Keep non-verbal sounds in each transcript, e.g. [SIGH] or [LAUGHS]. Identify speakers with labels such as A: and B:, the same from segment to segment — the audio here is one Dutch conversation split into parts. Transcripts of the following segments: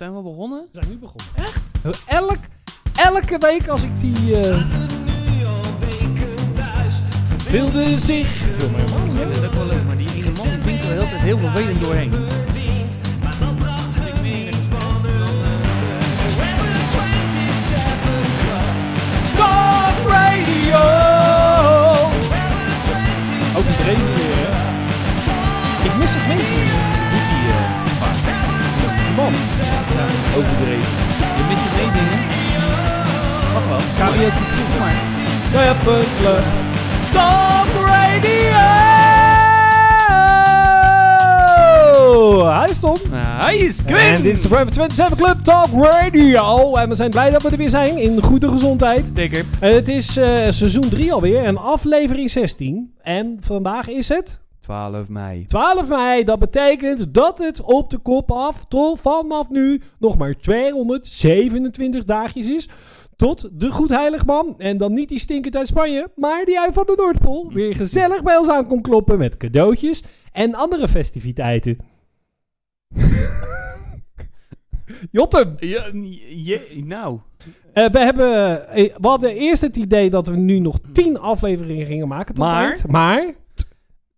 A: Zijn we begonnen?
B: We zijn nu begonnen.
A: Elk, elke week als ik die... eh wilde zich... Veel meer man. Ja, dat is ook wel leuk, maar die ene man vindt er heel, heel vervelend doorheen. Stop Radio!
B: Ook het reden weer, hè? Ik mis het meest in die man. Ja, overdreven.
A: Je mist het mee dingen. Mag wel.
B: Karaoke
A: Doe maar.
B: Seppelen.
A: Stop Radio!
B: Hij is Tom.
A: Hij is Quinn!
B: En dit is de Private 27 Club Talk Radio. En we zijn blij dat we er weer zijn in goede gezondheid.
A: Zeker.
B: En het is eh, seizoen 3 alweer en aflevering 16. En vandaag is het
A: 12 mei.
B: 12 mei. Dat betekent dat het op de kop af tot vanaf nu nog maar 227 dagjes is. Tot de Goedheiligman. En dan niet die stinkend uit Spanje, maar die uit van de Noordpool. Weer gezellig bij ons aan komt kloppen met cadeautjes en andere festiviteiten. [LAUGHS] Jotten!
A: Ja, je, nou.
B: Eh, we, hebben, eh, we hadden eerst het idee dat we nu nog 10 afleveringen gingen maken. Tot
A: Maar?
B: eind, maar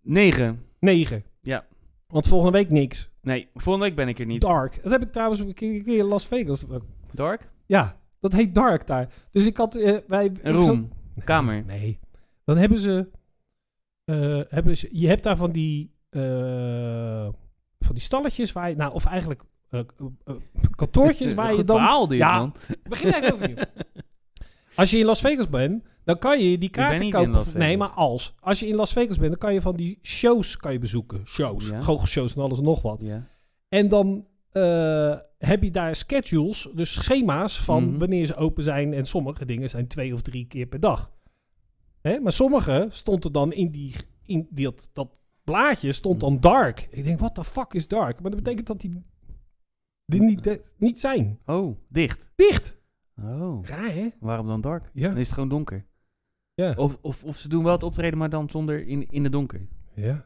A: 9.
B: 9.
A: Ja.
B: Want volgende week niks.
A: Nee, volgende week ben ik er niet.
B: Dark. Dat heb ik trouwens een keer, een keer in Las Vegas. ook.
A: Dark?
B: Ja, dat heet Dark daar. Dus ik had... eh, wij,
A: Een
B: ik zat-
A: room. Kamer.
B: Nee. Dan hebben ze, eh, hebben ze... Je hebt daar van die... eh, van die stalletjes waar je... Nou, of eigenlijk eh, eh, [LAUGHS] kantoortjes waar je
A: Goed
B: dan...
A: verhaal dit,
B: Ja,
A: man.
B: Begin even overnieuw. Als je in Las Vegas bent, dan kan je die kaarten
A: niet in
B: kopen.
A: Las
B: voor- nee, maar
A: Vegas.
B: als. Als je in Las Vegas bent, dan kan je van die shows kan je bezoeken. Shows,
A: Ja.
B: goochelshows en alles en nog wat.
A: Ja.
B: En dan eh, heb je daar schedules, dus schema's van
A: Mhm.
B: wanneer ze open zijn. En sommige dingen zijn twee of drie keer per dag. Hè? Maar sommige stond er dan in, die, in die, dat, dat blaadje, stond dan dark. Ik denk, wat de fuck is dark? Maar dat betekent dat die, die niet, eh, niet zijn.
A: Oh, dicht.
B: Dicht.
A: Oh,
B: Raar, hè?
A: waarom dan dark?
B: Ja.
A: Dan is het gewoon donker.
B: Ja.
A: Of, of, of ze doen wel het optreden, maar dan zonder in, in het donker.
B: Ja.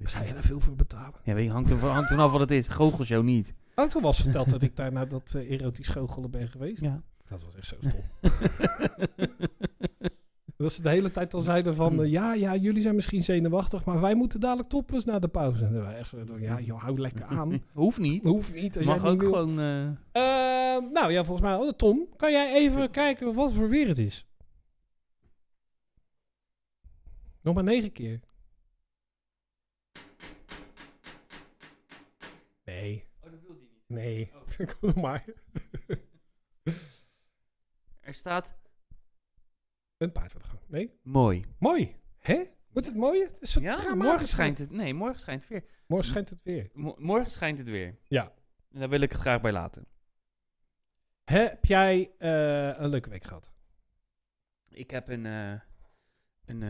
B: Zou je daar veel voor betalen?
A: Ja, weet je, hangt er van- hangt er vanaf wat het is. Goochelshow niet.
B: Auto was verteld dat ik daar naar dat eh, erotisch goochelen ben geweest.
A: Ja.
B: Dat was echt zo stom. dat ze de hele tijd al zeiden van...
A: Hmm.
B: eh, ja, ja, jullie zijn misschien zenuwachtig... maar wij moeten dadelijk topless na de pauze. En dan waren we echt zo, ja, joh, hou lekker
A: [LAUGHS]
B: aan.
A: [LAUGHS] Hoeft niet.
B: Hoeft niet als
A: Mag
B: jij
A: ook
B: niet wil.
A: gewoon... eh,
B: Eh, nou ja, volgens mij... oh, Tom, kan jij even kijken wat voor weer het is? Nog maar negen keer. Nee.
A: Oh,
B: Nee. [LAUGHS] Kom maar.
A: Er staat
B: Een paard van de gang. Nee.
A: mooi.
B: Mooi. Hè? Wordt het mooi? Het is
A: Ja, morgen schijnt het. Nee, morgen schijnt het weer.
B: morgen schijnt het weer.
A: Mo- morgen schijnt het weer.
B: Ja.
A: En daar wil ik het graag bij laten.
B: Heb jij eh, een leuke week gehad?
A: Ik heb een. eh, een eh,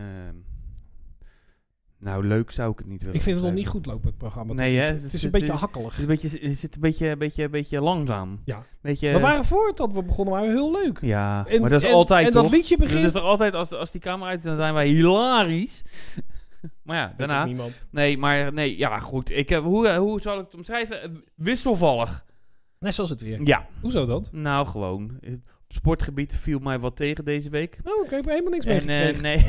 A: nou, leuk zou ik het niet willen.
B: ik vind het nog niet
A: omschrijven.
B: goed lopen, het programma.
A: Nee, hè?
B: Het is een beetje hakkelig.
A: Het is een beetje, het zit een beetje, een beetje, een beetje langzaam.
B: Ja.
A: Beetje,
B: we waren voordat we begonnen, waren we heel leuk.
A: Ja,
B: En-
A: maar dat is
B: en-
A: altijd.
B: En
A: toch?
B: dat liedje
A: Dat is
B: begint...
A: toch altijd, als, als die camera uit is, dan zijn wij hilarisch. [LAUGHS] maar ja,
B: Weet
A: daarna.
B: ook niemand.
A: Nee, maar nee, ja, goed. Ik heb, hoe, eh, hoe zal ik het omschrijven? Wisselvallig.
B: Net zoals het weer.
A: Ja,
B: Hoezo dat?
A: nou gewoon. Op sportgebied viel mij wat tegen deze week.
B: Oh, ik heb er helemaal niks mee
A: En, eh,
B: gekregen.
A: nee. [LAUGHS]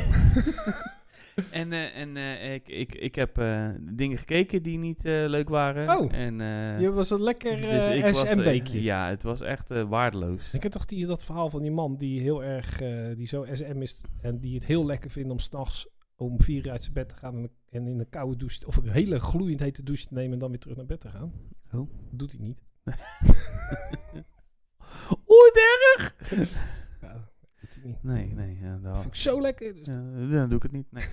A: en eh, en eh, ik, ik, ik heb eh, dingen gekeken die niet eh, leuk waren.
B: Oh.
A: En, eh,
B: Je was een lekker
A: dus ik
B: eh
A: was, eh,
B: SM-beekje.
A: ja, het was echt eh,
B: [LAUGHS]
A: waardeloos. [LAUGHS]
B: Ik heb toch die, dat verhaal van die man die heel erg, eh, die zo SM is en die het heel lekker vindt om s'nachts om vier uur uit zijn bed te gaan en, en in een koude douche, of een hele gloeiend hete douche te nemen en dan weer terug naar bed te gaan.
A: Oh.
B: Dat doet hij niet.
A: Oeh, erg!
B: Ja, dat doet hij niet.
A: Nee, nee. Ja,
B: Dat
A: daar-
B: vind ik zo lekker. Dus-
A: ja, dan doe ik het niet. Nee.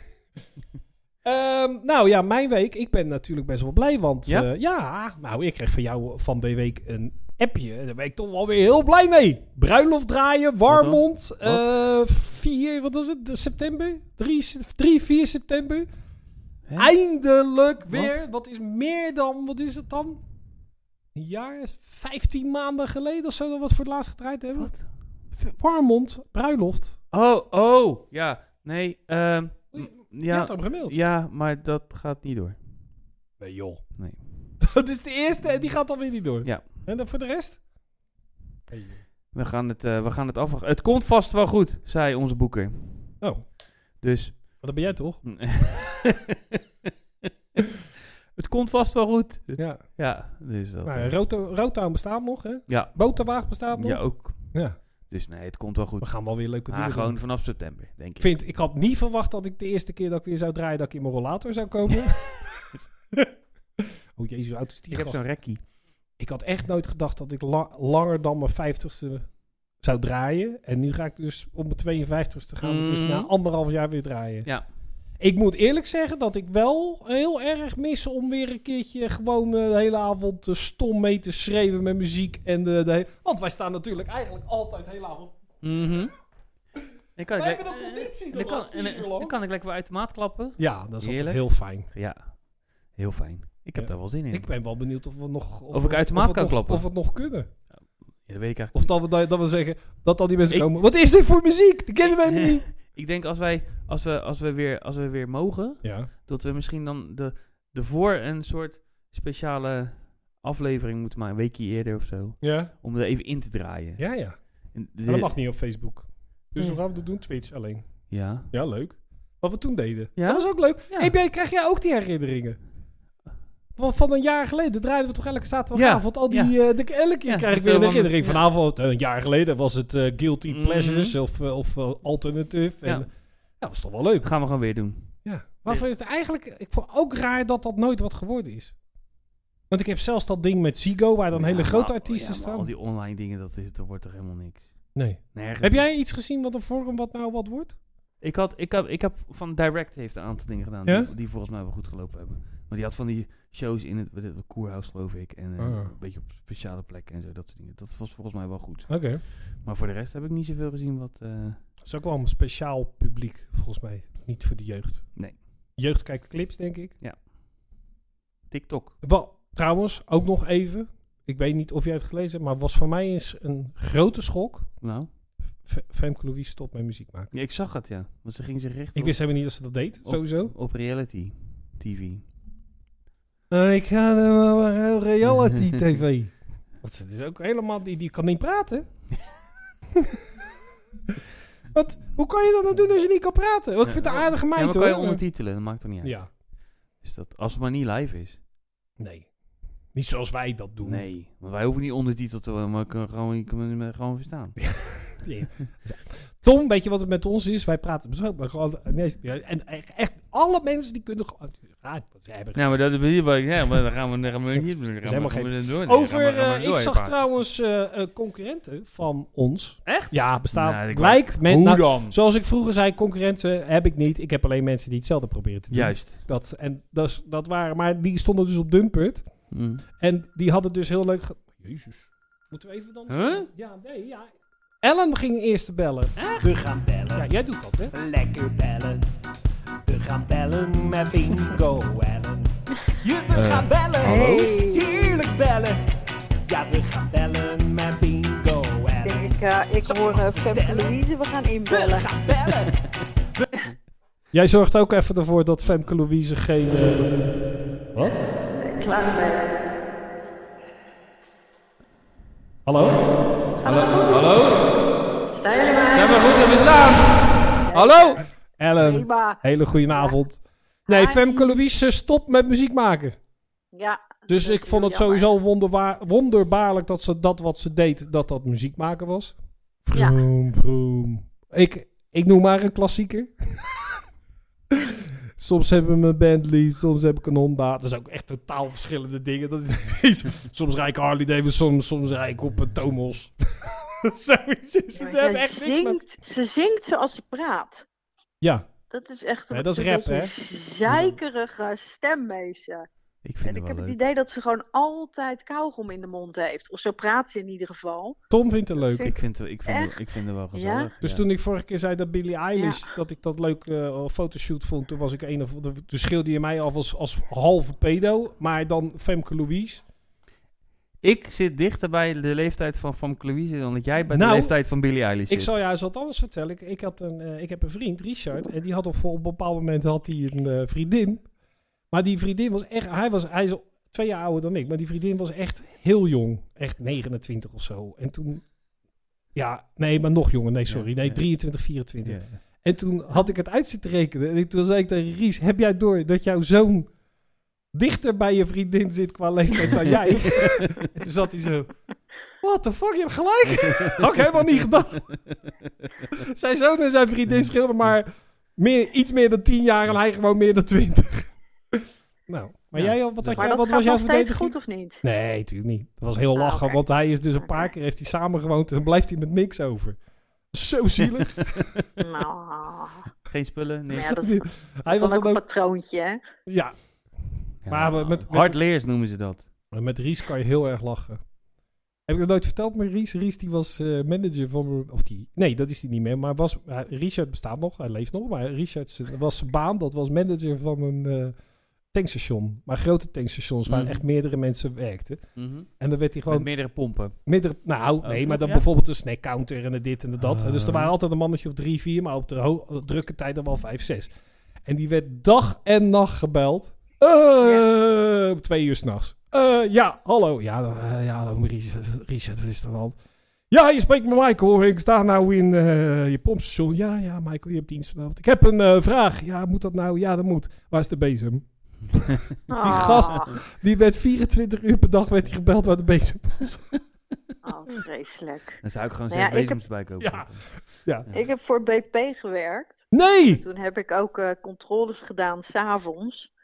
B: Ehm, nou ja, mijn week. Ik ben natuurlijk best wel blij, want
A: Ja?
B: ja, ja nou, ik kreeg van jou van de week een appje. En daar ben ik toch wel weer heel blij mee. Bruiloft draaien, Warmond,
A: dan? Wat?
B: eh, 4, wat was het, De september? 3, 3 4 september.
A: Hè?
B: Eindelijk weer. Wat? is meer dan, wat is het dan? Een jaar, 15 maanden geleden of zo, dat we het voor het laatst gedraaid hebben.
A: Wat?
B: V- Warmond, bruiloft.
A: Oh, oh. Ja, nee. ehm, m-
B: Je
A: ja,
B: had hem gemaild.
A: ja, maar dat gaat niet door.
B: Nee joh.
A: Nee.
B: [LAUGHS] dat is de eerste en die gaat dan weer niet door.
A: Ja.
B: En dan voor de rest?
A: We gaan het, eh, we gaan het afwachten. Het komt vast wel goed, zei onze boeker.
B: Oh, maar
A: Dus.
B: dat ben jij toch?
A: [LAUGHS] het komt vast wel goed.
B: Ja.
A: Ja, dus dat.
B: Nou,
A: eh,
B: Roto- Rotown bestaat nog, hè?
A: ja.
B: Boterwaag bestaat nog.
A: ja, ook.
B: Ja.
A: Dus nee, het komt wel
B: We
A: goed.
B: gaan wel weer leuke dingen
A: Maar
B: doen.
A: gewoon vanaf september, denk
B: Ik,
A: ik.
B: vind, ik had niet verwacht dat ik de eerste keer dat ik weer zou draaien, dat ik in mijn rollator zou
A: [LAUGHS]
B: komen. [LAUGHS] oh jezus, hoe oud is die
A: Ik heb
B: gast?
A: zo'n rekkie.
B: Ik had echt nooit gedacht dat ik la- langer dan mijn vijftigste zou draaien. En nu ga ik dus op mijn 52ste gaan we dus
A: Mm.
B: na anderhalf jaar weer draaien.
A: Ja.
B: Ik moet eerlijk zeggen dat ik wel heel erg mis om weer een keertje gewoon eh, de hele avond eh, stom mee te schreeuwen met muziek. En de, de he- Want wij staan natuurlijk eigenlijk altijd de hele avond.
A: Mhm. Dan kan
B: Wij
A: ik
B: hebben
A: le-
B: dan conditie
A: eh,
B: de
A: dan kan-
B: laatste
A: en,
B: vier
A: eh,
B: uur lang.
A: Dan kan ik lekker weer uit de maat klappen.
B: Ja, dat is altijd
A: Heerlijk.
B: heel fijn.
A: Ja, heel fijn. Ik heb
B: Ja.
A: daar wel zin in.
B: Ik ben wel benieuwd of we nog...
A: Of ik uit de
B: of
A: maat
B: het
A: kan
B: nog-
A: klappen.
B: Of we het nog kunnen.
A: Ja, dat weet ik eigenlijk
B: Of dat we, dat we zeggen dat al die mensen
A: Ik-
B: komen. Wat is dit voor muziek? Die kennen wij niet.
A: Ik denk als wij, als we, als we, weer, als we weer mogen,
B: [LAUGHS] Ja.
A: dat we misschien dan de, de voor een soort speciale aflevering moeten maken, een weekje eerder of zo,
B: Ja.
A: om er even in te draaien.
B: Ja, ja.
A: En de-
B: Maar dat mag niet op Facebook. Dus
A: Ja.
B: hoe gaan we dat doen? Twitch alleen.
A: Ja.
B: Ja, leuk. Wat we toen deden.
A: Ja?
B: Dat was ook leuk.
A: Ja.
B: Hey, ben- krijg jij ook die herinneringen? Want van een jaar geleden draaiden we toch elke zaterdagavond al die... eh, de, elke keer
A: Ja,
B: krijg ik
A: dat
B: weer
A: is
B: een
A: wel van-
B: herinnering.
A: ja.
B: Vanavond, eh, een jaar geleden, was het eh, Guilty
A: Mhm.
B: Pleasures of, eh, of eh, Alternative. En,
A: Ja.
B: ja, dat was toch wel leuk.
A: Dat gaan we gewoon weer doen.
B: Ja. Waarvoor is het eigenlijk... Ik vond ook raar dat dat nooit wat geworden is. Want ik heb zelfs dat ding met Zigo, waar dan
A: Ja,
B: hele grote
A: maar-
B: artiesten
A: ja, maar
B: staan.
A: Al die online dingen, dat, is, dat wordt toch helemaal niks.
B: Nee.
A: Nergens.
B: Heb jij iets gezien wat een forum wat nou wat wordt?
A: Ik, had, ik, heb, ik heb van Direct heeft een aantal dingen gedaan
B: Ja?
A: die, die volgens mij wel goed gelopen hebben. Maar die had van die shows in het, het koerhuis geloof ik. En eh,
B: Ah.
A: een beetje op speciale plekken en zo, dat soort dingen. Dat was volgens mij wel goed.
B: Oké.
A: Maar voor de rest heb ik niet zoveel gezien wat... eh,
B: Dat is ook wel een speciaal publiek, volgens mij. Niet voor de jeugd.
A: Nee.
B: Jeugd kijkt clips, denk ik.
A: TikTok.
B: Wel, trouwens, ook nog even. Ik weet niet of jij het gelezen hebt, maar was voor mij eens een grote schok.
A: Nou,
B: F- Femke Louise stopt met muziek maken.
A: ja, ik zag het ja. Want ze ging zich richten
B: Ik wist helemaal niet dat ze dat deed,
A: Op-
B: sowieso. Oh,
A: op, op reality TV.
B: Nou, ik ga naar
A: [LAUGHS]
B: reality tv. Want het is ook helemaal... Die, die kan niet
A: [LAUGHS]
B: praten. Wat? Hoe kan je dat nou doen als je niet kan praten? Want ik vind het een aardige
A: Ja, maar
B: meid,
A: kan je
B: hoor.
A: ondertitelen, dat maakt toch niet uit.
B: Ja.
A: Is dat, als het maar niet live is.
B: Nee. Niet zoals wij dat doen.
A: Nee, maar wij hoeven niet ondertiteld te worden, eh, maar ik kan gewoon, ik kan het gewoon verstaan.
B: Nee. Tom, weet je wat het met ons is? Wij praten zo, maar gewoon... Nee, en echt, echt alle mensen die kunnen gewoon... Ja, wat ze hebben.
A: Nou, maar dat is wat ik zeg, maar dan gaan we, dan gaan we niet dan gaan we-
B: helemaal
A: gaan we door. Dan gaan we-
B: Over,
A: gaan we
B: eh,
A: door,
B: ik zag
A: pa.
B: trouwens eh, eh, concurrenten van ons.
A: Echt?
B: Ja, bestaat.
A: Nou, ik
B: lijkt met...
A: Hoe
B: nou,
A: dan?
B: zoals ik vroeger zei, concurrenten heb ik niet. Ik heb alleen mensen die hetzelfde proberen te doen.
A: Juist.
B: Dat, en dat, is- dat waren... Maar die stonden dus op Dumpert.
A: Mm.
B: Hm. En die hadden dus heel leuk... ge- Jezus. Moeten we even dan...
A: Huh?
B: Ja, nee, ja. Ellen ging eerst te bellen.
C: We gaan bellen,
B: Ja, jij doet dat, hè?
C: lekker bellen. We gaan bellen met Bingo Ellen. Je, we gaan bellen,
A: Eh, hallo?
C: heerlijk bellen. Ja, we gaan bellen met Bingo
D: Ik
C: Ellen.
D: denk, ik, eh, ik
C: Zal
D: hoor
C: ik wat
D: eh, Femke
C: vertellen?
D: Louise, we gaan
C: We
D: inbellen.
C: gaan bellen.
B: Jij zorgt ook even ervoor dat Femke Louise geen... eh, Wat?
D: Klaar ben.
B: Hallo?
D: Sta je er maar?
A: Ja, maar goed, even staan! Hallo?
B: Ellen,
D: Prima.
B: hele goede avond. Nee,
D: Hi.
B: Femke Louise stopt met muziek maken.
D: Ja.
B: Dus
D: Dat is
B: ik vond het
D: heel jammer.
B: sowieso wonderwaar, wonderbaarlijk dat ze dat wat ze deed, dat dat muziek maken was.
D: Ja.
B: Vroom, vroom. Ik, ik noem maar een klassieker. [LAUGHS] soms hebben we een Bentley, soms heb ik een Honda. Dat is ook echt totaal verschillende dingen. Dat is [LAUGHS] niet eens- soms rijd ik Harley Davidson, soms rijd ik op een Tomos. [LAUGHS] Zoiets is het.
D: Maar
B: heb
D: zij
B: echt niks met...
D: zingt, ze zingt zoals ze praat.
B: Ja,
D: Dat is echt
B: Nee, dat is rap,
D: beetje
B: hè?
D: zeikerige stemmeisje.
A: Ik
D: En
A: vind
D: ik
A: het
D: heb
A: wel
D: het
A: leuk.
D: idee dat ze gewoon altijd kauwgom in de mond heeft. Of zo praat ze in ieder geval.
B: Tom vindt het leuk.
A: Ik vind, het- ik, vind, het-
D: Echt?
A: ik vind het wel
D: Ja?
A: gezellig.
B: Dus
A: ja.
B: toen ik vorige keer zei dat Billie Eilish, dat ik dat leuk eh, fotoshoot vond, toen was ik een of de, toen schilde je mij af als, als halve pedo, maar dan Femke Louise.
A: Ik zit dichter bij de leeftijd van Van Louise dan dat jij bij de
B: Nou,
A: leeftijd van Billie Eilish zit.
B: Ik zal jou eens wat anders vertellen. Ik, ik, had een, eh, ik heb een vriend, Richard, en die had op, op een bepaald moment had hij een eh, vriendin. Maar die vriendin was echt, hij was, hij is Twee jaar ouder dan ik. Maar die vriendin was echt heel jong. Echt 29 of zo. En toen... Ja, nee, maar nog jonger. Nee,
A: Ja,
B: sorry. Nee,
A: ja.
B: 23, 24.
A: Ja.
B: En toen had ik het uit zitten rekenen. En ik- toen zei ik tegen Ries, heb jij door dat jouw zoon dichter bij je vriendin zit qua leeftijd dan jij? en toen zat hij zo, what the fuck, je hebt gelijk. had ik helemaal niet gedacht. zijn zoon en zijn vriendin scheelden maar meer, iets meer dan tien jaar en hij gewoon meer dan twintig. nou, maar
A: Ja.
B: jij, al- wat, had
A: Maar
D: Maar
B: jij,
D: dat
B: wat
D: gaat
B: was jouw
D: nog steeds
B: verdediging?
D: goed of
B: [LAUGHS]
D: niet?
B: Nee, natuurlijk niet. Dat was heel
D: Ah,
B: lachen,
D: oké.
B: want hij is dus een paar
D: Oké.
B: keer heeft hij samengewoond en dan blijft hij met niks over. Zo zielig.
D: Nou,
A: Geen spullen, niks.
B: [LAUGHS]
D: maar ja, [LAUGHS] dat is
B: hij was
D: dan ook
B: dan
D: een
B: ook...
D: patroontje, hè?
A: Ja,
B: Ja, Maar we- met- met-
A: hardleers noemen ze dat.
B: Maar met Ries kan je heel erg lachen. Heb ik dat nooit verteld, maar Ries, Ries die was eh, manager van... Of die, nee, dat is die niet meer. Maar was, hij- Richard bestaat nog, hij leeft nog. Maar Richard z- was zijn baan, dat was manager van een eh, tankstation. Maar grote tankstations waar
A: Mhm.
B: echt meerdere mensen werkten.
A: Mhm.
B: En dan werd hij
A: Met
B: gewoon...
A: meerdere pompen.
B: Meerdere, nou,
A: Oh,
B: nee, maar dan
A: ja?
B: bijvoorbeeld een snack counter en een dit en een dat.
A: Ah.
B: Dus er waren altijd een mannetje of drie, vier. Maar op de ho- op drukke tijd dan wel vijf, zes. En die werd dag en nacht gebeld. Eh, om Twee uur s'nachts. Eh ja, hallo. Ja, dan, eh, ja hallo, Ries- Richard, wat is er dan? Ja, je spreekt met Michael. Ik sta nou in eh, je pompstation. Ja, ja, Michael, je hebt dienst vanavond. Ik heb een eh, vraag. Ja, moet dat nou? Ja, dat moet. Waar is de bezem?
D: Ah,
B: gast. Die werd 24 uur per dag werd die gebeld waar de bezem
A: [LAUGHS]
B: was.
D: Oh, wat vreselijk.
A: Dan zou ik gewoon
D: Nou
A: zes
D: ja, ik
A: bezems bij kopen.
B: Ja. nou,
D: Ik heb voor BP gewerkt.
B: Nee!
D: Toen heb ik ook eh, controles gedaan s'avonds.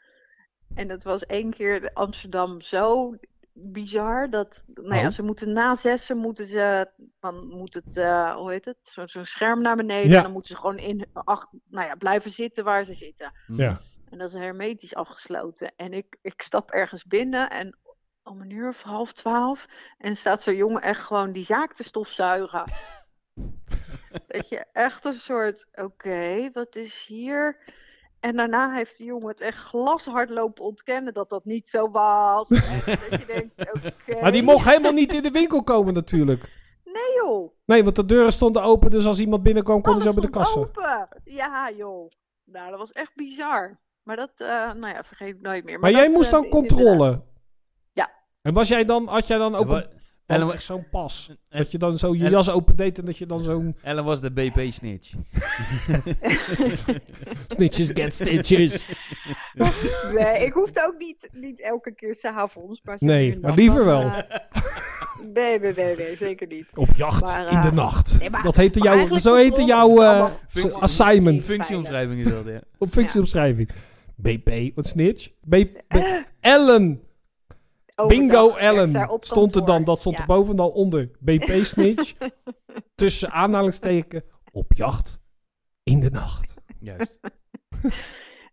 D: En dat was één keer Amsterdam zo bizar dat, nou ja,
B: Oh.
D: ze moeten na zessen moeten ze, dan moet het, eh, hoe heet het, Zo- zo'n scherm naar beneden.
B: Ja.
D: En dan moeten ze gewoon in, ach, nou ja, blijven zitten waar ze zitten.
A: Mhm.
B: Ja.
D: En dat is hermetisch afgesloten. En ik, ik stap ergens binnen en om een uur of half twaalf. En staat zo'n jongen echt gewoon die zaak te
B: [LAUGHS]
D: stofzuigen. Dat je echt een soort, oké, wat is hier? En daarna heeft de jongen het echt glashard lopen ontkennen dat dat niet
B: [LAUGHS]
D: zo was. En dat je denkt, oké.
B: Maar die mocht helemaal niet in de winkel komen natuurlijk.
D: Nee joh.
B: Nee, want de deuren stonden open, dus als iemand binnenkwam, konden ze
D: Alles
B: bij de
D: Oh, stond
B: kassa.
D: open. Ja joh. Nou, dat was echt bizar. Maar dat, eh, nou ja, vergeet ik nooit meer.
B: Maar, jij
D: dat,
B: moest
D: eh,
B: dan
D: is inderdaad-
B: controle.
D: Ja.
B: En was jij dan, had jij dan ook
A: Wa-
B: een,
A: Ellen,
B: dan
A: wa-
B: echt zo'n pas?
A: eh,
B: Dat je dan zo je
A: en-
B: jas opendeed en dat je dan
A: [LAUGHS]
B: zo'n
A: Ellen was de BP-snitch.
B: snitches get
A: eh,
B: stitches.
D: Nee, ik hoefde ook niet, niet elke keer s'avonds. Maar zo
B: Nee,
D: nu en
B: maar
D: dan,
B: liever
D: dan,
B: wel.
D: eh, nee, nee, nee, nee, zeker niet.
B: Op jacht,
D: Maar, eh,
B: in de nacht.
D: nee, maar-
B: dat heette
D: maar
B: jouw,
D: eigenlijk
B: zo heette
D: controle
B: jouw
D: is
B: eh,
D: allemaal
B: s-
D: functie-
B: assignment
A: Functieomschrijving is dat, ja.
B: of functieomschrijving. BP, wat snitch? B- B-
D: [LAUGHS]
B: Ellen,
D: Overdag
B: bingo
D: werd daar
B: Ellen
D: Oh, op
B: stond er dan,
D: kantoor.
B: dat stond
D: Ja.
B: er boven en dan onder.
D: [LAUGHS]
B: BP snitch, tussen aanhalingsteken, op jacht, in de nacht.
A: [LAUGHS] Juist.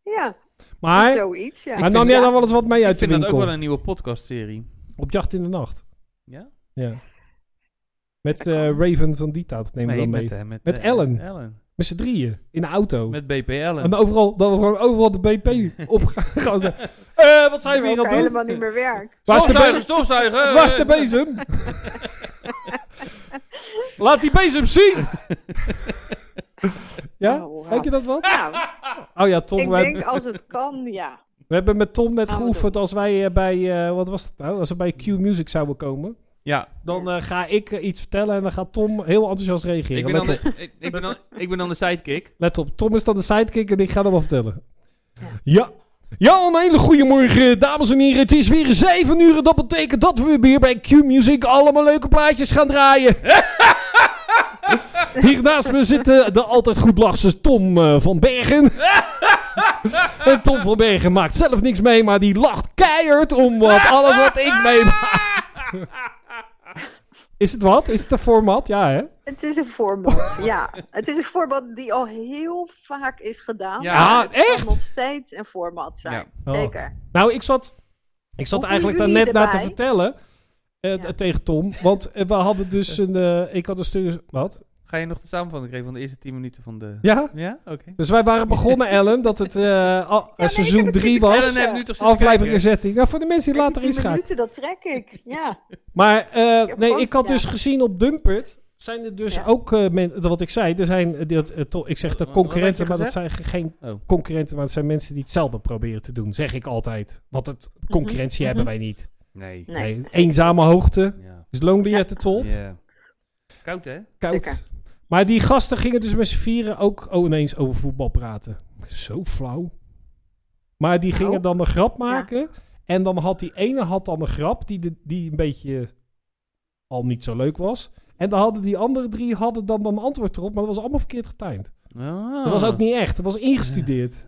D: Ja,
B: Maar,
D: zoiets, ja.
B: maar nam jij dan wel eens wat mee
A: Ik
B: uit de
A: vind dat ook
B: winkel?
A: wel een nieuwe podcastserie.
B: Op jacht in de nacht.
A: Ja?
B: Ja. Met eh, Raven van Dita, dat nemen we dan mee.
A: met, eh, met,
B: Met
A: eh,
B: Ellen.
A: Ellen.
B: Met z'n drieën, in de auto.
A: Met BP Ellen.
B: en overal, dat we gewoon overal de
A: [LAUGHS]
B: BP op gaan zeggen. Eh, wat zijn we hier aan
D: Terwijl ik
B: het doen?
D: helemaal niet meer werk.
B: Waar is de
A: stofzuigen,
B: bezem?
A: stofzuigen!
B: Waar is de
A: eh.
B: bezem? Laat die bezem zien! ja?
D: Oh,
B: Denk je dat wat? [LAUGHS]
D: Nou,
B: Oh ja, Tom,
D: ik
B: we,
D: denk Oh, als het kan, ja.
B: we hebben met Tom net
D: Gaan we
B: geoefend als wij eh, bij, eh, wat was het nou? Als we bij Q Music zouden komen.
A: Ja,
B: Dan eh, ga ik eh, iets vertellen en dan gaat Tom heel enthousiast reageren.
A: ik ben,
B: Let
A: dan de, ik, ik ben dan, ik ben dan de sidekick.
B: Let op, Tom is dan de sidekick en ik ga hem wel vertellen. Ja. Ja, een hele goede morgen, dames en heren. Het is weer 7 uur en dat betekent dat we weer bij Q-Music allemaal leuke plaatjes gaan draaien. Hier naast me zit eh, de altijd goed lachse Tom eh, van Bergen. en Tom van Bergen maakt zelf niks mee, maar die lacht keihard om wat, alles wat ik meemaak. is het wat? Is het een format? Ja, hè?
D: Het is een
B: [LAUGHS]
D: voorbeeld, ja. Het is een voorbeeld die al heel vaak is gedaan.
A: Ja,
D: maar het kan
B: echt?
D: nog steeds een format zijn,
B: Ja. Oh.
D: zeker.
B: Nou, ik zat, ik zat
D: Hoe
B: eigenlijk daar
D: voelen
B: net
D: jullie
B: naar te
D: erbij?
B: vertellen. eh,
D: Ja.
B: Tegen Tom. Want eh, we hadden dus een. eh, ik had een stuk. Wat?
A: Ga je nog de samenvatting geven van de eerste 10 minuten van de...
B: Ja?
A: Ja? Oké.
B: Dus wij waren begonnen, Ellen, dat het eh, al-
D: nee, ik
B: seizoen
D: heb het
B: 3
D: niet
B: was.
A: Ellen heeft nu toch zitten
B: Aflevering
A: kijken?
B: zetting. Nou, voor de mensen die
D: Kijk,
B: later
D: die
B: inschakelen.
D: minuten, dat trek ik, ja.
B: Maar eh,
D: heb
B: nee,
D: gewoon
B: ik had
D: gedaan.
B: dus gezien op Dumpert. Zijn er dus
D: Ja.
B: ook eh, men- wat ik zei, er zijn, eh, dat, eh, to- ik zeg de
A: Wat- wat had
B: concurrenten,
A: je
B: maar dat zijn ge- geen
A: Oh.
B: concurrenten, maar het zijn mensen die hetzelfde proberen te doen, zeg ik altijd. Want het, concurrentie
D: mhm.
B: hebben wij niet.
A: Nee.
D: Nee.
B: Nee, eenzame hoogte
A: Ja.
B: is lonely
D: Ja.
B: at the top,
A: Ja. Koud, hè?
B: koud.
D: Zeker.
B: Maar die gasten gingen dus met z'n vieren ook oh, ineens over voetbal praten. Zo flauw. Maar die
D: Nou.
B: gingen dan een grap maken. En dan had die ene had dan een grap die, de, die een beetje al niet zo leuk was. En dan hadden die andere drie hadden dan een antwoord erop. Maar dat was allemaal verkeerd getimed.
A: Ah.
B: Dat was ook niet echt. Dat was
D: [LAUGHS]
B: ingestudeerd.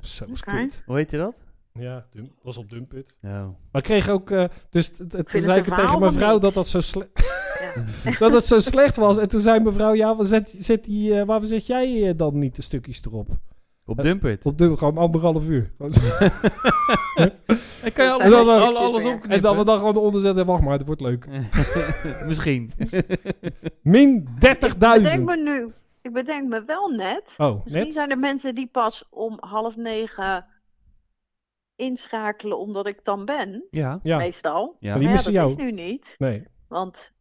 B: Zo is
D: Oké.
B: kut.
A: Oh. Hoe heet je dat?
B: Ja, dum- was op Dumput.
A: Nou.
B: Maar ik kreeg ook... eh, dus t- t- toen
D: het
B: zei ik
D: een
B: het tegen
D: verhaal
B: mijn
D: dan
B: vrouw
D: niet.
B: dat dat zo slecht... [LAUGHS] dat het zo slecht was. En toen zei mevrouw, ja, waar zet, zet die, eh, waarom zet jij eh, dan niet de stukjes erop?
A: Op
B: Eh,
A: Dumpert.
B: Op de, gewoon anderhalf uur. [LAUGHS]
A: Ik kan je
D: Dat
A: alles, al-
B: zijn
D: netjes
A: alles
D: weer.
A: opknippen.
B: en dan we dan gewoon eronder zetten, wacht maar, het wordt leuk.
A: [LAUGHS] Misschien.
B: Min 30.000.
D: Ik bedenk me nu, ik bedenk me wel net.
B: Oh,
D: Misschien
B: net?
D: zijn er mensen die pas om half negen inschakelen omdat ik dan ben,
A: Ja.
B: Ja,
D: meestal.
A: Ja.
B: Maar die
D: Maar ja,
B: missen
D: dat
B: jou.
D: is nu niet,
B: nee.
D: want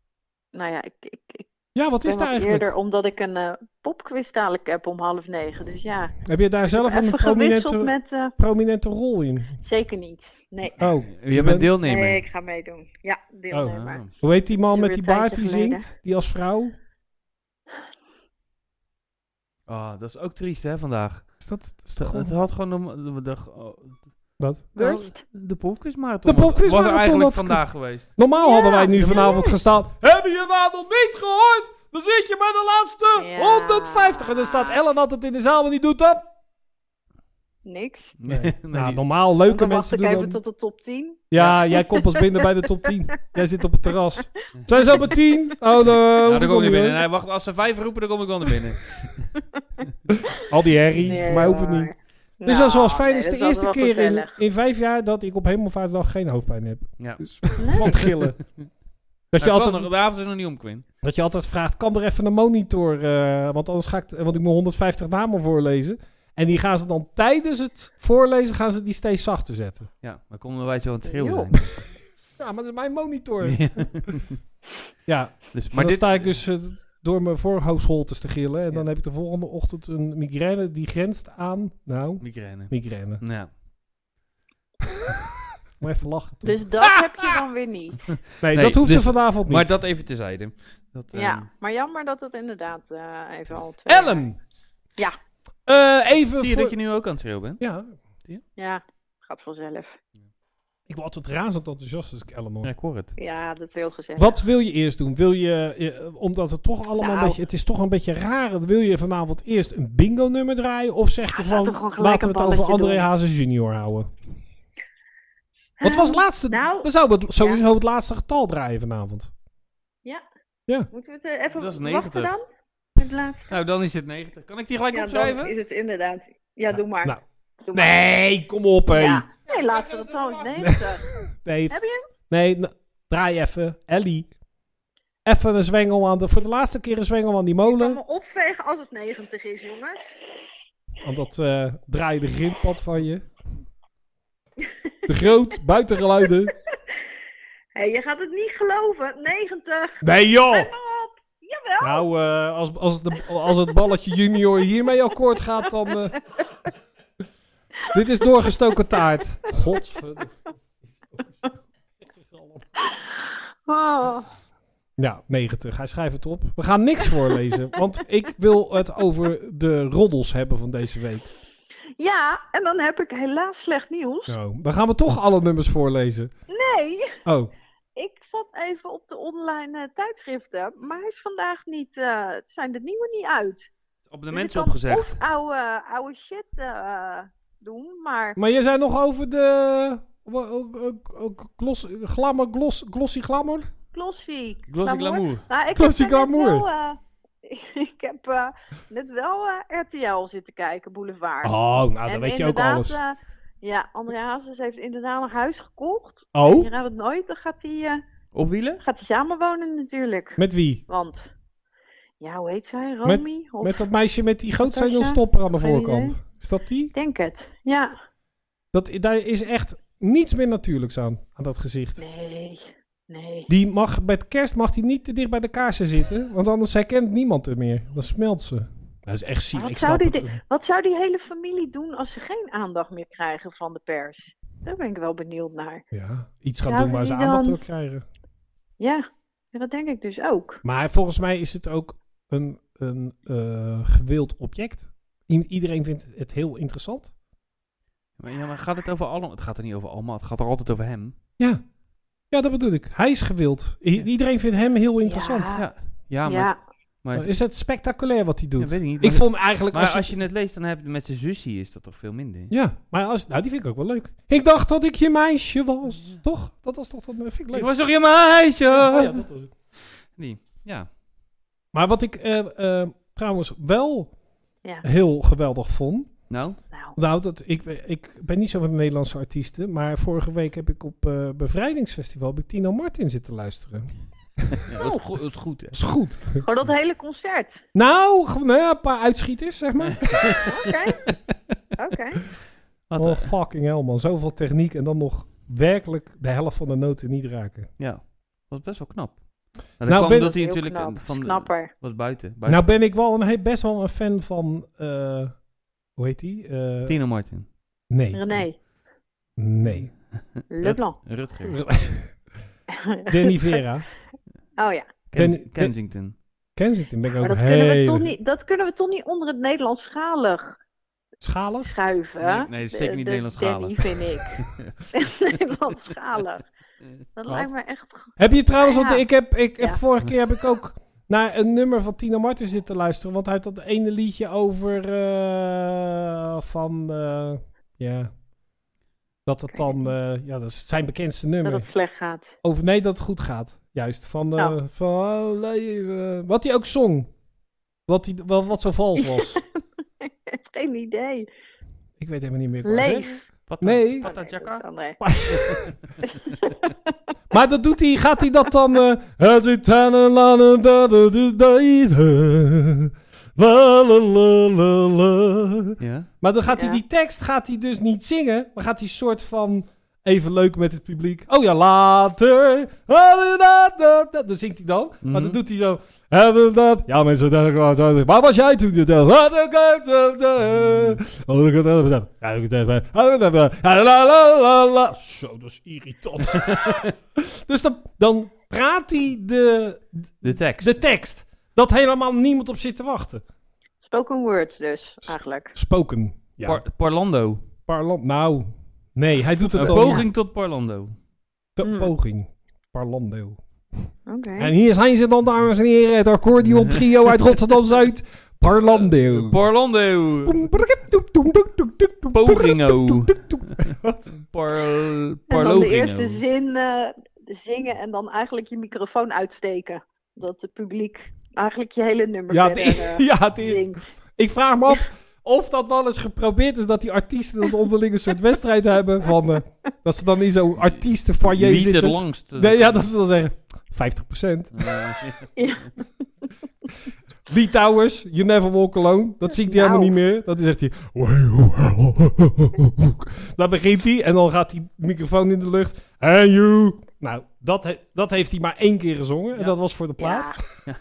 D: nou ja, ik, ik, ik
B: Ja, wat
D: ben
B: is
D: wat
B: daar eigenlijk?
D: eerder omdat ik een eh, popquiz dadelijk heb om half negen. Dus ja,
B: Heb je daar zelf een
D: even gewisseld
B: prominente,
D: met... eh,
B: prominente rol in?
D: zeker niet, nee.
B: Oh,
A: Je bent deelnemer.
D: Nee, ik ga meedoen. Ja, deelnemer.
A: Ah.
B: hoe heet die
D: Is
B: man met
D: alweer
B: die
D: een
B: baard die
D: tijdje geleden.
B: zingt? Die als vrouw?
A: Ah, dat is ook triest, hè, vandaag.
B: Is dat, is toch
A: Het
B: gewoon-
A: het had gewoon om- de dag... oh,
B: wat?
D: Worst?
A: De popquizmarathon
B: De popquizmarathon
A: was er eigenlijk
B: had-
A: vandaag geweest.
B: Normaal
D: Ja,
B: hadden wij nu
D: ja.
B: vanavond gestaan. Heb je het nog niet gehoord? Dan zit je bij de laatste
D: Ja.
B: 150. En dan staat Ellen altijd in de zaal, maar die doet dat. [LAUGHS]
D: Niks.
B: Nee.
A: [LAUGHS]
B: nou,
A: die-
B: normaal
D: Dan
B: leuke
D: wacht
B: mensen
D: ik
B: doen
D: even
B: dat.
D: tot de top 10.
B: Ja, jij komt pas binnen bij de top 10. Jij zit op het terras. Zijn ze al bij 10? Oh, dan,
A: Nou, dan kom je
B: niet
A: binnen. Nee, wacht, als ze vijf roepen, dan kom ik wel naar
B: [LAUGHS]
A: binnen.
B: Al die herrie, voor mij hoeft het
D: maar-
B: niet. dus dat is wel eens fijn.
D: Nou,
B: Het is de
D: nee, dat
B: eerste
D: wel
B: keer in,
D: gezellig.
B: in vijf jaar dat ik op Hemelvaartsdag geen hoofdpijn heb.
A: Ja.
B: Dus, van het gillen. Dat je,
A: Nou, kan
B: altijd,
A: nog, de avond is nog niet om, Quinn.
B: dat je altijd vraagt, kan er even een monitor? eh, want anders ga ik, want ik moet 150 namen voorlezen. En die gaan ze dan tijdens het voorlezen, gaan ze die steeds zachter zetten.
A: Ja, maar kom dan wij zo aan het schreeuwen
D: Joh.
A: zijn.
B: Ja, maar dat is mijn
A: [LAUGHS]
B: monitor.
A: Ja.
B: [LAUGHS] Ja,
A: Dus,
B: Maar
A: maar
B: dan
A: dit...
B: sta ik dus eh, door mijn voorhoofdholtes te gillen. En dan heb ik de volgende ochtend een migraine die grenst aan... Nou,
A: Migraine.
B: migraine.
A: Ja.
B: Maar even lachen. toch?
D: Dus dat heb je dan weer niet.
B: nee,
A: nee,
B: dat hoeft
A: dus-
B: er vanavond niet.
A: Maar dat even terzijde. Dat, ehm,
D: Ja, maar jammer dat het inderdaad eh, even al twee...
B: Ellen!
D: Ja.
B: Eh, even
A: Zie je
B: voor...
A: dat je nu ook aan het schreeuwen bent?
B: Ja,
D: Ja, gaat vanzelf.
B: ik word altijd razend enthousiast als ik Ellen hoor.
A: Ja, ik hoor het.
D: Ja, dat is heel gezellig.
B: Wat wil je eerst doen? Wil je, eh, omdat het toch allemaal een
D: Nou.
B: beetje, het is toch een beetje raar, wil je vanavond eerst een bingo nummer draaien? Of zeg je
D: Ja,
B: van,
D: laten we gewoon gelijk
B: laten we het
D: een
B: over
D: balletje
B: André
D: doen. Ehm,
B: Hazes junior houden? Wat was het laatste?
D: nou,
B: we zouden het, sowieso het laatste getal draaien vanavond.
D: Moeten we het eh, even
A: Dat is
D: wachten
A: 90.
D: dan? Het laatste.
A: Nou, dan is het 90. Kan ik die gelijk
D: Ja,
A: opschrijven?
D: dan is het inderdaad. Ja, doe maar.
B: nou.
D: Doe maar.
B: Nee, kom op hé.
D: Ja. Nee, laten we het trouwens 90.
B: Nee,
D: Heb je?
B: nee n- draai even. Ellie. Even een zwengel aan de, voor de laatste keer een zwengel aan die
D: Ik kan
B: molen.
D: me opvegen als het 90 is, jongens.
B: Want dat eh draai de grindpad van je. Te groot, buitengeluiden.
D: Hé, je gaat het niet geloven. 90.
B: Nee joh!
D: Maar op. Jawel.
B: Nou, eh, als, als, de, als het balletje junior hiermee akkoord gaat, dan...
D: [LAUGHS]
B: eh, Dit is doorgestoken taart. Godverdomme.
D: Oh.
B: Ja, 90. Hij schrijft het op. We gaan niks voorlezen, want ik wil het over de roddels hebben van deze week.
D: Ja, en dan heb ik helaas slecht nieuws.
B: Nou, dan gaan we toch alle nummers voorlezen.
D: Nee.
B: Oh,
D: Ik zat even op de online eh, tijdschriften, maar hij is vandaag niet, eh, zijn de nieuwe niet uit.
A: Op de
D: Dus ik
A: mensen
D: kan
A: opgezegd.
D: Of oude, oude shit eh, doen, maar
B: maar je zei nog over de... wa- ook- ook- ook Gloss, glamour, gloss, glossy glamour?
D: glossy.
A: Glossy Glamour.
D: Nou, ik
B: Glossy
D: heb net
B: glamour.
D: wel, eh, [LAUGHS] ik heb eh, net wel eh, RTL zitten kijken, Boulevard.
B: Oh, nou, dan
D: En
B: weet je ook
D: inderdaad,
B: alles.
D: eh, ja, André Hazes heeft inderdaad een huis gekocht.
B: oh,
D: Je raadt het nooit, dan gaat hij eh,
A: Op wielen?
D: gaat hij samenwonen natuurlijk.
B: met wie?
D: Want, ja, hoe heet zij? Romy? of,
B: Met dat meisje met die
D: Natasha?
B: grootsteenstopper aan de
D: Geen
B: voorkant. Is dat die?
D: Ik denk het, ja.
B: Dat, daar is echt niets meer natuurlijks aan, aan dat gezicht.
D: Nee. Nee.
B: Die mag, met kerst mag die niet te dicht bij de kaarsen zitten. Want anders herkent niemand het meer. Dan smelt ze. Dat is echt ziek.
D: Wat
B: Ik
D: zou
B: snap
D: die
B: het.
D: Wat zou die hele familie doen als ze geen aandacht meer krijgen van de pers? Daar ben ik wel benieuwd naar.
B: Ja, iets gaan
D: Zou
B: doen waar ze
D: die
B: aandacht
D: dan-
B: door krijgen.
D: Ja, ja, dat denk ik dus ook.
B: Maar volgens mij is het ook een, een eh, gewild object. I- iedereen vindt het heel interessant.
A: Maar, ja, maar gaat het over allemaal? Het gaat er niet over allemaal. Het gaat er altijd over hem.
B: Ja. Ja, dat bedoel ik. Hij is gewild. I-
A: Ja.
B: Iedereen vindt hem heel interessant.
D: Ja.
A: Ja, ja
D: Ja,
A: maar... maar
B: Is het spectaculair wat hij
A: ja,
B: doet?
A: weet ik niet.
B: ik
A: maar,
B: vond eigenlijk...
A: maar
B: Als je,
A: als je het leest, dan heb je met zijn zusje is dat toch veel minder.
B: Ja, maar als... Nou, die vind ik ook wel leuk. Ik dacht dat ik je meisje was. Toch? Dat was toch... Dat vind ik leuk.
A: Ik was eh, toch je meisje?
B: Oh ja, dat was het.
A: Ja.
B: Maar wat ik eh, eh, trouwens wel
D: Ja.
B: heel geweldig vond...
A: Nou,
D: nou.
B: Nou, dat, ik, ik ben niet zo van de Nederlandse artiesten. Maar vorige week heb ik op eh Bevrijdingsfestival heb ik Tino Martin zitten luisteren.
A: ja, dat, is goed, dat is goed.
B: [LAUGHS]
A: hè.
B: Dat is goed.
D: [LAUGHS] Gewoon dat hele concert.
B: Nou, gewoon, nou ja, een paar uitschieters, zeg maar.
D: Oké. Oké.
A: [LAUGHS] Wat,
B: oh,
A: eh,
B: fucking hell, man. Zoveel techniek en dan nog werkelijk de helft van de noten niet raken.
A: ja, dat was best wel knap. Nou, dat kwam
B: ben- Dat
A: omdat
D: Heel
A: hij natuurlijk
D: knap.
A: eh, van
D: Knapper.
A: was buiten. buiten.
B: Nou ben ik wel een, he- best wel een fan van... eh, hoe heet die? Eh,
A: Tino Martin,
B: nee.
D: René. [LAUGHS]
B: Nee.
D: Leblanc.
A: Rutger,
B: Danny Vera.
D: [LAUGHS] Oh ja.
A: Kens-
B: Danny- [LAUGHS]
A: Kensington.
B: Kensington ben ik ook
D: Maar dat kunnen, we
B: heel...
D: toch niet, dat kunnen we toch niet onder het Nederlandschalig
B: Schalig?
D: schuiven?
A: Nee, nee, het is zeker
D: De-
A: niet
D: de
A: Nederlandschalig.
D: Danny, vind ik. [LAUGHS]
A: [LAUGHS]
D: Nederlandschalig.
B: Wat?
D: Dat lijkt me echt...
B: Heb je trouwens,
D: Ah,
B: want
D: ja.
B: ik heb, ik heb
D: Ja.
B: vorige keer heb ik ook naar een nummer van Tina Martin zitten luisteren. Want hij had dat ene liedje over eh, van, eh, ja, dat het
D: Ik weet
B: dan, eh, ja, dat is zijn bekendste
D: dat
B: nummer.
D: het slecht gaat.
B: Over nee, dat het goed gaat. Juist, van, eh,
D: Oh.
B: van oh, leven. wat hij ook zong. Wat, hij, wel wat zo vals
D: [LAUGHS]
B: was.
D: ik heb geen idee.
B: ik weet helemaal niet meer. wat ik wou zeggen.
D: Leef.
A: Wat
B: Nee.
D: Oh,
A: Wat
D: nee,
A: dat,
D: dat is
A: Jacka?
D: André.
B: Maar dat doet hij, gaat hij dat dan... eh, As it had a lot of better to die, la, la, la, la, la.
A: Ja.
B: Maar dan gaat hij
D: Ja.
B: die tekst gaat hij dus niet zingen. Maar gaat hij soort van even leuk met het publiek. Oh ja, later. Ah, da, da, da, da. Dan zingt hij dan. Maar dan
A: Mhm.
B: doet hij zo... Ah, da, da. Ja, mensen, dat was zo. Waar was jij toen? dit- dat- Wat ik uit- dat- dat- Oh, ik had het even- Ja, ik had het even- Ah, da, da, da. La, la, la, la. Zo, dat is irritant. Dus dan, dan praat hij de,
A: De tekst.
B: de tekst. Dat helemaal niemand op zit te wachten.
D: Spoken words dus, eigenlijk.
B: Spoken. Ja.
A: Par- Parlando.
B: Parlant. Nou, nee, hij doet
A: Een
B: het al.
A: poging tot Parlando.
B: De
D: Mm.
B: poging. Parlando.
D: Oké.
B: En hier zijn ze dan, dames en heren. Het accordeon trio uit Rotterdam-Zuid. Parlando.
A: Parlando. Pogingo. Par
D: En dan de
A: Parlogino.
D: eerste zin eh, zingen en dan eigenlijk je microfoon uitsteken. Dat het publiek eigenlijk je hele nummer
B: Ja, [LAUGHS]
D: verder,
B: het-
D: eh,
B: [LAUGHS] ja het is,
D: zingt.
B: ik vraag me af of dat wel eens geprobeerd is dat die artiesten dat onderling een soort wedstrijd hebben van eh, dat ze dan in zo'n artiestenfoyer
A: Niet het
B: zitten.
A: langste.
B: Nee, ja, dat ze dan zeggen 50%.
A: Eh,
B: Lee Towers, You Never Walk Alone. Dat zingt hij
D: Nou.
B: helemaal niet meer. Dat is echt hij. Dan begint hij en dan gaat die microfoon in de lucht. And you. Nou, dat, he- dat heeft hij maar één keer gezongen. En
A: Ja.
B: dat was voor de plaat.
D: Ja.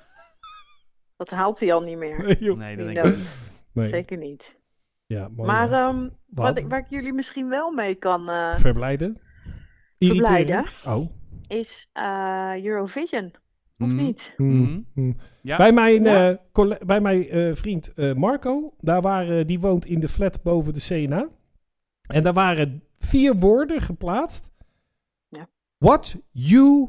D: Dat haalt hij al niet meer.
B: [LAUGHS] Nee, joh.
A: nee, dat
D: Die
A: denk ik niet.
D: noot.
B: Nee.
D: Zeker niet.
B: Ja, mooi,
D: Maar
B: ja.
D: ehm,
B: Wat?
D: wat, ik- waar ik jullie misschien wel mee kan, eh,
B: Verblijden. Irriteren.
D: Verblijden.
B: Oh.
D: is eh, Eurovision. Of
A: Mm.
D: niet?
B: Hmm.
A: Mhm.
B: Hmm.
A: Ja.
B: Bij mijn,
D: Ja.
B: eh, colle- bij mijn eh, vriend eh, Marco, daar waren, die woont in de flat boven de CNA. En daar waren vier woorden geplaatst.
D: Ja.
B: What you...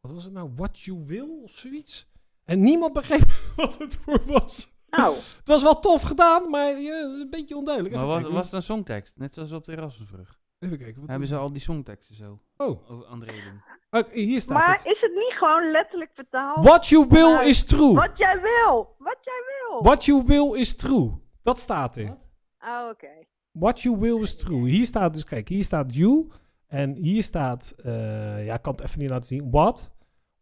B: Wat was het nou? What you will of zoiets? En niemand begreep [LAUGHS] wat het voor was.
D: Nou,
B: Het was wel tof gedaan, maar ja, het is een beetje onduidelijk.
A: Maar
B: Even
A: was,
B: kijken.
A: was het een songtekst? Net zoals op de Erasmusbrug.
B: Even kijken. Wat
A: Hebben ze al die songteksten zo?
B: Oh,
A: Over André doen.
B: oké, hier staat
D: maar
B: het.
D: is het niet gewoon letterlijk vertaald?
B: What you will
D: Maar-
B: is true.
D: Wat jij wil! Wat jij wil!
B: What you will is true. Dat staat er.
D: Oh, oké.
B: What you will is true. Hier staat dus, kijk, hier staat you. En hier staat, eh, ja, ik kan het even niet laten zien. What?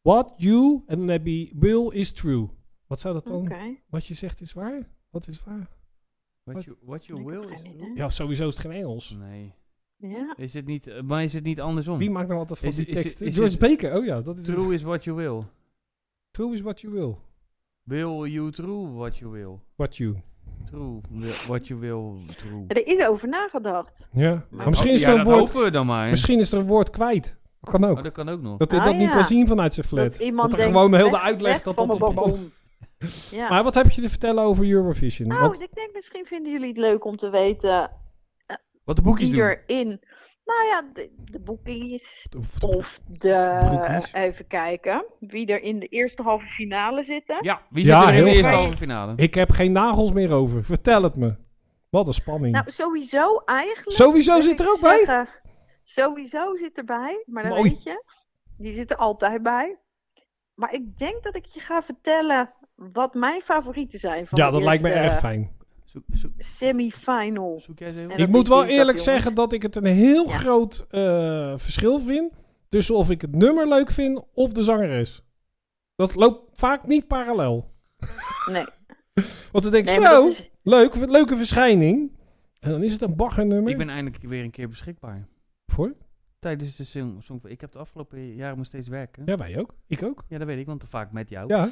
B: What you. En dan heb je will is true. Wat zou dat dan?
D: Oké.
B: Wat je zegt is waar? Wat is waar?
A: What,
B: Wat?
A: you, what you
D: Ik heb
A: will
D: geen
A: is
D: idee.
A: true?
B: Ja, sowieso is het geen Engels.
A: Nee.
D: Ja.
A: Is het niet, eh, maar is het niet andersom?
B: Wie maakt nou wat van
A: Is-
B: die
A: is-
B: tekst?
A: is- is
B: George
A: het-
B: Baker. Oh ja, dat is
A: True is what you will.
B: True is what you will.
A: Will you true what you will?
B: What you.
A: True wi- what you will true.
D: Er is over nagedacht.
B: Ja.
A: Maar
B: Maar misschien,
A: oh,
B: is
A: ja,
B: er een
A: dat
B: woord,
A: hopen we dan maar.
B: misschien is er een woord kwijt. Dat kan
A: Oh,
B: ook.
A: dat kan ook nog.
B: Dat hij
D: Ah,
B: dat niet
D: ja.
B: kan zien vanuit zijn flat.
D: Dat iemand
B: er
D: denkt,
B: gewoon een hele
D: weg,
B: uitleg
D: weg
B: dat
D: van
B: dat
D: mijn
B: op de
D: balkon. Ja.
B: Maar wat heb je te vertellen over Eurovision?
D: nou,
B: Want,
D: ik denk misschien vinden jullie het leuk om te weten
A: Wat de boekjes
D: wie
A: doen.
D: erin... Nou ja, de, de boekies
B: of-
D: of de...
B: Broekies.
D: Even kijken. Wie er in de eerste halve finale zitten.
A: Ja, wie
B: Ja,
A: zit er in de
B: heel
A: eerste
D: fijn.
A: halve finale?
B: ik heb geen nagels meer over. Vertel het me. Wat een spanning.
D: Nou, sowieso eigenlijk...
B: Sowieso
D: wil
B: zit
D: ik
B: er ook bij.
D: zeggen, Sowieso zit erbij, maar dat
B: Mooi.
D: weet je. Die zit er altijd bij. Maar ik denk dat ik je ga vertellen wat mijn favorieten zijn van
B: Ja,
D: de
B: dat lijkt me
D: eerste
B: erg fijn.
A: Zoek, zoek,
D: Semi-final.
A: zoek jij ze even?
D: En
B: Ik
D: dat
B: moet
D: is
B: wel
D: dinsdag,
B: eerlijk
D: jongens.
B: zeggen dat ik het een heel
D: Ja.
B: groot eh, verschil vind tussen of ik het nummer leuk vind of de zangeres. Dat loopt vaak niet parallel.
D: Nee,
B: Want dan denk ik,
D: nee maar
B: zo,
D: dat is-
B: leuk, leuke verschijning. En dan is het een baggernummer.
A: Ik ben eindelijk weer een keer beschikbaar.
B: Voor?
A: Tijdens de song. song- Ik heb de afgelopen jaren nog steeds werken. Ja.
B: Ja, wij ook. Ik ook.
A: dat weet ik, want vaak met jou.
B: Ja.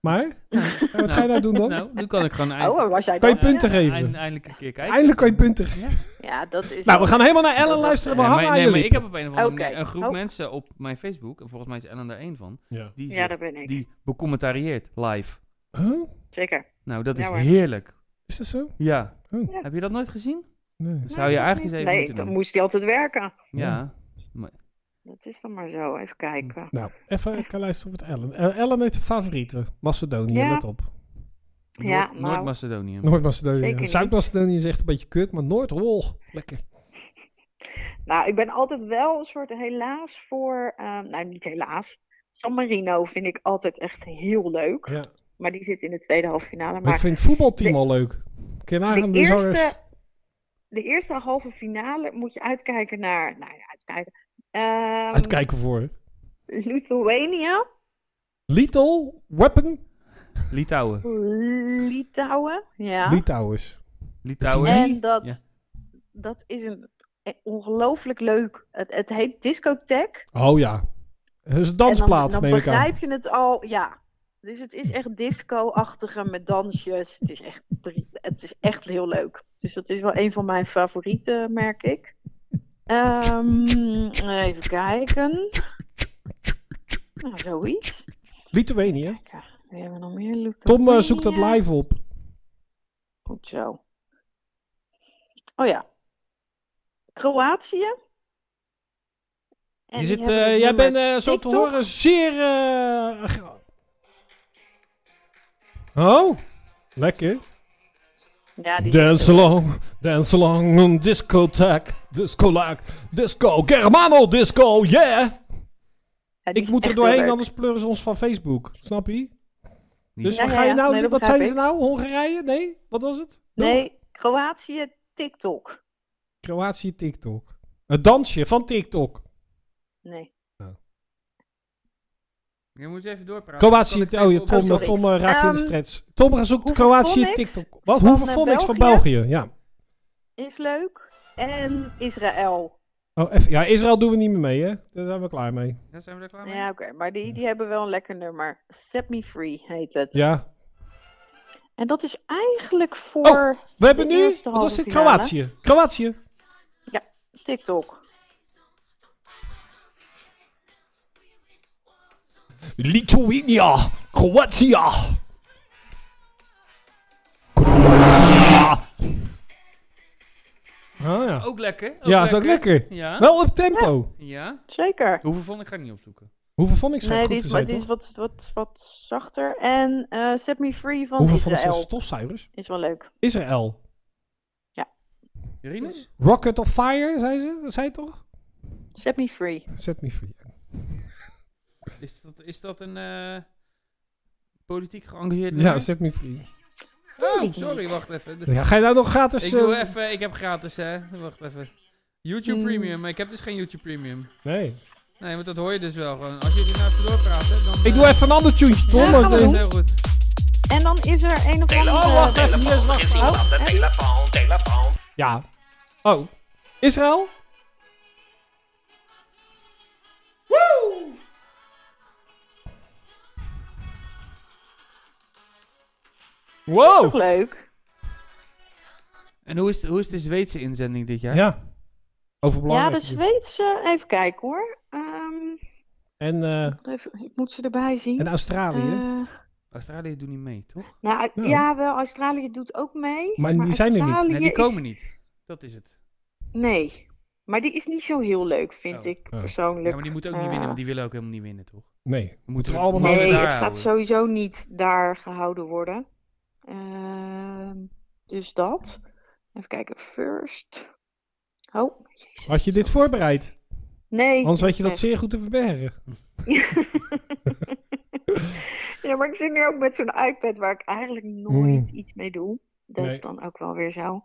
B: Maar? [LAUGHS] Ja, wat ga je nou
A: [LAUGHS]
B: doen dan?
A: Nou, nu kan ik gewoon
D: Oh,
A: eindelijk,
D: waar was jij
B: Kan je
D: dan?
B: punten
D: Ja.
B: geven?
A: eind- eindelijk een keer kijken.
B: Eindelijk kan je punten geven.
D: Ja, dat is...
B: Nou, we gaan helemaal naar Ellen
D: Dat-
B: luisteren. We
A: Nee,
B: hangen
A: Eh, maar,
B: aan
A: nee, maar
B: jullie.
A: ik heb op een of andere
D: Oké.
A: manier een groep
D: Oh.
A: mensen op mijn Facebook, en volgens mij is Ellen daar één van,
B: Ja.
A: die,
D: Ja,
A: zegt-
D: dat ben ik.
A: die becommentarieert live.
B: Huh?
D: Zeker.
A: Nou, dat
D: Ja,
A: is
D: hoor.
A: heerlijk.
B: Is dat zo?
A: Ja.
B: Oh.
D: Ja.
A: Heb je dat nooit gezien?
B: Nee.
A: Dat zou je eigenlijk eens even
D: Nee,
A: moeten
D: dan
A: doen.
D: moest hij altijd werken.
A: Ja.
D: Dat is dan maar zo. Even kijken.
B: Nou, even kijken luisteren of het Ellen. Eh, Ellen heeft een favoriete. Macedonië,
D: Ja.
B: let op.
D: Ja,
A: Noord-
D: nou.
A: Noord-Macedonië.
B: Noord-Macedonië.
D: Zeker
B: ja.
D: niet.
B: Zuid-Macedonië is echt een beetje kut, maar Noord-Wol. Lekker.
D: Nou, ik ben altijd wel een soort helaas voor... ehm, nou, niet helaas. San Marino vind ik altijd echt heel leuk.
B: Ja.
D: Maar die zit in de tweede halve finale.
B: Maar ik
D: Maar
B: vind het voetbalteam
D: de-
B: al leuk. Ken je
D: de
B: nagaan de zangers?
D: eerste, de eerste halve finale moet je uitkijken naar... Nou ja, uitkijken. Ehm,
B: Uitkijken voor.
D: Lithuania,
B: Little Weapon
A: Litouwen.
D: Litouwen. Ja.
B: Litouwers.
A: Litouwen.
B: Litouwen.
D: En dat,
A: Ja.
D: dat is een eh, ongelooflijk leuk. Het, het heet discotheek.
B: Oh ja. Dat is een
D: en dan,
B: dansplaats,
D: dan
B: neem ik aan.
D: begrijp je het al. Ja. Dus het is echt disco-achtige met dansjes. Het is, echt, drie- het is echt heel leuk. Dus dat is wel een van mijn favorieten, merk ik. Ehm, even kijken. Nou, zoiets.
B: Litouwenië.
D: Kijk, we hebben nog meer.
B: Tom eh, zoekt dat
D: Lithuania.
B: live op.
D: Goed zo. Oh ja. Kroatië. En
B: Je
D: die
B: zit,
D: hebben
B: eh,
D: het
B: jij
D: nummer-
B: bent eh, zo te
D: TikTok.
B: horen zeer. eh, ge- oh, lekker.
D: Ja, die
B: Dance along, dance along, een discotheque, disco disco, Germano disco, yeah!
D: ja, die
B: Ik
D: is
B: moet er
D: echt heel
B: doorheen,
D: leuk.
B: anders pleuren ze ons van Facebook, snap je? Dus
D: Ja,
B: wat
D: ja,
B: ga je
D: ja.
B: nou,
D: Nee, dat
B: wat
D: begrijp
B: zeiden ze
D: ik.
B: nou? Hongarije? Nee? Wat was het?
D: Nee, Kroatië, TikTok.
B: Kroatië, TikTok. Het dansje van TikTok.
D: Nee.
A: Je moet even doorpraten.
B: Kroatië, oh je Tom,
D: sorry.
B: Tom eh, raakt in de
D: Ehm,
B: stress. Tom gaat zoeken
D: Hoeveel
B: Kroatië,
D: Phonics
B: TikTok. Wat?
D: van,
B: Hoeveel
D: eh,
B: Phonics van
D: België?
B: België? Ja.
D: Is leuk. En Israël.
B: Oh, eff- ja, Israël doen we niet meer mee, hè? Daar zijn we klaar mee.
A: Ja, zijn we daar klaar mee?
D: Ja, oké. Maar die, die hebben wel een lekker nummer. Set Me Free heet het.
B: Ja. Oh.
D: En dat is eigenlijk voor
B: We hebben
D: De
B: nu.
D: eerste
B: Wat was
D: halve
B: dit?
D: finale.
B: Kroatië. Kroatië.
D: TikTok.
B: Lithuania. Kroatië. Kroatië.
D: Oh,
B: Ah ja.
A: Ook lekker.
B: ja, is ook lekker.
A: Ja.
B: Wel op tempo.
A: ja.
D: Zeker.
A: Hoeveel vond ik ga ik niet opzoeken.
B: Hoeveel vond ik schijnt
D: Nee, die
B: goed
D: is,
B: te
D: maar
B: zijn,
D: die is
B: toch?
D: wat, wat, wat zachter. En eh, Set Me Free van
B: Hoeveel vond ik zijn
D: Israël.
B: stofzuigers?
D: Is wel leuk.
B: Israël.
A: Rinus?
B: Rocket of Fire, zei ze? Dat zei je toch?
D: Set Me Free.
B: Set me free.
A: Is dat, is dat een eh, politiek geëngageerd
B: Ja,
A: nummer?
B: set me free.
A: Oh, sorry, wacht even.
B: Ja, ga je nou nog gratis...
A: ik
B: eh,
A: doe even, ik heb gratis hè. Wacht even. YouTube
D: Hmm.
A: Premium, maar ik heb dus geen YouTube Premium.
B: Nee.
A: Nee, want dat hoor je dus wel gewoon. Als jullie nou even doorpraten, dan...
B: Ik doe even een ander tuentje, Tom.
D: Ja,
B: maar
D: gaan we
B: de-
D: doen.
A: Heel goed.
D: En dan is er een of andere...
B: Oh, wacht even. Yes, wacht.
D: Oh,
C: telefoon, telefoon.
B: Ja. Oh. Israël?
D: Toch
B: Wow!
D: leuk.
A: En hoe is, de, hoe is de Zweedse inzending dit jaar?
B: Ja. Over
D: Ja,
B: belangrijk.
D: de Zweedse. Even kijken hoor. Ehm,
B: en, eh,
D: even- ik moet ze erbij zien.
B: en Australië.
D: Eh,
A: Australië doet niet mee, toch?
D: nou,
B: Ja.
D: ja. wel, Australië doet ook mee.
B: Maar die zijn er niet.
D: Australië
A: Nee, die
D: is-
A: komen niet. Dat is het.
D: Nee, maar die is niet zo heel leuk, vind
A: Oh.
D: ik
B: Oh.
A: Ja,
D: persoonlijk.
A: maar die moeten ook niet winnen,
D: Eh.
A: want die willen ook helemaal niet winnen, toch?
B: nee.
A: We moeten
B: we allemaal
A: we moeten
D: nee,
B: Laten
D: het
A: daar
D: gaat
A: houden.
D: sowieso niet daar gehouden worden. Ehm, dus dat. Even kijken, first. Oh, jezus.
B: Had je dit voorbereid?
D: Nee.
B: Anders weet je dat
D: nee.
B: zeer goed te verbergen.
D: [LAUGHS] Ja, maar ik zit nu ook met zo'n iPad waar ik eigenlijk nooit iets mee doe. Dat
B: Hmm. Nee.
D: is dan ook wel weer zo.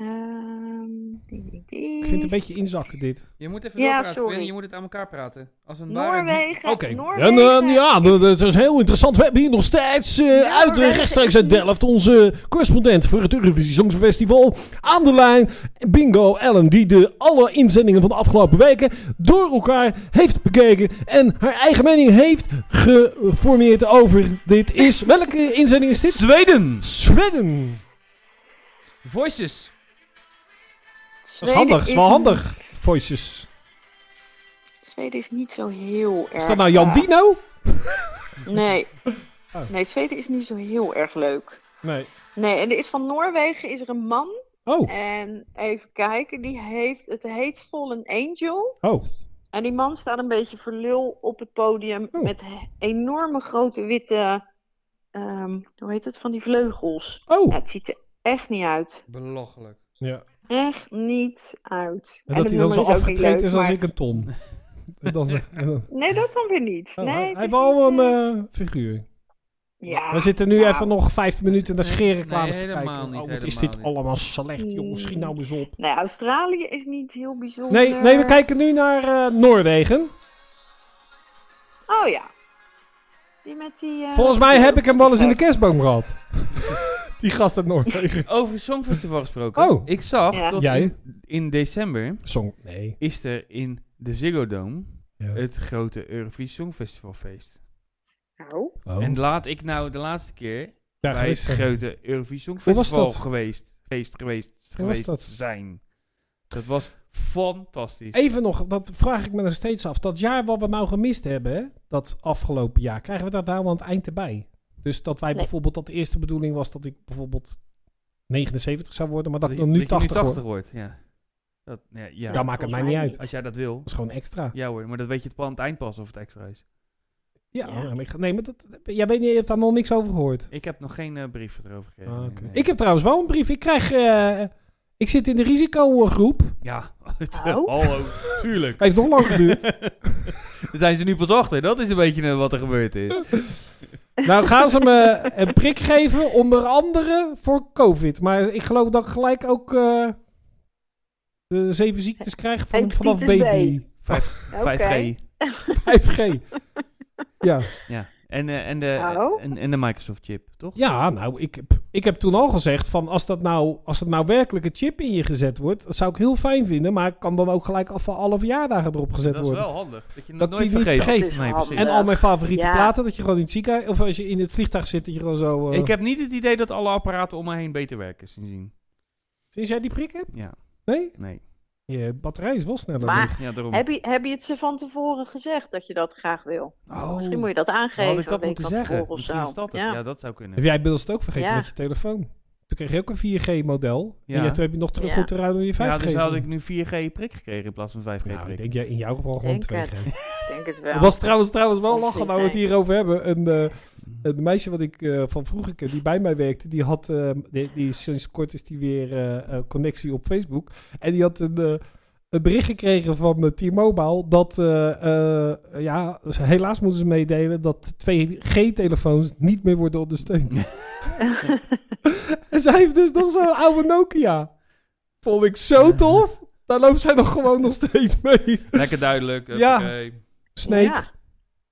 D: Ehm, ding, ding, ding.
B: Ik vind het een beetje inzakken dit.
A: Je moet even
D: Ja,
A: doorpraten,
D: sorry.
A: Quinn. Je moet het aan elkaar praten. Als een ware-
D: Noorwegen.
B: Oké. En
D: Noorwegen.
B: eh, ja, dat dat is heel interessant. We hebben hier nog steeds eh, uit
D: Noorwegen.
B: rechtstreeks uit Delft onze correspondent voor het Eurovisie Songfestival aan de lijn. Bingo Ellen, die de alle inzendingen van de afgelopen weken door elkaar heeft bekeken en haar eigen mening heeft geformeerd over dit is. Welke inzending is dit?
A: Zweden!
B: Zweden.
A: Voices.
B: Dat is
D: Zweden
B: handig, is wel
D: is-
B: handig. Voices.
D: Zweden is niet zo heel erg.
B: Is dat nou Jan
D: eh,
B: Dino?
D: Nee.
B: [LAUGHS] Oh.
D: Nee, Zweden is niet zo heel erg leuk.
B: Nee.
D: Nee, en er is van Noorwegen is er een man.
B: Oh,
D: En even kijken, die heeft, het heet Fallen Angel.
B: oh.
D: En die man staat een beetje voor lul op het podium
B: Oh.
D: met he- enorme grote witte, ehm, hoe heet het, van die vleugels.
B: Oh.
D: Ja, het ziet er echt niet uit.
A: Belachelijk.
B: Ja.
D: Echt niet uit.
B: En dat
D: het
B: hij dan
D: nummer
B: zo
D: is ook niet
B: afgetraind
D: leuk,
B: is als
D: maar-
B: ik een
D: [LAUGHS]
B: ton. En dan, en dan-
D: Nee, dat dan weer niet.
B: oh,
D: nee,
B: hij-
D: het
B: hij
D: is
B: wou
D: niet,
B: een
D: eh,
B: eh, figuur.
D: ja,
B: We zitten nu
D: nou,
B: even nog vijf minuten naar
A: Nee,
B: scherenreclames
A: nee,
B: te
A: helemaal
B: kijken.
A: niet,
B: oh, wat is
A: helemaal
B: dit
A: niet.
B: allemaal slecht, jongens. Schiet nou eens op.
D: Nee, Australië is niet heel bijzonder.
B: Nee, nee we kijken nu naar eh, Noorwegen.
D: Oh ja. Die met die... eh,
B: Volgens mij heb ik hem wel eens in de
D: Ja.
B: kerstboom gehad. [LAUGHS] Die gast uit Noorwegen.
A: Over Songfestival gesproken.
B: Oh.
A: Ik zag
D: Ja.
A: dat
B: Jij?
A: in, in december
B: Song. Nee.
A: is er in de Ziggo Dome
B: Ja.
A: het grote Eurovisie Songfestivalfeest.
D: Nou,
B: Oh.
A: En laat ik nou de laatste keer
B: Ja,
A: bij het
B: geweest zijn.
A: grote Eurovisie
B: Hoe
A: Songfestival
B: was dat?
A: geweest, feest geweest,
B: Hoe was
A: geweest
B: dat?
A: zijn. Dat was fantastisch.
B: Even nog, dat vraag ik me nog steeds af. Dat jaar wat we nou gemist hebben, hè, dat afgelopen jaar, krijgen we daar nou aan het eind erbij? Dus dat wij
D: Nee.
B: bijvoorbeeld, dat de eerste bedoeling was dat ik bijvoorbeeld 79 zou worden, maar dat,
A: je-
B: ik dan nu
A: je
B: 80 word.
A: wordt. Ja. Dat, ja, ja.
B: Ja, maakt het
D: volgens
B: mij
D: mij
B: niet uit.
D: niet.
B: Dat
A: Als jij dat wil.
B: is gewoon extra.
A: Ja hoor, maar dat weet je het pa- aan het eind pas of het extra is.
B: Ja,
D: Ja.
B: maar ik ga- nee, maar dat, jij weet niet, je hebt daar nog niks over gehoord.
A: Ik heb nog geen eh, brief erover gekregen.
B: Ah,
A: nee,
B: oké.
A: nee.
B: Ik heb trouwens wel een brief. Ik krijg, eh, ik zit in de risicogroep.
D: [LAUGHS]
A: Ja, [LAUGHS] het-
D: Oh.
A: hallo, [LAUGHS] tuurlijk.
B: Heeft nog lang geduurd.
A: Daar zijn ze nu pas achter. Dat is een beetje eh, wat er gebeurd
D: [LAUGHS]
A: is.
B: nou gaan ze me een prik geven, onder andere voor COVID. Maar ik geloof dat ik gelijk ook eh, de zeven ziektes krijg van,
D: Hepatitis
B: vanaf baby.
D: oké.
A: 5G.
B: 5G. Ja.
A: Ja. En, eh, en, de,
D: Oh.
A: en, en de Microsoft chip, toch?
B: ja, nou, ik heb, ik heb toen al gezegd van als dat, nou, als dat nou werkelijk een chip in je gezet wordt, dat zou ik heel fijn vinden, maar ik kan dan ook gelijk af van alle verjaardagen erop gezet
A: dat is
B: worden.
A: wel handig. Dat je
B: Dat
A: dat
B: die
A: nooit
B: niet
A: vergeet.
B: vergeet.
D: Dat is
A: Nee,
D: handig.
A: precies.
B: En al mijn favoriete
D: Ja.
B: platen, dat je gewoon in het ziekenhuis, of als je in het vliegtuig zit, dat je gewoon zo... eh,
A: Ik heb niet het idee dat alle apparaten om me heen beter werken sindsdien.
B: Sinds jij die prik hebt?
A: Ja,
B: Nee?
A: nee.
B: Je batterij is wel sneller.
D: Maar-
B: leeg.
A: Ja, daarom.
D: Heb je, heb je het ze van tevoren gezegd dat je dat graag wil?
A: Oh,
D: Misschien moet je dat
A: dan
D: aangeven.
A: had ik dat
D: een week
A: moeten
D: van
A: zeggen.
D: tevoren of
A: Misschien
D: zo.
A: is dat het. Ja.
D: Ja.
A: dat zou kunnen.
B: Heb jij inmiddels het ook vergeten
D: Ja.
B: met je telefoon? Toen kreeg je ook een 4G-model.
A: Ja.
B: En je- toen heb je nog terug
D: Ja.
B: moeten ruilen om je 5G.
A: Ja, dus
B: van-
A: had ik nu 4G prik gekregen in plaats van 5G
B: Nou, ik
A: prik.
B: denk jij in jouw geval gewoon
D: Denk het.
B: 2G.
D: Ik denk het
B: Het
D: wel.
B: was trouwens, trouwens wel
D: Of
B: lachen, nou we het
D: 3G.
B: hierover hebben. Een, eh, een meisje wat ik eh, van vroeger ken, die bij mij werkte, die had, eh, die, die is sinds kort is die weer eh, eh, connectie op Facebook. En die had een, eh, een bericht gekregen van eh, T-Mobile dat, eh, eh, ja, dus helaas moeten ze meedelen dat 2G-telefoons niet meer worden ondersteund.
D: [LAUGHS]
B: en zij heeft dus nog zo'n oude Nokia. Vond ik zo tof. Daar loopt zij nog gewoon nog steeds mee.
A: Lekker duidelijk.
B: Ja.
A: huppakee.
B: Snake.
D: Ja.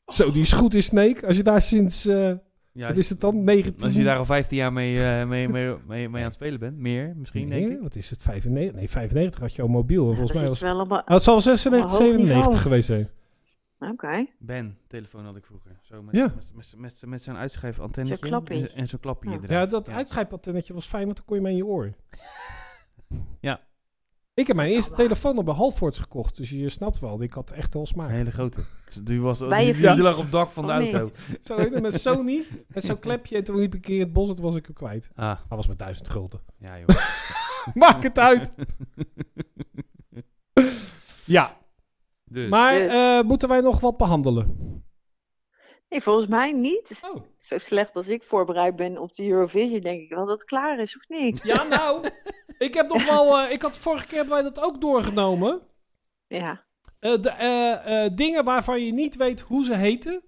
B: Zo, die is goed in Snake. Als je daar sinds, eh,
A: Ja,
B: wat is het dan, 19...
A: Als je daar al 15 jaar mee, eh, mee, mee, mee, mee aan het spelen bent. Meer misschien,
B: Nee,
A: denk ik.
B: Wat is het, 95? Nee, 95 had je al mobiel. en
D: Dat
B: volgens mij
D: is
B: was
D: wel allemaal...
B: Ah, het zal wel 96,
D: Allemaal hoog
B: 97
D: niveau.
B: geweest zijn.
D: Oké.
A: Ben, telefoon had ik vroeger. Zo met,
B: Ja.
A: met, met, met, met zo'n uitschrijfantennetje.
D: Zo'n klappietje.
A: En, en zo'n klapje
D: Ja.
A: inderdaad.
B: Ja, dat uitschrijfpatennetje was fijn, want dan kon je mee in je oor.
A: [LAUGHS] Ja.
B: Ik heb mijn eerste telefoon al bij Halfords gekocht, dus je snapt wel. Ik had echt wel
A: Een
B: smaak.
A: hele grote. Die, was, die,
D: Bij je
A: die
D: fiets.
A: lag op het dak van de
D: Oh, nee.
A: auto.
B: Zo heette het met Sony, met zo'n klepje. En toen liep ik een keer in het bos en toen was ik hem kwijt.
A: Ah,
B: Dat was met duizend gulden.
A: ja joh.
B: Maak het uit! [LAUGHS] ja,
A: Dus.
B: maar
D: Dus.
B: eh, moeten wij nog wat behandelen?
D: Nee, volgens mij niet.
B: Oh.
D: Zo slecht als ik voorbereid ben op de Eurovision, denk ik wel dat het klaar is, of niet?
B: Ja, nou. ik heb nog wel... eh, ik had vorige keer hebben wij dat ook doorgenomen.
D: Ja.
B: Eh, de, eh, eh, dingen waarvan je niet weet hoe ze heten,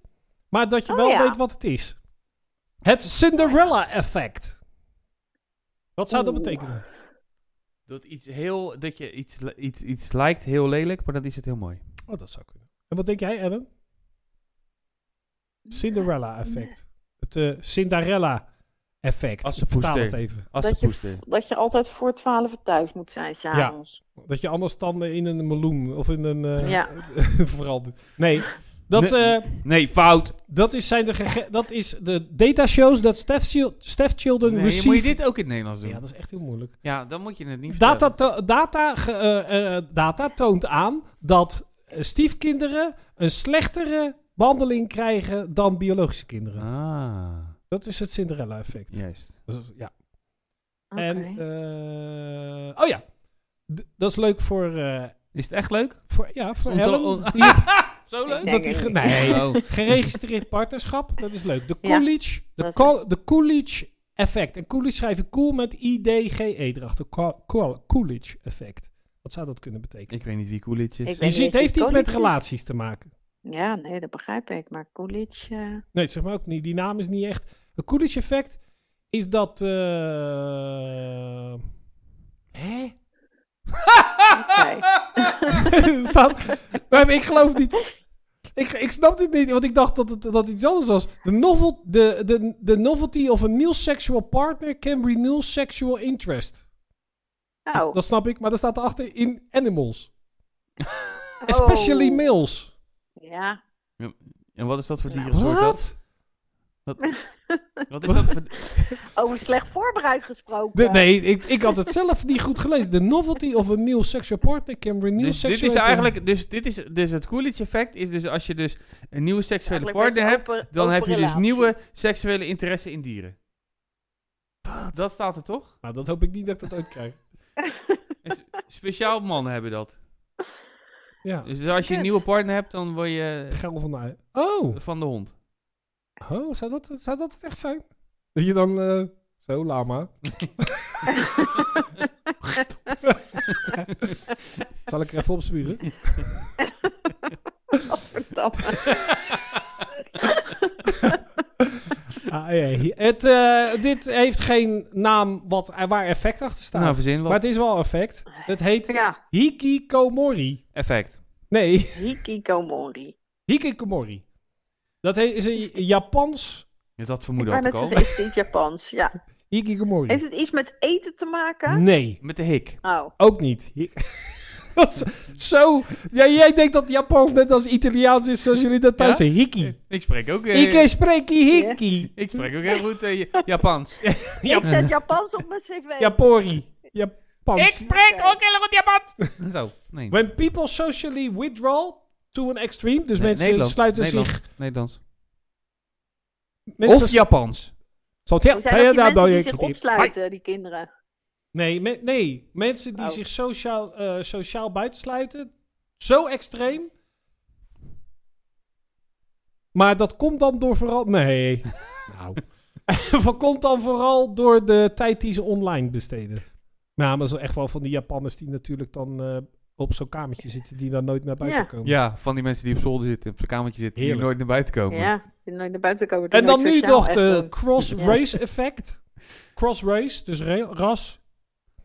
B: maar dat je
D: Oh,
B: wel
D: ja.
B: weet wat het is. Het Cinderella-effect. Wat zou dat
D: Oeh.
B: betekenen?
A: Dat, iets heel, dat je iets, li- iets, iets lijkt heel lelijk, maar dan is het heel mooi.
B: Oh, dat zou kunnen. En wat denk jij, Adam? Cinderella-effect. Het eh, Cinderella-effect.
A: Assepoester.
B: Vertaal het even.
A: Assepoester.
D: Dat je altijd voor twaalf thuis moet zijn, s'avonds.
B: Dat je anders dan in een meloen of in een... eh,
D: Ja.
B: [LAUGHS] verandert. Nee, dat...
A: Nee.
B: eh,
A: Nee, fout.
B: dat is, zijn de gege- dat is de data shows dat Steph, Chil- Steph Children
A: Nee,
B: receive.
A: moet je dit ook in het Nederlands doen?
B: Ja,
A: Ja,
B: dat is echt heel moeilijk.
A: dan moet je het niet
B: Data,
A: vertellen.
B: to- data, ge- eh, eh, data toont aan dat eh, stiefkinderen een slechtere behandeling krijgen dan biologische kinderen.
A: Ah,
B: Dat is het Cinderella-effect.
A: juist.
B: Dat is- ja.
D: Oké.
B: En, eh, oh ja, D- dat is leuk voor, eh,
A: Is het echt leuk?
B: voor, ja, voor
A: Om te-
B: Ellen.
A: om-
B: Die-
D: [LAUGHS]
A: Zo
D: leuk?
B: dat die, ge-
D: het
B: nee,
A: Oh.
B: geregistreerd partnerschap, dat is leuk. De
D: Ja,
B: Coolidge, de,
D: dat is
B: Col- de Coolidge effect. En Coolidge schrijf je cool met I-D-G-E erachter. Co- Co- Coolidge effect. Wat zou dat kunnen betekenen?
A: Ik weet niet wie Coolidge is.
D: Ik
B: Je
D: weet-
B: ziet, het
D: eens
B: heeft
D: wie
B: iets met
D: Coolidge is.
B: relaties te maken.
D: Ja, nee, dat begrijp ik. Maar Coolidge... eh,
B: Nee, zeg maar ook niet. Die naam is niet echt. Het Coolidge effect is dat. eh, Hè?
A: Ah,
D: oké.
B: [LAUGHS] Er staat... Nee, maar ik geloof niet. Ik, ik snap dit niet, want ik dacht dat het, dat het iets anders was. The, novel, the, the, the novelty of a new sexual partner can renew sexual interest.
A: ah.
D: Nou,
B: Dat snap ik, maar daar staat erachter in animals. Especially
D: oh.
B: males.
D: Ja,
A: En wat is dat voor
D: Nou,
A: dierensoort? dat?
B: Wat?
D: [LAUGHS]
A: Wat is dat voor...
D: over Oh, slecht voorbereid gesproken.
B: De- nee, ik, ik had het zelf niet goed gelezen. The novelty of a new sexual partner can renew
A: Dus dit
B: sexual
A: is eigenlijk... Dus, dit is, dus het Coolidge effect is dus als je dus een nieuwe seksuele
D: Eigenlijk
A: partner
D: werd
A: hebt...
D: open-
A: Dan
D: open
A: heb je dus
D: relatie.
A: nieuwe seksuele interesse in dieren. Dat staat er
D: [LAUGHS]
A: toch?
B: Nou, dat hoop ik niet dat ik dat ooit krijg.
A: Speciaal mannen hebben dat.
B: Ja,
A: Dus als je een
D: Kut.
A: nieuwe partner hebt, dan word je
B: geil van de ui. Oh,
A: van de
B: [LAUGHS]
A: hond.
B: oh zou, dat, zou dat het echt zijn? Dat je dan... eh, zo, lama. Zal ik er even opspuren?
D: Verdamme.
B: Ah, ja, hier- het, eh, dit heeft geen naam wat, eh, waar effect achter staat.
A: Nou, verzin wat.
B: maar het is wel effect. Het heet
D: ja,
B: hikikomori.
A: Effect.
B: Nee, [LAUGHS]
D: hikikomori.
B: hikikomori. Dat he- is een Japans
A: Ja, dat Hm.
D: Ik
A: vermoeden
D: kan
A: had ik
D: het
A: al.
D: zeggen, is het iets Japans? Ja.
B: hikikomori.
D: Heeft het iets met eten te maken?
A: Hm.
B: Nee,
A: Met de hik.
D: Oh,
B: ook niet. Hi- [LAUGHS] Dat is zo. Ja, jij denkt dat Japans net als Italiaans is zoals jullie dat thuis
A: Ja?
B: zeggen. Hiki.
A: Ik spreek ook... eh,
B: Ik spreek hiki.
A: ik spreek ook heel goed eh,
D: [LAUGHS]
A: Japans.
D: ik
A: Hm.
D: zet Japans op mijn cv.
B: Japori. Japans.
A: spreek ook heel goed
B: [LAUGHS]
A: Japans. Zo, nee.
B: When people socially withdraw to an extreme. Dus
A: Nee,
B: mensen
A: Nederlands,
B: sluiten
A: Nederlands,
B: zich.
A: Nederlands.
B: Mensen
A: Of Japans.
B: Zat-
D: Hoe zijn dat die
B: daar
D: mensen
B: bel
D: die
B: je
D: zich
B: kritiek.
D: opsluiten, die kinderen?
B: Nee, me- nee, mensen die
D: Oh.
B: zich sociaal, eh sociaal buitensluiten. Zo extreem. Maar dat komt dan door vooral.
D: [LAUGHS]
B: Nee. nou. [LAUGHS] dat komt dan vooral door de tijd die ze online besteden. Nou, maar zo echt wel van die Japanners die natuurlijk dan eh, op zo'n kamertje zitten. die dan nooit naar buiten
D: Ja.
B: komen.
A: Ja, van die mensen die op zolder zitten, op zijn kamertje zitten, die
B: Heerlijk.
A: nooit naar buiten komen.
D: Ja, die nooit naar buiten komen. die
B: En dan
D: nooit
B: nu
D: sociaal
B: nog
D: echt eh,
B: de
D: doen. Ja.
B: cross-race effect. Cross-race, dus re- ras.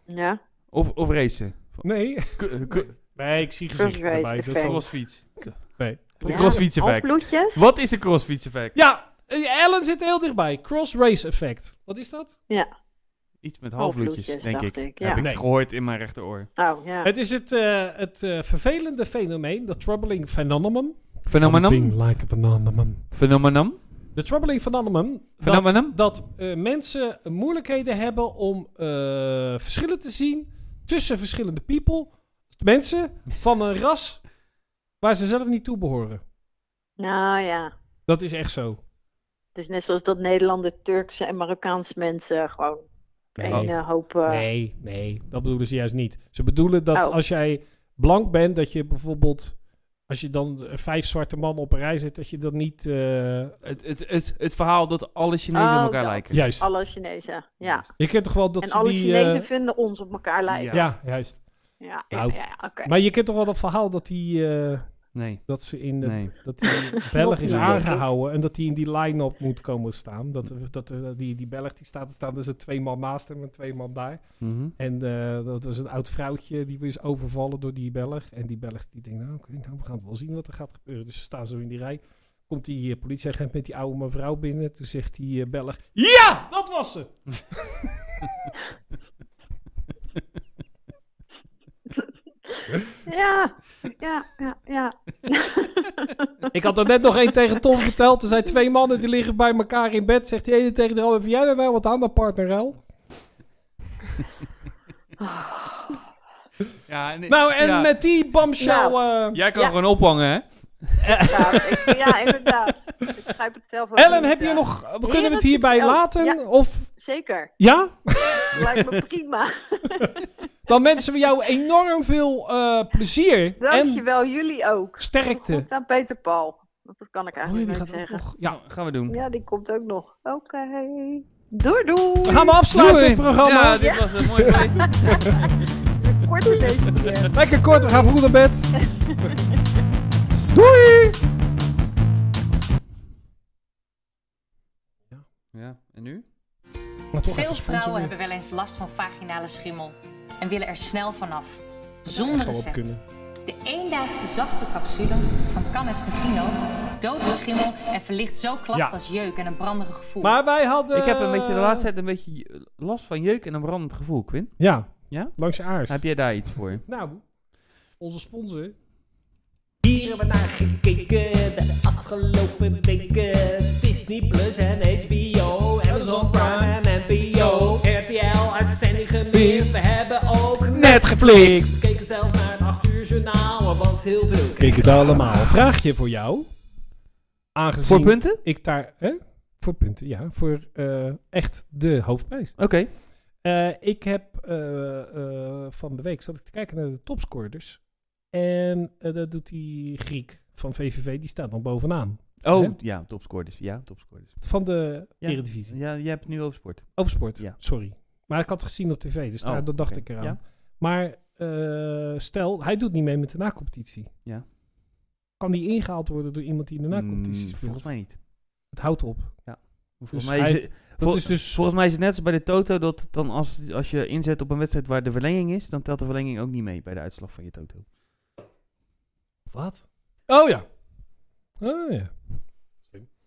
D: Ja,
A: Of, of racen.
B: Nee.
A: K- k-
B: Nee, ik zie gezichten
D: gezichten Cross-race
B: erbij.
D: erbij, dat is effect. wel-
A: crossfiets.
B: Nee.
A: De
D: Ja,
A: crossfiets effect.
D: halfbloedjes?
A: Wat is de crossfiets effect?
B: Ja, eh, Ellen zit heel dichtbij. Cross-race effect. Wat is dat?
A: Iets met halfbloedjes,
D: Halfbloedjes,
A: denk ik.
D: dacht ik, ja.
A: Heb ik
B: Nee.
A: gehoord in mijn rechteroor.
D: Oh, ja.
B: Het is het, eh, het eh, vervelende fenomeen, dat troubling phenomenon.
A: Phenomenon?
B: Something like a phenomenon.
A: Phenomenon?
B: De troubling phenomenon.
A: Phenomenon?
B: Dat, dat eh, mensen moeilijkheden hebben om eh, verschillen te zien tussen verschillende people. Mensen van een ras waar ze zelf niet toe behoren.
D: Nou ja.
B: Dat is echt zo.
D: Het is net zoals dat Nederlander, Turkse en Marokkaans mensen gewoon
B: Nee. Oh.
D: een
A: Oh.
D: eh, hoop... eh,
B: Nee, nee, dat bedoelen ze juist niet. Ze bedoelen dat
D: Oh.
B: als jij blank bent, dat je bijvoorbeeld, als je dan eh, vijf zwarte mannen op een rij zet, dat je dat niet. eh,
A: Het, het, het, het verhaal dat alle Chinezen
D: Oh,
A: op elkaar
D: dat.
A: lijken.
B: juist.
D: Alle Chinezen, ja.
B: Je kent toch wel dat
D: en
B: ze
D: alle
B: die. eh,
D: Chinezen vinden ons op elkaar lijken.
A: Ja.
D: Ja,
B: ja, juist.
D: ja,
B: Nou,
D: ja, ja, oké.
B: Maar je kent toch wel dat verhaal dat die, eh,
A: Nee,
B: dat ze in de,
A: nee.
B: dat die
D: [LAUGHS]
B: Belg is
D: niet.
B: aangehouden en dat die in die line-up moet komen staan. Dat, dat eh, die, die Belg die staat te staan, er zijn twee man naast hem en twee man daar.
A: Mhm.
B: En eh, dat was een oud vrouwtje, die is overvallen door die Belg. En die Belg die denkt, nou, oké, nou, we gaan het wel zien wat er gaat gebeuren. Dus ze staan zo in die rij. Komt die eh, politieagent met die oude mevrouw binnen. Toen zegt die eh, Belg, ja, dat was ze!
D: Ja, ja, ja, ja.
B: Ik
A: [LAUGHS]
B: had er net nog één tegen Tom verteld. Er zijn twee mannen die liggen bij elkaar in bed. Zegt die ene tegen de ander, vind jij daar nou wat aan, dat partner El?
A: Ja, en-
B: Nou, en
A: ja.
B: met die bombshell... eh,
A: Jij kan
D: Ja.
A: gewoon ophangen, hè?
D: Ja, Nou, ik-
B: [LAUGHS]
D: ja, inderdaad. Ik begrijp het zelf ook
B: Ellen,
D: niet,
B: heb je
D: eh.
B: nog... we kunnen we
D: Heren
B: het hierbij
D: succes.
B: laten?
D: Ja.
B: Of...
D: Zeker,
B: Ja?
D: lijkt me
B: [LAUGHS]
D: prima.
B: Dan wensen we jou enorm veel eh, plezier. En
D: Dankjewel, jullie ook.
B: sterkte.
D: Goed aan Peter Paul. Want Dat kan ik
B: Oh, ja,
D: eigenlijk
B: die
D: niet
B: gaat ook
D: zeggen.
B: nog. Ja.
A: Ja, gaan we doen.
D: Ja, die komt ook nog. Oké. Doei doei.
B: We gaan maar afsluiten
A: Doei.
B: het programma.
A: Ja, dit was een mooi feest.
D: Korte deze keer.
B: Lekker kort, we gaan vroeg naar
A: [LAUGHS]
B: bed. Doei!
A: Ja, en nu?
E: Veel vrouwen hebben wel eens last van vaginale schimmel en willen er snel vanaf. Zonder recept. De eendaagse zachte capsule van Canestefino doodt de schimmel en verlicht zo klachten
B: Ja.
E: als jeuk en een branderig gevoel.
B: Maar wij hadden... eh,
A: Ik heb een beetje de laatste tijd een beetje eh, last van jeuk en een brandend gevoel, Quinn.
B: Ja,
A: Ja?
B: langs je aars.
A: Heb jij daar iets voor?
B: Nou, onze sponsor.
C: Hier hebben we naar gekeken de afgelopen weken. Disney Plus en HBO, Amazon Prime en NPO. RTL uitzending gemist, we hebben ook
B: Net geflikt.
C: We keken zelfs naar het 8 uur journaal, er was heel veel
B: Kijk het allemaal. Vraagje voor jou. Aangezien
A: Voor punten? Oké.
B: ik daar... Hè? Voor punten, ja. Voor eh, echt de hoofdprijs. Eh, ik heb eh, eh, van de week zat ik te kijken naar de topscorers. En eh, dat doet die Griek van VVV. Die staat nog bovenaan.
A: Oh,
B: Hè?
A: ja, topscorers. Ja, topscorers.
B: Van de
A: Ja.
B: Eredivisie.
A: Ja, jij hebt het nu over sport.
B: Oversport,
A: Ja.
B: sorry. Maar ik had het gezien op tv, dus daar,
A: Oh,
B: dat dacht
A: oké.
B: ik eraan.
A: Ja.
B: Maar eh, stel, hij doet niet mee met de na-competitie.
A: Ja.
B: Kan die ingehaald worden door iemand die in de na-competitie
A: Mm,
B: speelt?
A: Volgens mij niet.
B: Het houdt op.
A: Volgens,
B: Dus
A: mij
B: hij-
A: is, het- vol-
B: Dat is dus...
A: volgens mij is het net als bij de Toto dat het dan als, als je inzet op een wedstrijd waar de verlenging is, dan telt de verlenging ook niet mee bij de uitslag van je Toto.
B: Wat? Oh ja. Oh ja.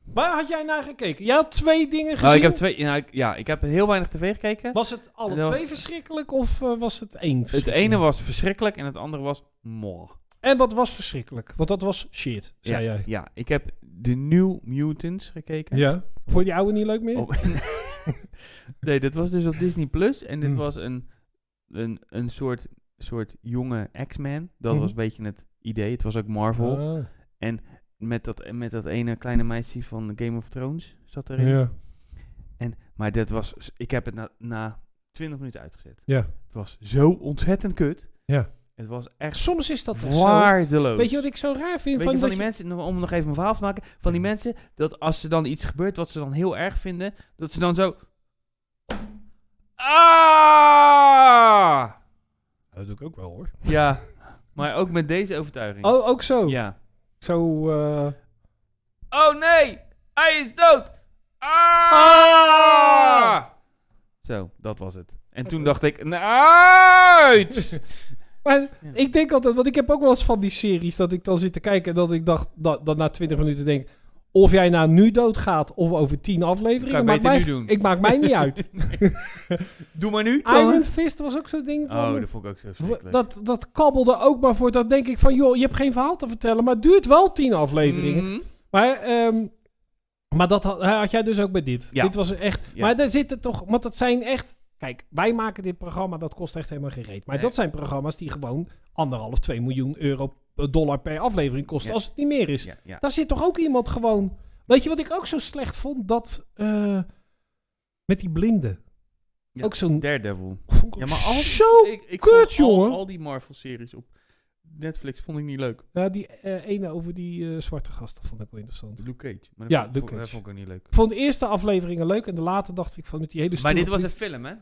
B: Waar had jij naar gekeken? Jij had twee dingen gezien.
A: Nou, ik heb twee, nou, ik- ja, ik heb heel weinig tv gekeken.
B: Was het alle
A: Dat was-
B: twee verschrikkelijk of eh, was het één
A: Het
B: verschrikkelijk?
A: ene was verschrikkelijk en het andere was moh.
B: En wat was verschrikkelijk? Want dat was shit, zei
A: ja,
B: jij.
A: ja, ik heb de New Mutants gekeken.
B: Ja. Vond je die oude niet leuk
A: [LAUGHS]
B: meer?
A: Op- nee, dit was dus op Disney Plus. En dit
B: Hmm.
A: was een, een, een soort, soort jonge X-Men. Dat
B: Mhm.
A: was een beetje het idee. Het was ook Marvel.
B: Ah,
A: Met, dat, met dat ene kleine meisje van Game of Thrones zat erin.
B: ja.
A: En, maar dit was... Ik heb het na, na 20 minuten uitgezet.
B: Ja.
A: Het was zo ontzettend kut.
B: Ja.
A: Het was echt
B: Soms is dat echt zo.
A: waardeloos.
B: Weet je wat ik zo raar vind?
A: Weet je, Mhm. van
B: dat
A: die
B: je-
A: mensen, om nog even mijn verhaal te maken, van die mensen, dat als er dan iets gebeurt wat ze dan heel erg vinden, dat ze dan zo... Ah!
B: Dat doe ik ook wel hoor.
A: Ja, maar ook met deze overtuiging.
B: Oh, ook zo.
A: Ja.
B: Zo. eh,
A: Oh nee, hij is dood! Ah! Zo, dat was het. En toen dacht ik, nou, [LAUGHS] uit!
B: Maar
A: Ja.
B: ik denk altijd, want ik heb ook wel eens van die series dat ik dan zit te kijken en dat ik dacht, dat, dat na 20 minuten denk. Of jij nou nu doodgaat of over tien afleveringen.
A: Kan je
B: maakt
A: beter
B: mij,
A: nu doen.
B: Ik maak mij niet
A: [LAUGHS]
B: uit.
A: Doe maar nu.
B: Iron Fist was ook zo'n ding van...
A: Oh, dat vond ik ook zo verschrikkelijk.
B: dat, dat kabbelde ook maar voor. Dat denk ik van, joh, je hebt geen verhaal te vertellen. Maar het duurt wel tien afleveringen.
A: Mhm.
B: Maar, ehm, maar dat had, had jij dus ook bij dit.
A: Ja.
B: Dit was echt.
A: Ja.
B: Maar daar zitten toch. Want dat zijn echt. Kijk, wij maken dit programma, dat kost echt helemaal geen reet. Maar
A: Nee.
B: dat zijn programma's die gewoon anderhalf, twee miljoen euro eh, dollar per aflevering kosten
A: Ja.
B: als het niet meer is.
A: Ja, ja.
B: Daar zit toch ook iemand gewoon. Weet je wat ik ook zo slecht vond? Dat eh, met die blinden.
A: Ja.
B: Ook zo'n.
A: Daredevil.
B: vond ik
A: Ja,
B: ook
A: maar al,
B: zo.
A: ik, ik
B: kut,
A: vond al-
B: jongen.
A: Al, die Marvel-series op Netflix vond ik niet leuk.
B: Ja, die eh, ene over die eh, zwarte gast, dat vond ik wel interessant.
A: Luke Cage. Maar dat
B: Ja,
A: vond,
B: Luke
A: vond- dat
B: Cage.
A: vond ik ook niet leuk.
B: Ik vond de eerste afleveringen leuk en de later dacht ik van met die hele.
A: Maar
B: stoere
A: dit was
B: politie-
A: een film, hè?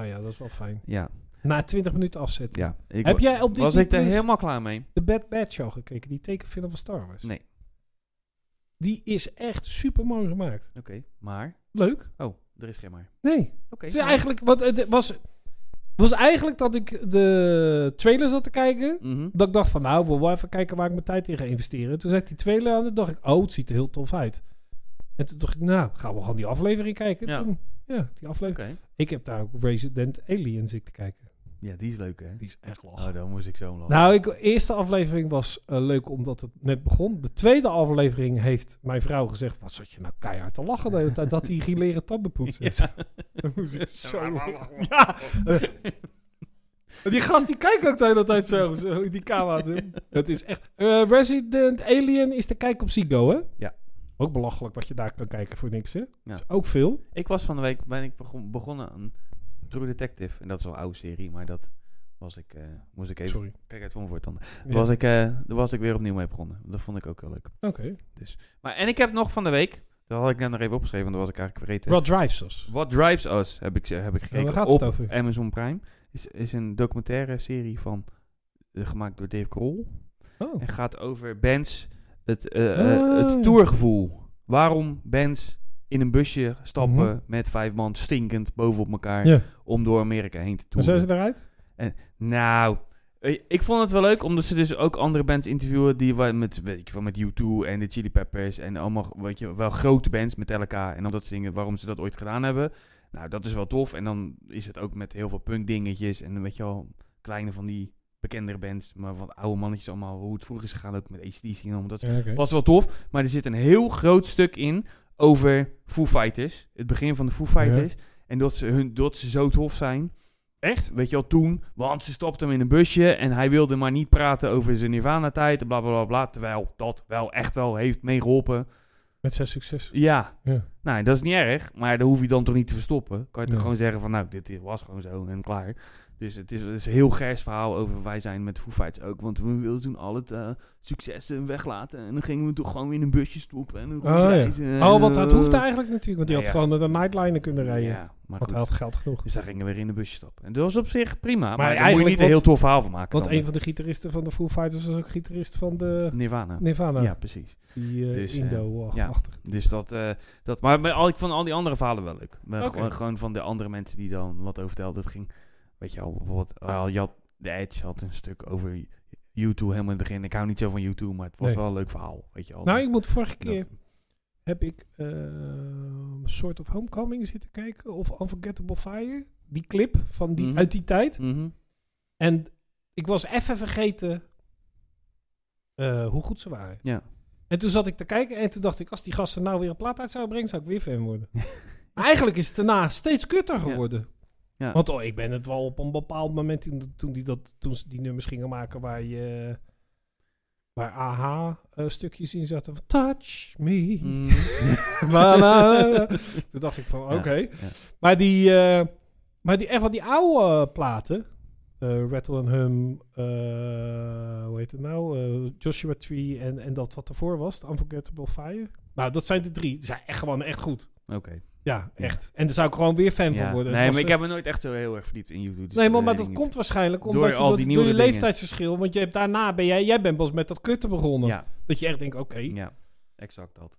B: Oh ja, dat is wel fijn.
A: Ja.
B: Na 20 minuten afzetten.
A: ja. Ik
B: Heb
A: wa-
B: jij op
A: Was
B: Disney
A: ik daar
B: Plus-
A: helemaal klaar mee?
B: De Bad Bad Show gekeken, die tekenfilm van Star Wars.
A: Nee.
B: Die is echt super mooi gemaakt.
A: Oké, maar...
B: Leuk?
A: Oh, er is geen maar.
B: Nee.
A: Oké.
B: Het is
A: maar-
B: eigenlijk, wat het was, was eigenlijk dat ik de trailer zat te kijken.
A: Mhm.
B: Dat ik dacht van, nou, wil wel even kijken waar ik mijn tijd in ga investeren. Toen zag ik die trailer aan en toen dacht ik, oh, het ziet er heel tof uit. En toen dacht ik, nou, gaan we gewoon die aflevering kijken.
A: Ja.
B: Toen, ja, die aflevering.
A: Oké.
B: Ik heb daar ook Resident Alien zitten kijken.
A: Ja, die is leuk, hè?
B: Die is echt lach.
A: Oh, daar moest ik zo om lachen.
B: Nou, ik, eerste aflevering was eh, leuk omdat het net begon. De tweede aflevering heeft mijn vrouw gezegd... Wat zat je nou keihard te lachen de hele tijd dat die gileren tanden poetsen
A: [LAUGHS]
B: is. Dan moest ik zo lachen. [LAUGHS] Ja. Die gast die kijkt ook de hele tijd zo, zo in die camera. Dat is echt... eh, Resident Alien is te kijken op Ziggo, hè?
A: Ja.
B: Ook belachelijk wat je daar kan kijken voor niks, hè?
A: Ja.
B: Is ook veel.
A: Ik was van de week ben ik begon- begonnen aan True Detective. En dat is wel een oude serie, maar dat was ik... eh, moest ik even...
B: Sorry.
A: Kijk uit voor mijn voortanden. Daar
B: Ja.
A: was, ik, eh, daar was ik weer opnieuw mee begonnen. Dat vond ik ook heel leuk.
B: Oké.
A: Maar, en ik heb nog van de week... Dat had ik net nog even opgeschreven, want dat was ik eigenlijk vergeten.
B: What drives us?
A: What Drives Us heb ik, heb ik gekeken
B: waar gaat
A: op
B: het over?
A: Amazon Prime. Is, is een documentaire serie van, eh, gemaakt door Dave Grohl.
B: Oh.
A: En gaat over bands, het, eh, eh, het
B: Ah.
A: tourgevoel. Waarom bands in een busje stappen
B: Mhm.
A: met vijf man stinkend bovenop elkaar
B: Ja.
A: om door Amerika heen te
B: En
A: toeren.
B: zijn ze eruit?
A: Nou, eh, ik vond het wel leuk, omdat ze dus ook andere bands interviewen die wa- met, weet ik, veel, met U2 en de Chili Peppers en allemaal, weet je, wel grote bands met elkaar en al dat soort dingen, waarom ze dat ooit gedaan hebben. Nou, dat is wel tof. En dan is het ook met heel veel punkdingetjes en weet je wel, kleine van die bekendere bands, maar van oude mannetjes allemaal, hoe het vroeger is gegaan, ook met ACDC en allemaal dat
B: Ja, oké.
A: was wel tof, maar er zit een heel groot stuk in over Foo Fighters. Het begin van de Foo Fighters. En dat ze, hun, dat ze zo tof zijn. Echt? Weet je wel, toen. Want ze stopte hem in een busje en hij wilde maar niet praten over zijn Nirvana-tijd. en Bla, bla, bla, bla. Terwijl dat wel echt wel heeft meegeholpen.
B: Met zijn succes.
A: Ja.
B: Ja.
A: Nou, dat is niet erg. Maar dat hoef je dan toch niet te verstoppen. Kan je toch
B: Nee.
A: gewoon zeggen van, nou, dit is- was gewoon zo en klaar. Dus het is, het is een heel gers verhaal over wij zijn met Foo Fighters ook. Want we wilden toen al het eh, successen weglaten. En dan gingen we toch gewoon in een busje stoppen. En
B: ja.
A: rondreizen. En,
B: Oh, want dat
A: eh,
B: hoeft eigenlijk natuurlijk. Want die
A: Nou
B: had
A: ja.
B: gewoon met een nightliner kunnen rijden.
A: Ja, maar
B: want
A: goed.
B: hij had geld genoeg.
A: Dus daar gingen we weer in de busje stappen. En dat was op zich prima. Maar, daar moet je
B: eigenlijk
A: niet een
B: wat-
A: heel tof verhaal van maken.
B: Want
A: dan.
B: een van de gitaristen van de Foo Fighters was ook gitarist van de
A: Nirvana.
B: Nirvana.
A: Ja, precies.
B: Die eh,
A: Dus, eh,
B: Indo-achtig.
A: Dus dat... eh, dat maar maar al, ik vond al die andere verhalen wel leuk. Maar
B: Oké.
A: gewoon, gewoon van de andere mensen die dan wat over vertelden. Het ging, weet je al, bijvoorbeeld... ah, je had, The Edge had een stuk over U2 helemaal in het begin. Ik hou niet zo van U2, maar het was
B: Nee.
A: wel een leuk verhaal. Weet je al.
B: Nou, ik moet vorige
A: Dat-
B: keer heb ik eh, Soort of Homecoming zitten kijken. Of Unforgettable Fire. Die clip van die,
A: Mhm.
B: uit die tijd. [LAUGHS]
A: Mhm.
B: En ik was even vergeten eh, hoe goed ze waren.
A: Ja.
B: En toen zat ik te kijken en toen dacht ik... als die gasten nou weer een plaat uit zouden brengen... zou ik weer fan
A: [LAUGHS]
B: worden. maar eigenlijk is het daarna steeds kutter geworden.
A: Ja.
B: Want oh, ik ben het wel op een bepaald moment... toen, toen, die, dat, toen ze die nummers gingen maken waar je... Waar AH eh, stukjes in zaten van touch me.
A: Mm.
B: La, la, la. [LAUGHS] Toen dacht ik van oké. Maar die, eh, maar die, echt wel die oude platen. eh Rattle and Hum, eh, hoe heet het nou? Eh, Joshua Tree en, en dat wat ervoor was, The Unforgettable Fire. Nou, dat zijn de drie. Die zijn echt gewoon echt goed.
A: Oké.
B: Ja,
A: Ja.
B: echt. En daar zou ik gewoon weer
A: Ja.
B: fan van worden. Het
A: Nee,
B: was
A: maar ik
B: echt-
A: heb me nooit echt zo heel erg verdiept in U2. Dus
B: Nee, maar,
A: weet
B: maar
A: ik
B: dat
A: niet.
B: komt waarschijnlijk omdat
A: Door
B: je
A: al die
B: dat- door je
A: nieuwere dingen.
B: leeftijdsverschil. Want je hebt, daarna ben jij, jij bent pas met dat kutten begonnen.
A: Ja,
B: Dat je echt denkt, oké. oké,
A: ja, exact dat.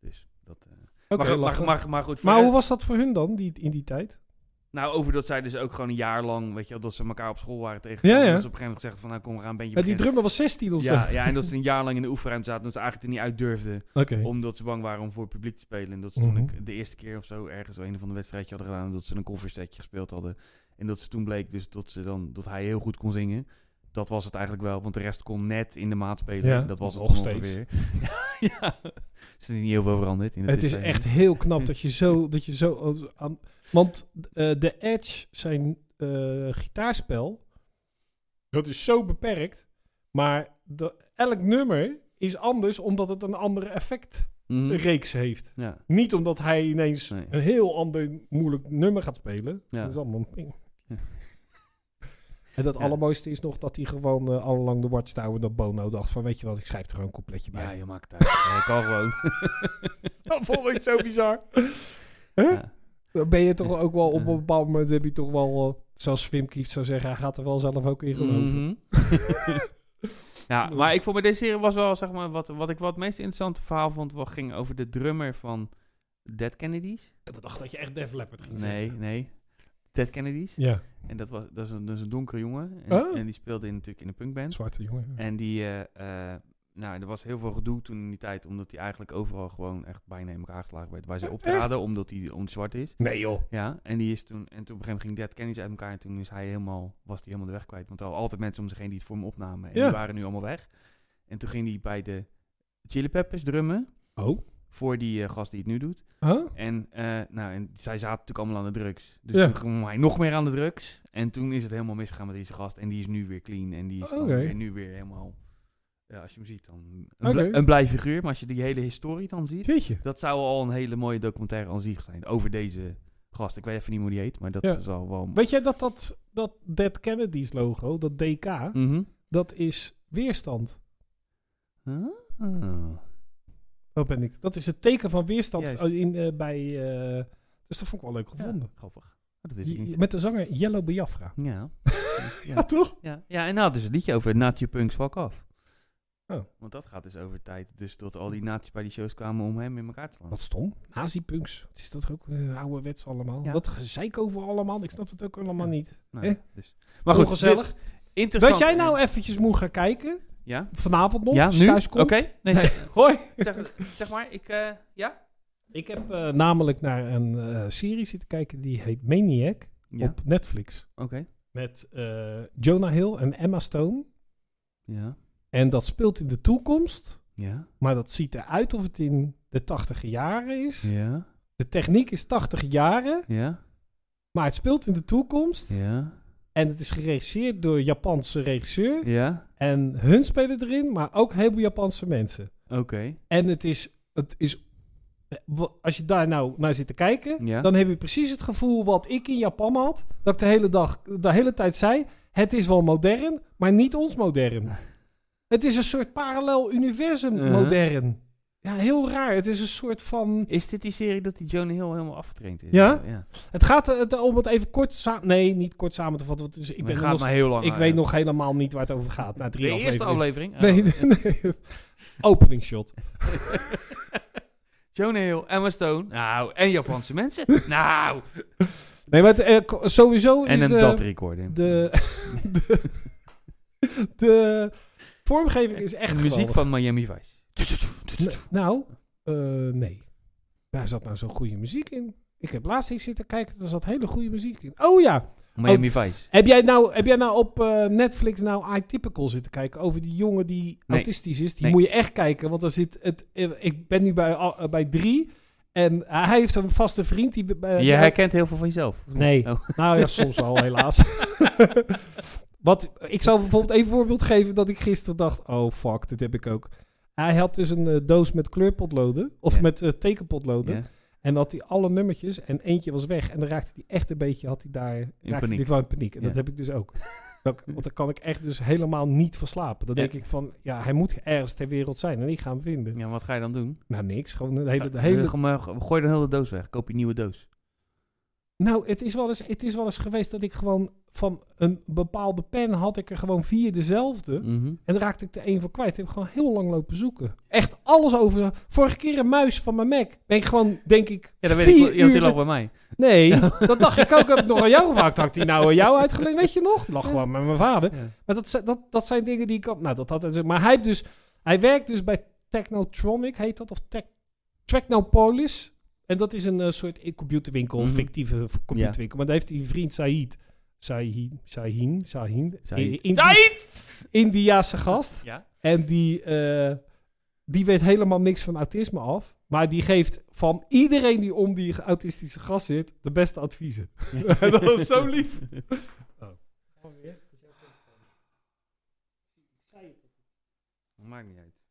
A: Dus dat... eh, maar, goed- maar,
B: lachen.
A: maar, maar goed,
B: Maar
A: verder-
B: hoe was dat voor hun dan die, in die tijd?
A: Nou, over dat zij dus ook gewoon een jaar lang, weet je, wel, dat ze elkaar op school waren tegengekomen.
B: Ja, ja.
A: Dat ze op een gegeven moment gezegd van, nou kom, we gaan een bandje
B: Ja, Eh, die
A: beginnen.
B: drummer was 16 of zo.
A: ja, ja, en dat
B: [LAUGHS]
A: ze een jaar lang in de oefenruimte zaten, dat ze eigenlijk er niet uit durfden.
B: Oké.
A: Omdat ze bang waren om voor het publiek te spelen. En dat ze toen
B: Mhm.
A: ik de eerste keer of zo ergens een van de wedstrijdje hadden gedaan. en Dat ze een coversetje gespeeld hadden. En dat ze toen bleek dus dat, ze dan, dat hij heel goed kon zingen. Dat was het eigenlijk wel. Want de rest kon net in de maat spelen.
B: Ja,
A: En dat was het
B: nog
A: nog
B: steeds.
A: steeds. [LAUGHS] ja, ja. Er is niet heel veel veranderd. In de
B: Het is
A: tussentijd.
B: echt heel knap dat je zo... Dat je zo als- aan, want eh The Edge, zijn eh, gitaarspel... Dat is zo beperkt. Maar de- elk nummer is anders omdat het een andere effectreeks
A: Mhm.
B: heeft.
A: Ja.
B: Niet omdat hij ineens
A: Nee.
B: een heel ander moeilijk nummer gaat spelen.
A: Ja.
B: Dat is allemaal een ping.
A: Ja.
B: En het
A: Ja.
B: allermooiste is nog dat hij gewoon eh, allang de Watchtower dat Bono dacht van... weet je wat, ik schrijf er gewoon een coupletje bij.
A: ja, je maakt het uit. Ja, ik kan gewoon.
B: [LAUGHS] Dat vond ik zo bizar. Huh?
A: Ja.
B: Dan ben je toch ook wel op
A: Ja.
B: een bepaald moment heb je toch wel, eh, zoals Wim Kieft zou zeggen, hij gaat er wel zelf ook in geloven.
A: Mhm. [LAUGHS] ja, maar ik vond bij deze serie was wel, zeg maar, wat, wat ik wel het meest interessante verhaal vond, wat ging over de drummer van Dead Kennedys.
B: Ik dacht dat je echt Def Leppard ging
A: Nee, nee. Ted Kennedy's.
B: Ja,
A: En dat, was, dat, is een, dat is een donkere jongen. En,
B: Oh.
A: en die speelde in, natuurlijk in een
B: een
A: punkband.
B: zwarte jongen.
A: En die... eh, eh, nou, er was heel veel gedoe toen in die tijd. Omdat hij eigenlijk overal gewoon echt bijna in elkaar geslagen werd. Waar ze
B: Oh,
A: optraden, omdat hij om zwart is.
B: Nee joh.
A: Ja, en die is toen... En toen op een gegeven moment ging Dead Kennedys uit elkaar. En toen is hij helemaal, was hij helemaal de weg kwijt. Want er waren altijd mensen om zich heen die het voor hem opnamen. En
B: Ja.
A: die waren nu allemaal weg. En toen ging hij bij de Chili Peppers drummen.
B: Oh.
A: Voor die eh, gast die het nu doet.
B: Huh?
A: En, eh, nou, en zij zaten natuurlijk allemaal aan de drugs. Dus
B: Ja.
A: toen kwam hij nog meer aan de drugs. En toen is het helemaal misgegaan met deze gast. En die is nu weer clean. En die is dan
B: Oké.
A: weer, nu weer helemaal... Ja, als je hem ziet, dan een, bl-
B: Oké.
A: een blij figuur. Maar als je die hele historie dan ziet...
B: Weet je.
A: Dat zou al een hele mooie documentaire aan zich zijn. Over deze gast. Ik weet even niet hoe die heet, maar dat
B: Ja.
A: zal wel...
B: Weet jij dat dat, dat Dead Kennedys logo, dat DK,
A: Mhm.
B: dat is weerstand.
A: Ah.
B: Dat ben ik. Dat is het teken van weerstand
A: Juist.
B: in, eh, bij... eh, dus dat vond ik wel leuk gevonden.
A: Ja, grappig. Oh, dat wist ik
B: Je-
A: niet.
B: met de zanger Yellow Biafra.
A: Ja.
B: [LAUGHS] Ja,
A: ja.
B: toch?
A: Ja, ja en nou dus een liedje over Nazi Punks Fuck Off.
B: Oh.
A: Want dat gaat dus over tijd. Dus tot al die nazi's bij die shows kwamen om hem in elkaar te slaan.
B: Wat stom. Nazi-punks. Wat is dat toch ook eh, ouderwets allemaal?
A: Ja.
B: Wat gezeik over allemaal. Ik snap het ook allemaal
A: Ja.
B: niet.
A: Nou,
B: Eh?
A: dus. Maar goed,
B: Ongezellig.
A: dit- interessant.
B: Dat jij nou eventjes moet gaan kijken.
A: Ja?
B: Vanavond nog.
A: Ja,
B: als
A: nu?
B: je thuis
A: Oké.
B: komt.
A: Nee,
B: Nee.
A: zeg,
B: [LAUGHS] Hoi.
A: zeg, zeg maar, ik... eh, ja?
B: Ik heb eh, namelijk naar een eh, serie zitten kijken. Die heet Maniac.
A: Ja,
B: Op Netflix.
A: oké.
B: Met eh, Jonah Hill en Emma Stone.
A: Ja,
B: En dat speelt in de toekomst.
A: ja,
B: Maar dat ziet eruit of het in de tachtige jaren is.
A: ja,
B: De techniek is tachtig jaren.
A: ja,
B: Maar het speelt in de toekomst.
A: ja,
B: En het is geregisseerd door Japanse regisseur.
A: ja,
B: En hun spelen erin, maar ook heel veel Japanse mensen.
A: oké.
B: En het is, het is, eh, wa- als je daar nou naar zit te kijken,
A: Ja.
B: dan heb je precies het gevoel wat ik in Japan had. Dat ik de hele dag, de hele tijd zei, het is wel modern, maar niet ons
A: [LAUGHS]
B: modern. het is een soort parallel universum
A: Uh-huh.
B: modern. Ja, heel raar. Het is een soort van...
A: Is dit die serie dat die Johnny Hill helemaal afgetraind is?
B: Ja?
A: ja.
B: Het gaat eh, het, om het even kort samen... Nee, niet kort samen te vatten. Want het is, ik
A: Maar
B: ben
A: het
B: er
A: gaat
B: nog
A: maar heel lang
B: Ik
A: aan,
B: weet
A: ja.
B: nog helemaal niet waar het over gaat na
A: De
B: drie
A: eerste
B: afleveringen.
A: aflevering? Oh.
B: Nee, [LAUGHS] nee, nee. Opening shot.
A: Jonah Hill, Emma Stone. Nou, en Japanse
B: [LAUGHS]
A: mensen. Nou.
B: Nee, maar het, eh, ko- sowieso
A: En
B: is
A: een
B: de,
A: dat recording.
B: de, [LAUGHS] de, de vormgeving is echt
A: de muziek
B: geweldig.
A: van Miami Vice.
B: Nou, eh, nee. Daar zat nou zo'n goede muziek in. Ik heb laatst eens zitten kijken, daar zat hele goede muziek in. Oh ja,
A: Miami Vice.
B: heb jij nou, heb jij nou op eh, Netflix nou iTypical zitten kijken over die jongen die
A: Nee.
B: autistisch is? Die
A: Nee.
B: moet je echt kijken, want daar zit het. eh, Ik ben nu bij, al- eh, bij drie en hij heeft een vaste vriend die. eh,
A: Je
B: daar-
A: herkent heel veel van jezelf.
B: Nee.
A: Oh.
B: [LAUGHS] Nou ja, soms al helaas.
A: [LAUGHS]
B: Wat, ik zal bijvoorbeeld even een voorbeeld geven dat ik gisteren dacht: oh fuck, dit heb ik ook. Hij had dus een eh, doos met kleurpotloden, of
A: Ja.
B: met eh, tekenpotloden.
A: Ja.
B: En had hij alle nummertjes en eentje was weg. En dan raakte hij echt een beetje, had hij daar, raakte
A: paniek.
B: hij van in paniek. En dat
A: Ja.
B: heb ik dus
A: [LAUGHS]
B: ook. Dat, want dan kan ik echt dus helemaal niet verslapen. Dan
A: Ja.
B: denk ik van, ja, hij moet ergens ter wereld zijn en ik ga hem vinden.
A: Ja, wat ga je dan doen?
B: Nou, niks. Gewoon de hele, de
A: Ja,
B: hele
A: eh, gewoon maar- Gooi de hele doos weg. Koop je een nieuwe doos.
B: Nou, het is, wel eens, het is wel eens geweest dat ik gewoon van een bepaalde pen had ik er gewoon vier dezelfde.
A: Mhm.
B: En daar raakte ik er één van kwijt. Heb ik gewoon heel lang lopen zoeken. Echt alles over. Vorige keer een muis van mijn Mac. Ben ik gewoon, denk ik,
A: Ja, dat weet ik.
B: vier
A: Je had
B: uur...
A: heel lang bij mij.
B: Nee,
A: [LAUGHS]
B: dat dacht ik ook. Heb ik nog aan jou gevraagd. Had ik die nou aan jou uitgeleend? Weet je nog? Lag gewoon met mijn vader.
A: Ja.
B: Maar dat, zi- dat, dat zijn dingen die ik... al- Nou, dat had hij... Maar hij, heeft dus, hij werkt dus bij Technotronic, heet dat? Of Tech, Technopolis. En dat is een eh, soort i- computerwinkel,
A: Mhm.
B: fictieve v- computerwinkel. Maar daar heeft die vriend Said... Sahin, Sahin, Sahin.
A: Said.
B: I- Indi- [LAUGHS] Indiaanse gast.
A: Ja.
B: En die, eh, die weet helemaal niks van autisme af. Maar die geeft van iedereen die om die autistische gast zit, de beste adviezen. [LAUGHS] dat is zo lief.
A: [LAUGHS] Maakt niet uit.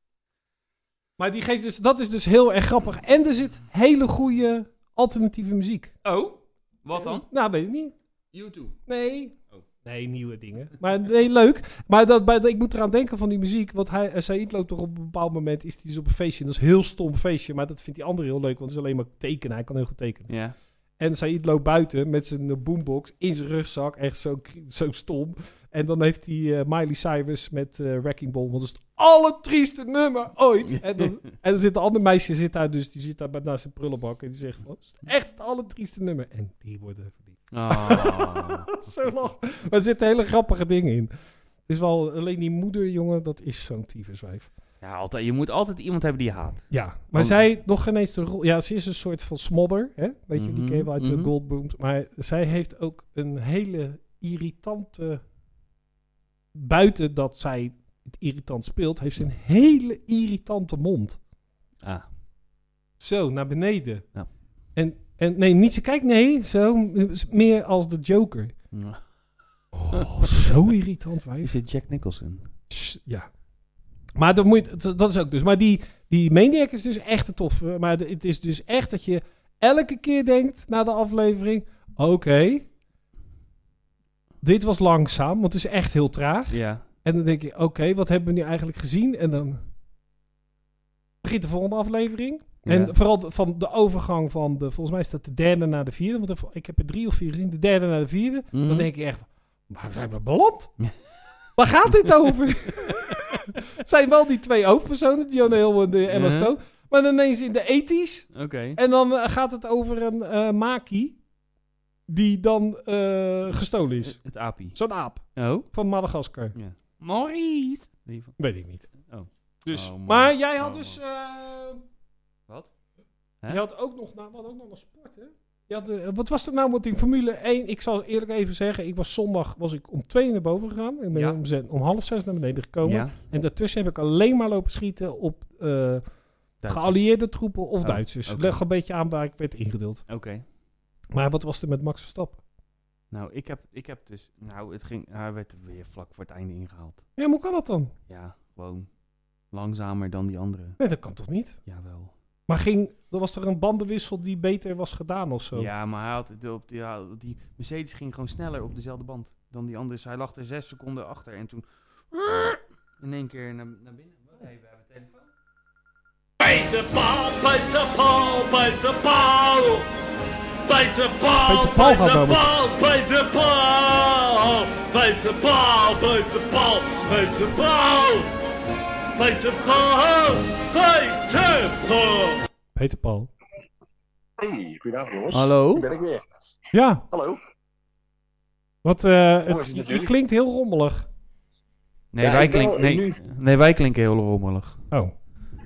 B: Maar die geeft dus, dat is dus heel erg grappig. En er zit hele goede alternatieve muziek.
A: Oh, wat dan?
B: Nou, weet ik niet.
A: YouTube.
B: Nee.
A: Oh.
B: Nee, nieuwe dingen. Maar nee, leuk. Maar dat, bij, ik moet eraan denken van die muziek. Want hij, eh, Said loopt toch op een bepaald moment. Is hij dus op een feestje. En dat is een heel stom feestje. Maar dat vindt die andere heel leuk. Want het is alleen maar tekenen. Hij kan heel goed
A: [LAUGHS]
B: tekenen.
A: Ja.
B: En Said loopt buiten met zijn eh, boombox in zijn rugzak. Echt zo, kri- zo stom. En dan heeft hij eh, Miley Cyrus met eh, Wrecking Ball. Want dat is het allertrieste nummer ooit. En dan, en dan zit een ander meisje zit daar dus. Die zit daar bij- naast zijn prullenbak. En die zegt van, "Het is echt het allertrieste nummer. En die worden verliefd.
A: Oh.
B: [LAUGHS] zo lach. Maar er zitten hele grappige dingen in. Het is wel alleen die moeder, jongen. Dat is zo'n tyfuswijf.
A: ja, altijd, je moet altijd iemand hebben die je haat.
B: Ja, maar
A: Oh.
B: zij nog geen eens de rol. Ja, ze is een soort van smodder. Hè? Weet je, die
A: Mhm,
B: ken je wel uit
A: mhm.
B: de Goldbooms. Maar zij heeft ook een hele irritante. Buiten dat zij het irritant speelt, heeft ze een hele irritante mond.
A: Ah.
B: Zo, naar beneden.
A: Ja.
B: En, en nee, niet ze kijkt, nee, zo. m- s- Meer als de Joker. Oh, zo irritant, wijf.
A: Is het Jack Nicholson?
B: Sst, Ja. Maar dat, moet je, dat- dat is ook dus. Maar die, die Maniac is dus echt een toffe. Maar de- het is dus echt dat je elke keer denkt na de aflevering: oké, dit was langzaam, want het is echt heel traag.
A: Ja.
B: En dan denk je: oké, wat hebben we nu eigenlijk gezien? En dan begint de volgende aflevering. En vooral de- van de overgang van de, volgens mij is dat de derde naar de vierde. Want er- ik heb er drie of vier gezien, de derde naar de vierde. Dan denk ik echt, waar zijn we beland? Waar gaat dit over? [LAUGHS] Het zijn wel die twee hoofdpersonen, John Hill en de Emma
A: Ja.
B: Stone. Maar dan ineens in de 80s.
A: Oké.
B: En dan eh, gaat het over een eh, Maki die dan eh, gestolen is.
A: Het api.
B: Zo'n aap
A: Oh.
B: van Madagaskar.
A: Ja. Maurice. Die van-
B: Weet ik niet.
A: Oh.
B: Dus,
A: Oh, man.
B: maar jij had
A: Oh,
B: dus...
A: man.
B: eh,
A: Wat? Hè?
B: je had ook nog, nou, we hadden ook nog een sport, hè? Je had, eh, wat was er nou met die Formule 1? Ik zal eerlijk even zeggen, ik was zondag was ik om twee naar boven gegaan. Ik ben
A: Ja.
B: om, zes- om half zes naar beneden gekomen.
A: Ja.
B: En daartussen heb ik alleen maar lopen schieten op eh,
A: Duitsers.
B: geallieerde troepen of
A: Oh,
B: Duitsers.
A: oké.
B: Leg een beetje aan waar ik werd ingedeeld.
A: Oké.
B: Maar wat was er met Max Verstappen?
A: Nou, ik heb, ik heb dus... Nou, het ging, hij werd weer vlak voor het einde ingehaald.
B: Ja, maar hoe kan dat dan?
A: Ja, gewoon langzamer dan die andere.
B: Nee, dat kan toch niet?
A: Jawel.
B: Maar ging, er was er een bandenwissel die beter was gedaan of zo?
A: Ja, maar hij had het op die, ja, die Mercedes ging gewoon sneller op dezelfde band dan die andere. Dus hij lag er zes seconden achter en toen in één keer naar, naar binnen. Wacht even, we hebben telefoon.
C: Peter Paul, Peter Paul, Peter Paul. Peter Paul,
B: Peter Paul gaat nou met-
C: Paul, Peter Paul. Peter Paul, Peter Paul, Peter Paul. Peter Paul, Peter Paul.
B: Peter Paul.
F: Hey, goedenavond jongens.
A: Hallo?
F: Hier ben ik weer.
B: Ja,
F: Hallo.
B: wat, eh,
F: Hoe is
B: het,
F: het
B: je- je
F: natuurlijk?
B: klinkt heel rommelig.
A: Nee,
F: Ja,
A: wij
F: ik ben
A: klink,
F: al-
A: nee,
F: nu-
A: nee, wij klinken heel rommelig.
B: Oh.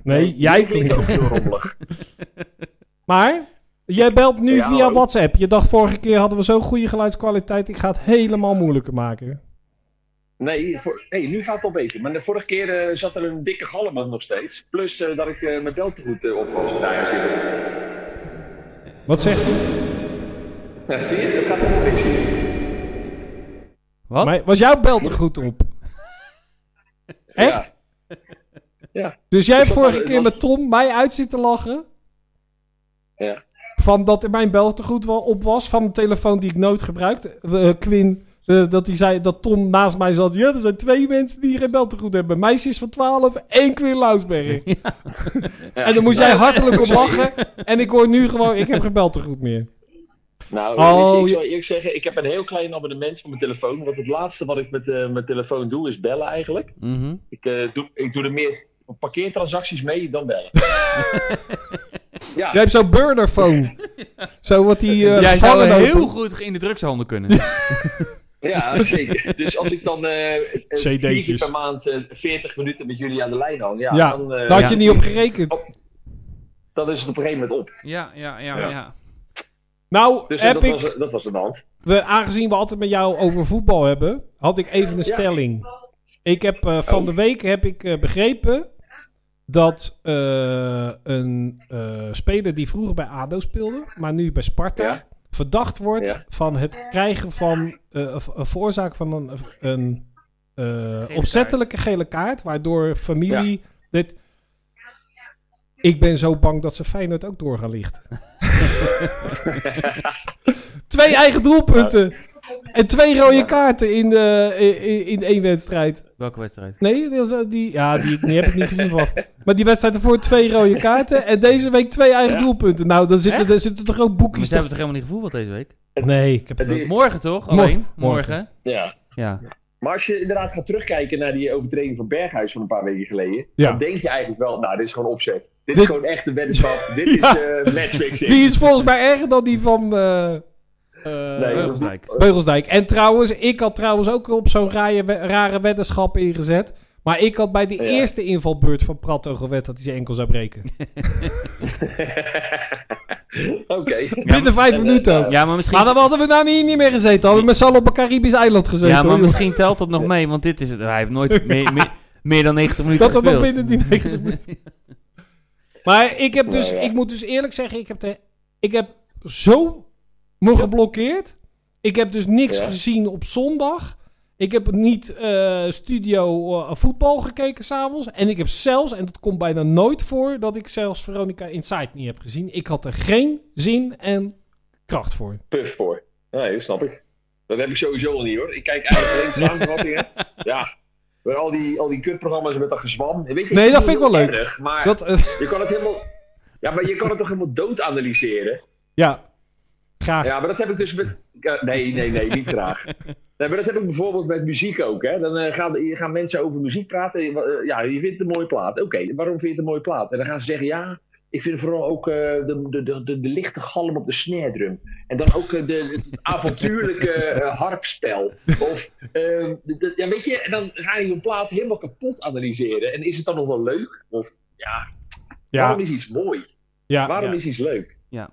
B: Nee, jij
F: jullie klinken
B: klinkt...
F: ook heel rommelig.
B: Maar jij belt nu
F: Ja,
B: via
F: hallo.
B: WhatsApp. Je dacht vorige keer hadden we zo'n goede geluidskwaliteit. Ik ga het helemaal moeilijker maken.
F: Nee, voor, hey, nu gaat het al beter. Maar de vorige keer eh, zat er een dikke galm aan nog steeds. Plus eh, dat ik eh, mijn bel te goed eh, op was. Nou ja, zie je.
B: Wat zegt je?
F: Ja, zie je, dat gaat allemaal niks hier.
A: Wat?
B: Maar was jouw bel er goed op? Echt?
F: Ja.
B: Dus jij hebt
F: Dus dat
B: vorige
F: was-
B: keer
F: was-
B: met Tom mij uit zitten lachen.
F: Ja.
B: Van dat mijn bel te goed wel op was. Van een telefoon die ik nooit gebruikte. Eh, Quinn. eh, dat hij zei dat Tom naast mij zat. Ja, er zijn twee mensen die geen bel te goed hebben. Meisjes van 12 en Quinn Lausberg. En dan moest jij hartelijk om lachen. En ik hoor nu gewoon, ik heb geen bel te goed meer.
F: Nou,
B: Oh,
F: weet je, ik
B: je-
F: zou eerlijk zeggen, ik heb een heel klein abonnement voor mijn telefoon. Want het laatste wat ik met eh, mijn telefoon doe, is bellen eigenlijk.
A: Mhm.
F: Ik, eh, doe, ik doe er meer parkeertransacties mee dan
B: [LAUGHS]
F: bellen. ja,
B: Jij hebt zo'n
A: [LAUGHS]
B: burnerphone. zo wat die eh
A: Jij zou
B: gevangen
A: heel
B: lopen.
A: goed in de drugshandel kunnen.
F: ja, zeker. Dus als ik dan eh, eh, vier
B: CD'tjes.
F: keer per maand eh, 40 minuten met jullie aan de lijn hang, ja,
B: Ja,
F: dan, eh,
B: Daar had je
A: Ja.
B: niet op gerekend.
F: Oh. dan is het op een gegeven moment op.
A: ja, ja, ja, ja.
F: Ja.
B: Nou,
F: Dus eh,
B: heb
F: dat, was,
B: ik,
F: dat was aan de hand. [LAUGHS]
B: we, aangezien we altijd met jou over voetbal hebben, had ik even een
F: Ja.
B: stelling. Ik heb eh, van
F: Oh.
B: de week heb ik eh, begrepen dat eh, een eh, speler die vroeger bij ADO speelde, maar nu bij Sparta,
F: Ja.
B: verdacht wordt
F: Ja.
B: van het krijgen van eh, of- of veroorzaken van een, een eh, opzettelijke gele kaart, waardoor familie dit. Ik ben zo bang dat ze Feyenoord ook door gaan lichten. twee eigen doelpunten en twee rode kaarten in, eh, in, in één wedstrijd.
A: Welke wedstrijd?
B: Nee, dat is, eh, die, ja, die, die heb ik niet gezien
F: [LAUGHS]
B: vanaf. Maar die wedstrijd ervoor twee rode kaarten en deze week twee eigen
F: Ja.
B: doelpunten. Nou, dan zitten, dan zitten toch ook
A: Maar
B: boekjes.
A: ze hebben toch helemaal niet gevoeld deze week?
B: toch- Nee, ik heb het
F: Die-
B: ook-
A: Morgen toch?
B: Mor-
A: Alleen?
B: morgen.
A: Morgen.
F: Ja.
A: Ja.
F: Maar als je inderdaad gaat terugkijken naar die overtreding van Berghuis van een paar weken geleden,
B: Ja.
F: dan denk je eigenlijk wel, nou, dit is gewoon opzet. Dit,
B: Dit-
F: is gewoon echt een weddenschap.
B: [LAUGHS]
F: dit
B: Ja.
F: is eh matchfixing.
B: Die is volgens mij erger dan die van eh
F: Nee,
A: Heel
F: dat-
A: gelijk.
B: Beugelsdijk. En trouwens, ik had trouwens ook op zo'n rare, rare weddenschap ingezet. Maar ik had bij de
F: Ja.
B: eerste invalbeurt van Pratto gewet dat hij zijn enkel zou breken.
F: [LAUGHS] Oké.
B: Binnen vijf
F: en, eh,
B: minuten.
F: nou,
A: Ja, maar misschien...
B: Maar dan hadden we daar niet, niet meer gezeten. Hadden we met z'n allen op een Caribisch eiland gezeten.
A: ja, maar
B: hoor,
A: misschien telt dat nog mee, want dit is het. Hij heeft
B: [LAUGHS]
A: nooit meer, meer, meer dan 90 minuten
B: Dat dat nog
A: gespeeld.
B: binnen die
A: [LAUGHS]
B: 90 minuten. Maar ik heb dus,
F: Nou ja.
B: ik moet dus eerlijk zeggen, ik heb, de, ik heb zo me geblokkeerd. Ik heb dus niks
F: Ja.
B: gezien op zondag. Ik heb niet eh, studio eh, voetbal gekeken s'avonds. En ik heb zelfs, en dat komt bijna nooit voor, dat ik zelfs Veronica Inside niet heb gezien. Ik had er geen zin en kracht voor.
F: Puff voor. Nee, dat snap ik. Dat heb ik sowieso al niet hoor. Ik kijk
B: [LAUGHS]
F: eigenlijk alleen samenvattingen. Ja. Met al die, al die kutprogramma's en met dat gezwam. Weet je, ik
B: Nee, dat vind
F: het
B: ik wel
F: heel
B: leuk.
F: erg, maar
B: Dat, eh, [LAUGHS]
F: je kan het helemaal... Ja, maar je kan het toch helemaal dood analyseren?
B: ja, graag.
F: Ja, maar dat heb ik dus met. Ja, Nee, nee, nee, niet graag. Nee, maar dat heb ik bijvoorbeeld met muziek ook. Hè. Dan eh, gaan, hier gaan mensen over muziek praten. Je- eh, ja, je vindt het een mooie plaat. Oké, waarom vind je het een mooie plaat? En dan gaan ze zeggen, ja, ik vind vooral ook eh, de, de, de, de, de lichte galm op de snare drum. En dan ook eh, de, het avontuurlijke eh, harpspel. Of, eh, de- de- ja, weet je, en dan ga je een plaat helemaal kapot analyseren. En is het dan nog wel leuk? Of, ja,
B: Ja,
F: waarom is iets mooi?
B: ja,
F: Waarom
B: ja,
F: is iets leuk?
B: ja.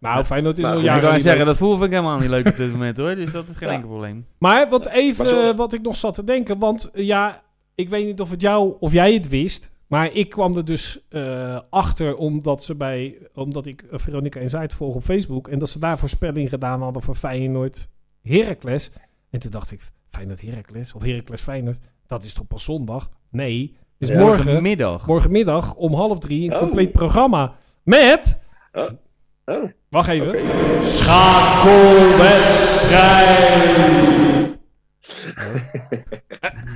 B: Nou, Feyenoord is
F: Maar
B: al
F: goed,
A: Ja,
B: jaren
A: ik wou
B: niet
A: zeggen, dat voel ik helemaal niet leuk op dit moment hoor. Dus dat is geen
F: Ja.
A: enkel probleem.
B: Maar wat even,
F: Maar zo-
B: eh, wat ik nog zat te denken, want eh, ja, ik weet niet of het jou of jij het wist, maar ik kwam er dus eh, achter omdat ze bij, omdat ik eh, Veronica en Zuid volg op Facebook en dat ze daar voorspelling gedaan hadden voor Feyenoord Heracles. En toen dacht ik, Feyenoord Heracles of Heracles Feyenoord, dat is toch pas zondag? Nee, dus
F: Ja.
B: morgen,
A: middag.
B: morgenmiddag om half drie een
F: Oh.
B: compleet programma met,
F: Oh, oké.
B: wacht even, schakelwedstrijd.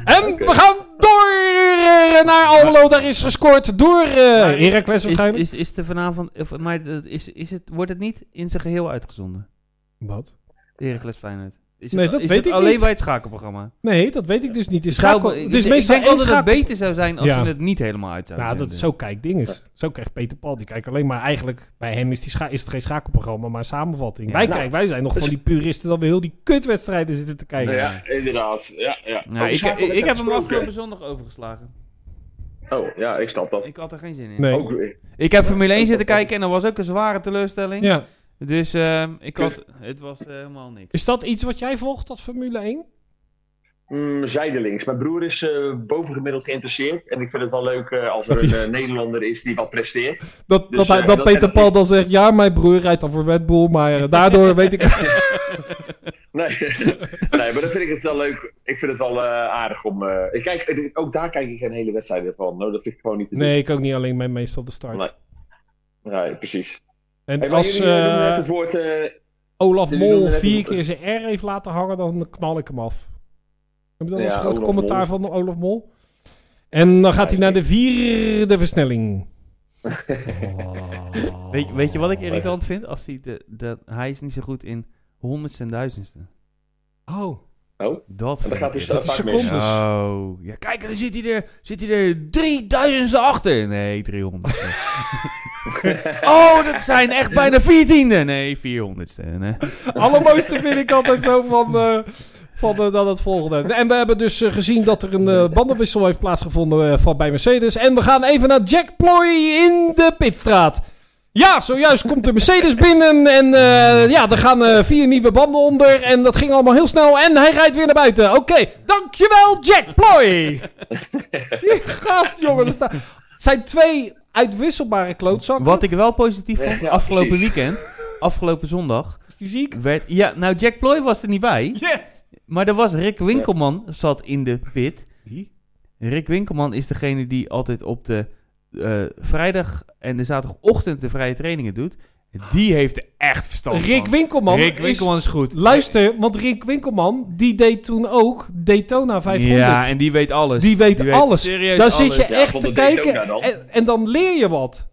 B: En we gaan door eh, naar Almelo. Daar is gescoord door eh Heracles
A: Is,
B: waarschijnlijk.
A: is, is er vanavond... Of, maar dat is, is het, wordt het niet in zijn geheel uitgezonden?
B: Wat?
A: Heracles Feyenoord. Is
B: Nee,
A: het,
B: dat
A: is
B: weet
A: het
B: ik
A: alleen
B: niet.
A: bij het schakelprogramma?
B: Nee, dat weet ik dus niet. Het is,
A: Zou-
B: schakel,
A: ik-
B: het is
A: ik
B: meestal
A: denk
B: één
A: altijd dat het
B: schakel.
A: beter zou zijn als
B: Ja.
A: ze het niet helemaal uit zouden
B: Nou, dat,
A: zenden.
B: zo kijkt dinges. Zo kijkt Peter Paul. Die kijkt alleen maar eigenlijk... Bij hem is, die scha- is het geen schakelprogramma, maar een samenvatting.
A: Ja.
B: wij,
A: Nou.
B: kijken, wij zijn nog
F: Dus-
B: van die puristen dat we heel die kutwedstrijden zitten te kijken.
F: Ja, inderdaad. Ja, ja.
A: Nou,
F: Oh,
A: ik, ik,
F: schakelwedstrijd
A: ik heb hem
F: gesproken.
A: afgelopen zondag overgeslagen.
F: Oh, ja, ik snap dat.
A: Ik had er geen zin in.
B: Nee.
F: Ook weer.
A: Ik heb Formule 1 zitten kijken en dat was ook een zware teleurstelling.
B: Ja.
A: Dus ehm, ik had, het was eh, helemaal niks.
B: Is dat iets wat jij volgt, dat Formule 1?
F: Mm, zijdelings. Mijn broer is eh, bovengemiddeld geïnteresseerd. En ik vind het wel leuk eh, als
B: Dat
F: er een
B: hij-
F: eh, Nederlander is die wat presteert.
B: Dat,
F: Dus,
B: dat, hij,
F: eh,
B: dat,
F: dat-
B: Peter
F: dat
B: Paul
F: is-
B: dan zegt... Ja, mijn broer rijdt dan voor Red Bull, maar eh, daardoor weet
F: [LAUGHS]
B: ik... [LAUGHS]
F: Nee. nee, maar dan vind ik het wel leuk. Ik vind het wel eh, aardig om. eh, ik kijk, eh, ook daar kijk ik geen hele wedstrijd van. Nou, dat vind ik gewoon niet te doen.
B: Nee, ik ook niet alleen mijn meestal de start.
F: Nee. Nee, precies.
B: En
F: Hey, maar
B: als
F: jullie eh, noemen
B: eh,
F: net het woord. eh,
B: Olaf
F: jullie noemen
B: Mol
F: net het-
B: vier keer zijn R heeft laten hangen, dan knal ik hem af. Heb je dat
F: Ja,
B: als groot
F: Olaf
B: commentaar van Olaf Mol? En dan gaat
F: Ja, [LAUGHS]
B: hij naar de vierde versnelling.
F: eh,
B: [LAUGHS]
A: Weet, weet je wat ik irritant vind? Als hij, de, de, hij is niet zo goed in honderdste en duizendste.
B: Oh,
F: Oh,
A: Dat
F: en
A: vind
F: dan gaat hij
A: ik-
B: dat
F: straks
B: is
F: vaak mis.
B: seconde. dus.
A: Oh, ja, kijk, dan zit hij er, zit hij er 3000 achter. Nee, 300.
F: [LAUGHS]
A: oh, dat zijn echt bijna 14e. Nee, 400ste. Nee.
B: Allermooiste vind ik altijd zo van, eh, van eh, dan het volgende. En we hebben dus eh, gezien dat er een eh, bandenwissel heeft plaatsgevonden eh, van, bij Mercedes. En we gaan even naar Jack Ploy in de pitstraat. Ja, zojuist komt de Mercedes binnen en eh, ja, er gaan eh, vier nieuwe banden onder. En dat ging allemaal heel snel en hij rijdt weer naar buiten. Oké, dankjewel Jack Ploy. Die gast, jongen. Er staan, het zijn twee uitwisselbare klootzakken.
A: Wat ik wel positief vond,
F: Ja, ja,
A: afgelopen
F: precies.
A: weekend, afgelopen zondag,
B: is die ziek?
A: werd... Ja, nou, Jack Ploy was er niet bij.
B: Yes.
A: Maar er was Rick Winkelman zat in de pit.
B: Wie?
A: Rick Winkelman is degene die altijd op de eh, vrijdag en de zaterdagochtend de vrije trainingen doet. Die heeft er echt verstand
B: Rick
A: van.
B: Winkelman
A: Rick
B: is-
A: Winkelman is goed.
B: Luister, want Rick Winkelman, die deed toen ook Daytona 500.
A: Ja, en die weet alles.
B: die weet alles.
A: serieus
B: Daar
A: alles.
B: zit je
F: Ja,
B: echt
F: van
B: te
F: de Daytona
B: kijken
F: dan.
B: en, en dan leer je wat.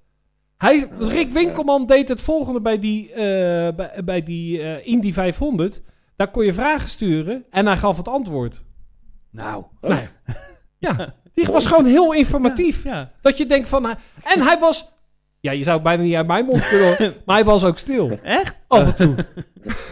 B: Hij, Rick Winkelman deed het volgende bij die, eh, bij, bij die eh, Indy 500. Daar kon je vragen sturen en hij gaf het antwoord. [LAUGHS]
A: Nou.
B: Die was gewoon heel informatief.
A: Ja.
B: Dat je denkt van... hij- En hij was... Ja, je zou het bijna niet uit mijn mond kunnen
A: [LAUGHS]
B: horen, Maar hij was ook stil.
A: Echt?
B: Af en toe.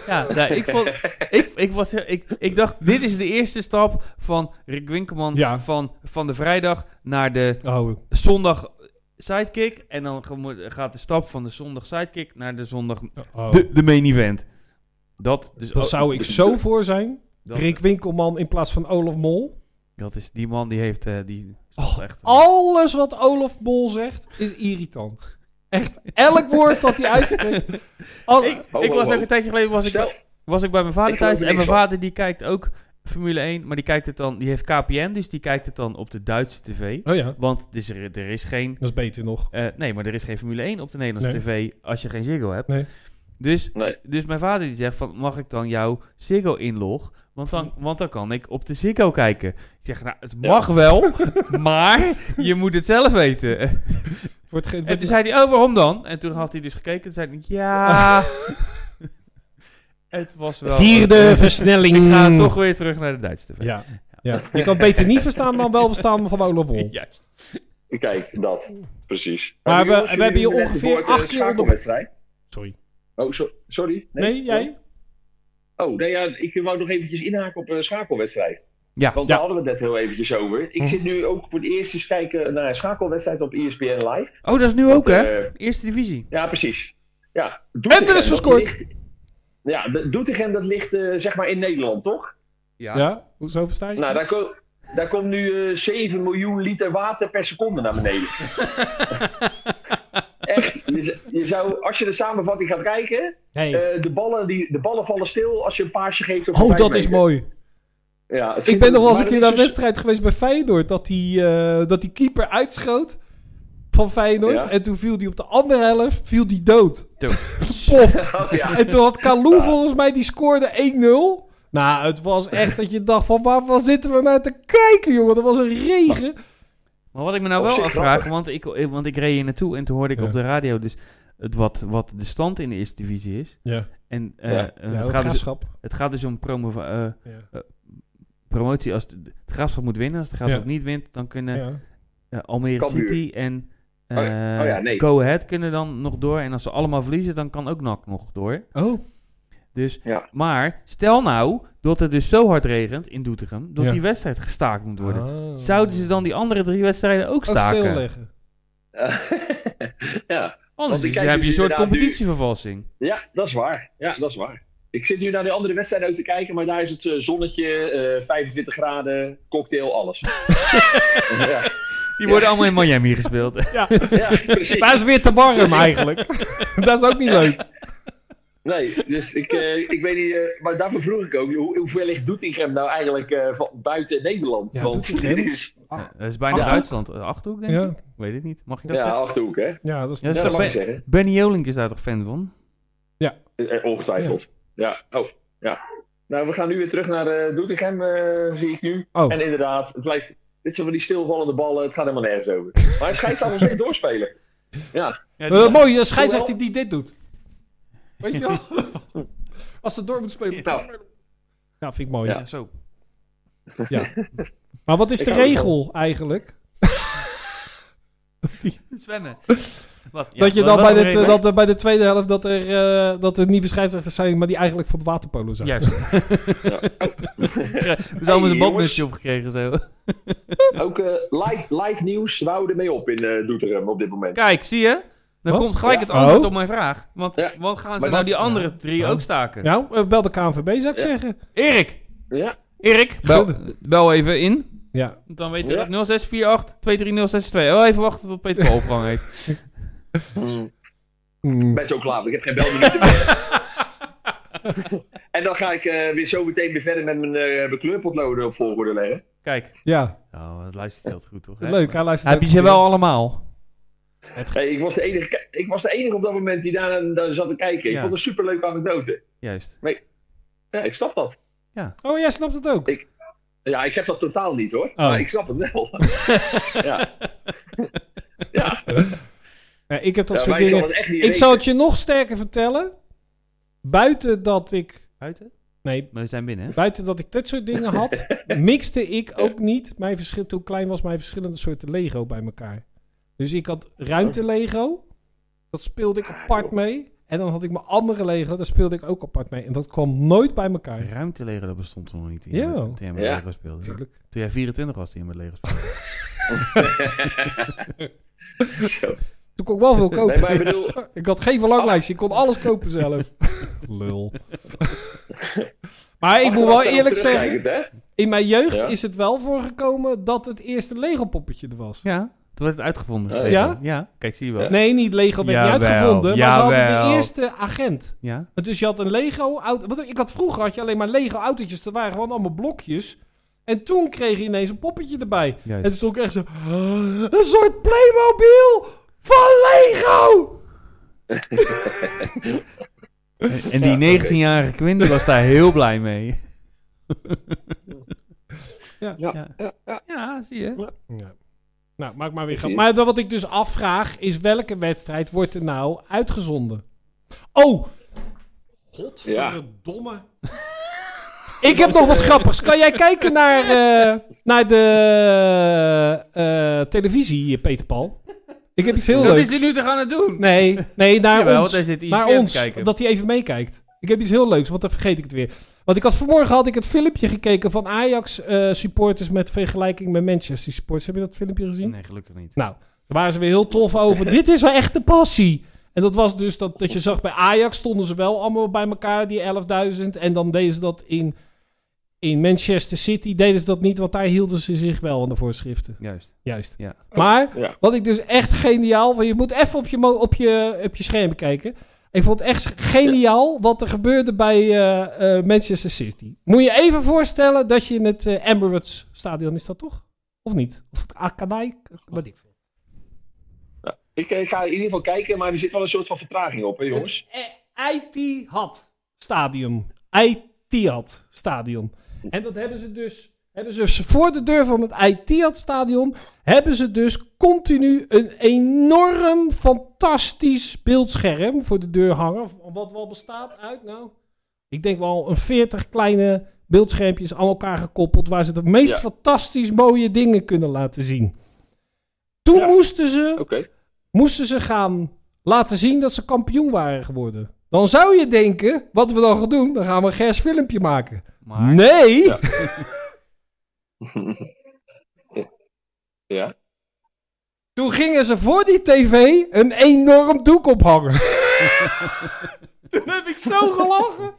A: Ja, nou, ik, vond, ik, ik, was, heel- ik, ik dacht, dit is de eerste stap van Rick Winkelman
B: Ja.
A: van, van de vrijdag naar de
B: Oh,
A: zondag sidekick. En dan gemo- gaat de stap van de zondag sidekick naar de zondag
B: oh.
A: main event. Dat, dus
B: Daar
A: ook-
B: zou ik zo voor zijn.
A: dat,
B: Rick Winkelman in plaats van Olaf Mol.
A: Dat is, die man die heeft, eh, die stond
B: Oh.
A: echt...
B: Alles wat Olaf Mol zegt is irritant. Echt, elk woord dat hij uitspreekt. [LAUGHS] Al-
A: ik,
F: Ho,
A: ik
F: ho,
A: was
F: ho.
A: ook een tijdje geleden was
F: Oh, Stel,
A: ik, was ik bij mijn vader
F: Ik geloof
A: thuis.
F: er
A: En mijn
F: niks van.
A: vader die kijkt ook Formule 1. Maar die kijkt het dan, die heeft KPN. Dus die kijkt het dan op de Duitse tv.
B: Oh ja,
A: Want dus er, er is geen...
B: dat is beter nog.
A: eh, nee, maar er is geen Formule 1 op de Nederlandse tv als je geen Ziggo hebt.
B: Nee.
A: Dus,
F: Nee.
A: dus mijn vader die zegt van, mag ik dan jouw Ziggo inlog? Want dan, want dan kan ik op de Ziggo kijken. Ik zeg, nou, het mag wel, maar je moet het zelf [LAUGHS] weten.
B: [LAUGHS] Wordt ge-
A: En toen zei hij, oh, waarom dan? En toen had hij dus gekeken en zei hij, ja... [LAUGHS] het was wel...
B: Vierde versnelling.
A: Ik ga toch weer terug naar de Duitse tv.
B: Ja, ja, [LAUGHS] je kan beter niet verstaan dan wel verstaan van Olaf Mol.
A: Juist.
F: Kijk, dat. Precies.
B: Maar we-
F: jongens,
B: we hebben
F: jullie
B: hier
F: net
B: ongeveer
F: het woord, eh,
B: acht keer
F: schakelwedstrijd.
B: [LAUGHS] Sorry.
F: Oh, so- sorry.
B: Nee, jij?
F: Oh, nee, ja, ik wou nog eventjes inhaken op een schakelwedstrijd.
A: Ja,
F: Want
B: ja. Hm.
F: daar hadden we het net heel eventjes over. Ik zit nu ook voor het eerst eens kijken naar een schakelwedstrijd op E ESPN Live.
A: Oh, dat is nu ook, hè?
F: Eh,
A: Eerste divisie.
F: ja, precies. Ja,
B: En er
F: Doetinchem,
B: is
F: dat
B: gescoord.
F: ligt- ja, de- Doetinchem, dat ligt eh, zeg maar in Nederland, toch?
A: Ja.
B: Ja, hoezo versta je?
F: Nou, daar, ko- daar komt nu eh, 7 miljoen liter water per seconde naar
B: [LAUGHS]
F: beneden. Echt, je, z- je zou, als je de samenvatting gaat kijken,
B: Nee.
F: Eh, de, ballen die, de ballen vallen stil als je een paasje geeft op
B: Oh,
F: vijf
B: dat is
F: meter.
B: mooi.
F: Ja, het
B: Ik ben nog wel eens een
F: maar
B: keer naar
F: dat
B: een
F: is dus-
B: wedstrijd geweest bij Feyenoord. Dat die, eh, dat die keeper uitschoot van Feyenoord.
F: Ja.
B: En toen viel die op de andere helft viel die dood.
A: Zo.
F: [LAUGHS]
B: Pof.
F: Oh, ja.
B: En toen had Kalou volgens mij, die scoorde 1-0. Nou, het was echt dat je dacht van, waar, waar zitten we naar te kijken, jongen? Dat was een regen.
A: Maar wat ik me nou
F: Op
A: wel
F: zich
A: afvraag,
F: grappig.
A: want ik, eh, want ik reed hier naartoe en toen hoorde ik
B: Ja.
A: op de radio dus het wat, wat de stand in de eerste divisie is.
B: Ja,
A: En eh,
F: Ja.
A: eh, het, gaat dus,
B: graafschap.
A: het gaat dus om promo, eh,
B: Ja.
A: promotie. Als de, de graafschap moet winnen, als de graafschap
B: Ja.
A: niet wint, dan kunnen
B: Ja.
A: eh, Almere
F: Cambuur.
A: City en eh
F: Oh ja, oh ja, nee.
A: Go Ahead kunnen dan nog door. En als ze allemaal verliezen, dan kan ook NAC nog door.
B: Oh.
A: Dus,
F: Ja.
A: Maar stel nou dat het dus zo hard regent in Doetinchem, dat
B: Ja.
A: die wedstrijd gestaakt moet worden.
B: Ah.
A: Zouden ze dan die andere drie wedstrijden ook
B: ook
A: staken?
B: stilleggen? [LAUGHS]
F: ja. [LAUGHS]
A: Anders
F: Want ik
A: is-
F: kijk
A: heb je
F: dus
A: een soort
F: inderdaad nu-
A: competitievervalsing.
F: ja, dat is waar. Ja, dat is waar. Ik zit nu naar die andere wedstrijd ook te kijken, maar daar is het eh, zonnetje, eh, 25 graden, cocktail,
B: [LAUGHS]
F: alles. ja,
A: Die worden allemaal in Miami
F: [LAUGHS]
A: gespeeld.
F: ja, precies.
B: Daar is weer te [LAUGHS] warm eigenlijk. dat is ook niet leuk.
F: Nee, dus ik, eh, ik weet niet, eh, maar daarvoor vroeg ik ook, hoe, hoeveel ligt Doetinchem nou eigenlijk eh, van buiten Nederland?
B: Ja,
F: Want
B: Doetinchem.
F: er is-
A: Eh, dat is bijna
B: Achthoek?
A: Duitsland. Eh, Achterhoek, denk
B: Ja.
A: ik? Weet het niet. Mag je dat
F: ja,
A: zeggen?
F: achterhoek, hè?
B: Ja, dat is
A: Ja,
F: Ja,
A: toch
F: dat mag je
A: fe-
F: zeggen.
A: Benny Jolink is daar toch fan van?
F: Eh, Ongetwijfeld. Ja. Oh, ja. Nou, we gaan nu weer terug naar eh Doetinchem, eh, zie ik nu.
B: Oh.
F: En inderdaad, het lijkt... Dit zijn van die stilvallende ballen, het gaat helemaal nergens over. Maar hij schijnt allemaal steeds doorspelen. Ja,
A: Ja, die-
B: Eh, mooi, een scheidsrechter die dit doet. Weet je wel? [LAUGHS] Als ze door moet spelen. moet
F: [LAUGHS] [LAUGHS] Nou.
B: ze spelen. Nou, vind ik mooi.
A: Ja, zo. [LAUGHS]
B: Maar wat is
F: Ik
B: de
F: hou
B: regel eigenlijk?
A: Zwemmen. Wat? Ja,
B: dat je
A: wat-
B: dan
A: wat
B: bij
A: voor
B: de,
A: reden?
B: dat, er bij de tweede helft dat er, eh, dat er nieuwe scheidsrechters zijn, maar die eigenlijk van het waterpolo zijn.
A: [LAUGHS] Juist. We zouden
F: Hey,
A: een badmutsje
F: jongens.
A: opgekregen zo.
F: ook eh, live, live nieuws. We houden ermee op in eh Doetinchem op dit moment.
A: Kijk, zie je? Dan
B: Wat?
A: komt gelijk
F: Ja.
A: het antwoord
B: Oh.
A: op mijn vraag. Want
F: Ja.
A: wat gaan ze
F: Maar
A: nou
F: dat-
A: die andere drie
B: Ja.
A: ook staken?
B: Nou, eh, bel de KNVB zou ik
F: Ja.
B: zeggen.
A: Erik!
F: Ja,
A: Erik, bel, bel even in.
B: Ja.
A: Dan weten
F: Ja.
A: we dat 0648 230662. Oh, even wachten tot Peter Paul opgang heeft.
F: Hmm. ik ben zo klaar. Ik heb geen belminuten meer. [LAUGHS] en dan ga ik eh, weer zo meteen weer verder met mijn, eh mijn kleurpotloden op volgorde leggen.
A: Kijk.
B: Ja,
A: Oh, het luistert heel goed, toch?
B: leuk. Hij luistert
A: Heb je
B: ook
A: ze
B: goed.
A: wel allemaal?
F: Hey, ik, was de enige, ik was de enige op dat moment die daar, daar zat te kijken. Ik
A: Ja.
F: vond het een superleuke anekdote.
A: Juist.
F: Ja, ik snap dat.
B: Oh, jij snapt het ook.
F: Ik- Ja, ik heb dat totaal niet hoor.
B: Oh.
F: Maar ik snap het
B: [LAUGHS]
F: wel. ja. ja.
B: Ja, ik heb dat
F: ja,
B: soort
F: maar ik
B: dingen.
F: zal het echt niet
B: Ik
F: weten.
B: zal het je nog sterker vertellen. Buiten dat ik.
A: Buiten?
B: Nee,
A: Maar we zijn binnen, hè?
B: buiten dat ik dit soort dingen
F: [LAUGHS]
B: had, mixte ik ook niet. Mijn verschil, toen ik klein was, mijn verschillende soorten Lego bij elkaar. Dus ik had
F: Oh.
B: ruimte Lego. Dat speelde ik
F: Ah,
B: apart mee. En dan had ik mijn andere Lego, daar speelde ik ook apart mee. En dat kwam nooit bij elkaar.
A: Ruimteleren, dat bestond toen nog niet. Toen
B: Ja.
A: jij- Toen jij met
F: Ja.
A: Lego speelde.
B: Natuurlijk.
A: Toen jij 24 was, toen je met Lego speelde.
F: [LAUGHS] [LAUGHS] Zo.
B: Toen kon ik wel veel
F: Nee,
B: kopen. Ah,
F: maar Ah. ik bedoel,
B: Ik had geen verlanglijstje, ik kon alles kopen
F: [LAUGHS]
B: zelf. Lul. maar ik moet wel
F: achteraf
B: eerlijk zeggen,
F: terugkijkend, hè?
B: in mijn jeugd
F: Ja.
B: is het wel voorgekomen dat het eerste Lego poppetje er was.
A: Ja, toen werd het uitgevonden.
F: Oh,
A: Lego.
B: ja?
A: Ja, kijk, zie je wel. Ja.
B: Nee, niet Lego werd niet
A: Jawel,
B: uitgevonden, maar ze hadden de
A: jawel.
B: eerste agent. Dus je had een Lego auto. Want ik had vroeger had je alleen maar Lego autootjes, dat waren gewoon allemaal blokjes. En toen kreeg je ineens een poppetje erbij. En
A: Juist.
B: toen stond ik echt zo, "Ah, een soort Playmobil van Lego!
A: En, en die 19-jarige Quinn die was daar heel blij mee.
B: [LAUGHS] [LAUGHS] Ja.
A: Ja. Ja, zie je.
B: Ja. Nou, maak maar weer
F: Ik
B: grap.
F: zie
B: Maar dat wat ik dus afvraag is welke wedstrijd wordt er nou uitgezonden? Oh! Godverdomme. [LAUGHS] ik heb nog wat grappigs. Kan jij kijken naar, eh, naar de eh, televisie, Peter Paul? Ik heb iets heel
A: Dat
B: leuks.
A: is hij nu te gaan het doen.
B: Nee, nee, naar
A: Jawel,
B: ons.
A: want hij zit ISPN
B: naar
A: te
B: ons,
A: kijken.
B: dat hij even meekijkt. Ik heb iets heel leuks, want dan vergeet ik het weer. Want ik had vanmorgen had ik het filmpje gekeken van Ajax eh, supporters met vergelijking met Manchester supporters. Heb je dat filmpje gezien?
A: Nee, gelukkig niet.
B: Nou, daar waren ze weer heel
A: [LAUGHS]
B: tof over. Dit is wel echt de passie. En dat was dus dat, dat je zag bij Ajax stonden ze wel allemaal bij elkaar, die 11.000. En dan deden ze dat in, in Manchester City, deden ze dat niet, want daar hielden ze zich wel aan de voorschriften.
A: Juist.
B: Juist.
A: Ja.
B: Maar
F: Ja.
B: wat ik dus echt geniaal want je moet even op je, mo- op je, op je scherm kijken. Ik vond het echt geniaal wat er gebeurde bij eh, eh, Manchester City. Moet je even voorstellen dat je in het eh, Emirates Stadion is dat toch? Of niet? Of het Akanai? Wat ik veel.
F: Ik eh, ga in ieder geval kijken, maar er zit wel een soort van vertraging op, hè jongens?
B: Etihad Stadion. Etihad Stadion. En dat hebben ze dus... Hebben ze voor de deur van het Etihad Stadion... hebben ze dus continu een enorm fantastisch beeldscherm... voor de deur hangen. Wat wel bestaat uit, nou... Ik denk wel een 40 kleine beeldschermpjes aan elkaar gekoppeld... waar ze de meest
F: Ja.
B: fantastisch mooie dingen kunnen laten zien. Toen
F: Ja.
B: moesten ze
F: Oké.
B: moesten ze gaan laten zien dat ze kampioen waren geworden. Dan zou je denken, wat we dan gaan doen, dan gaan we een Gers filmpje maken.
A: Maar...
B: Nee!
F: Ja. Ja.
B: Toen gingen ze voor die tv een enorm doek ophangen. [LAUGHS] Toen heb ik zo gelachen.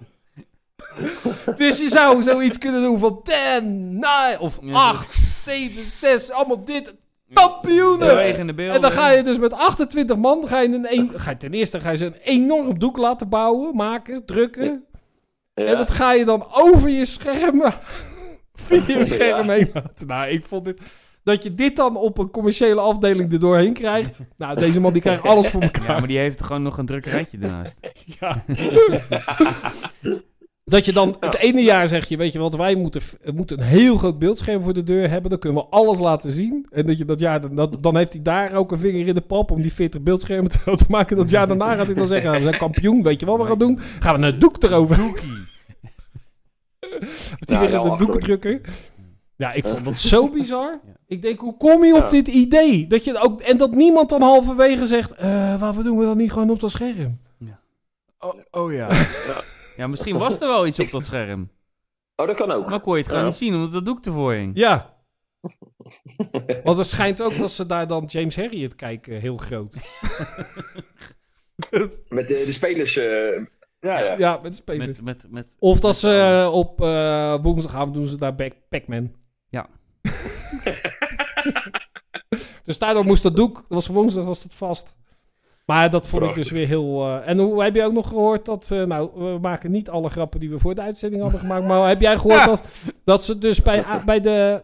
B: dus je zou zoiets kunnen doen van 10, 9 of
A: Ja,
B: 8, 7, 6, allemaal dit. Kampioenen!
A: Bewegende beelden.
B: En dan ga je dus met 28 man, ga je een, een- ga je ten eerste ga je ze een enorm doek laten bouwen, maken, drukken.
F: Ja.
B: En dat ga je dan over je schermen, [LAUGHS] videoscherm
F: [LAUGHS] Ja.
B: heen laten. Nou, ik vond dit... Dat je dit dan op een commerciële afdeling er doorheen krijgt. Nou, deze man die krijgt alles [LAUGHS] voor elkaar.
A: Ja, maar die heeft gewoon nog een druk rijtje daarnaast.
B: Ja. [LAUGHS] Dat je dan het ene jaar zeg je, weet je wat, wij moeten, f- we moeten een heel groot beeldscherm voor de deur hebben. Dan kunnen we alles laten zien. En dat je dat jaar, dan- dat, dan heeft hij daar ook een vinger in de pap om die 40 beeldschermen [LAUGHS] te, te maken. Dat jaar daarna gaat hij dan zeggen, nou, we zijn kampioen, weet je wat we gaan doen? Gaan we een doek erover.
A: Doekie.
B: Met die
F: Ja,
B: weer in
F: wel
B: de
F: achterlijk. Eh.
B: doekendrukker. Ja, ik vond dat
F: [LAUGHS]
B: zo bizar. Ik denk, hoe kom je op
F: Ja.
B: dit idee? Dat je ook, en dat niemand dan halverwege zegt, eh waarvoor doen we dat niet gewoon op dat scherm?
A: Oh, oh ja. Ja, misschien was er wel iets op dat scherm.
F: Oh, dat kan ook.
A: Maar kon je het gewoon
F: Ja.
A: niet zien, omdat dat doek ervoor hing.
B: Ja. Want het schijnt ook dat ze daar dan James Harriet kijken heel groot.
F: Met de, de spelers. eh, ja, ja.
B: Ja, met spelen.
A: Met, met, met,
B: Of dat ze eh, op eh, woensdagavond doen ze daar Pac- Pac-Man.
A: Ja.
B: [LAUGHS] dus daardoor moest dat doek, dat was woensdag, was dat vast. Maar dat vond ik
F: Prachtig.
B: dus weer heel... eh, en hoe heb je ook nog gehoord dat... eh, nou, we maken niet alle grappen die we voor de uitzending hadden gemaakt. Maar heb jij gehoord dat, dat ze dus bij, A- bij de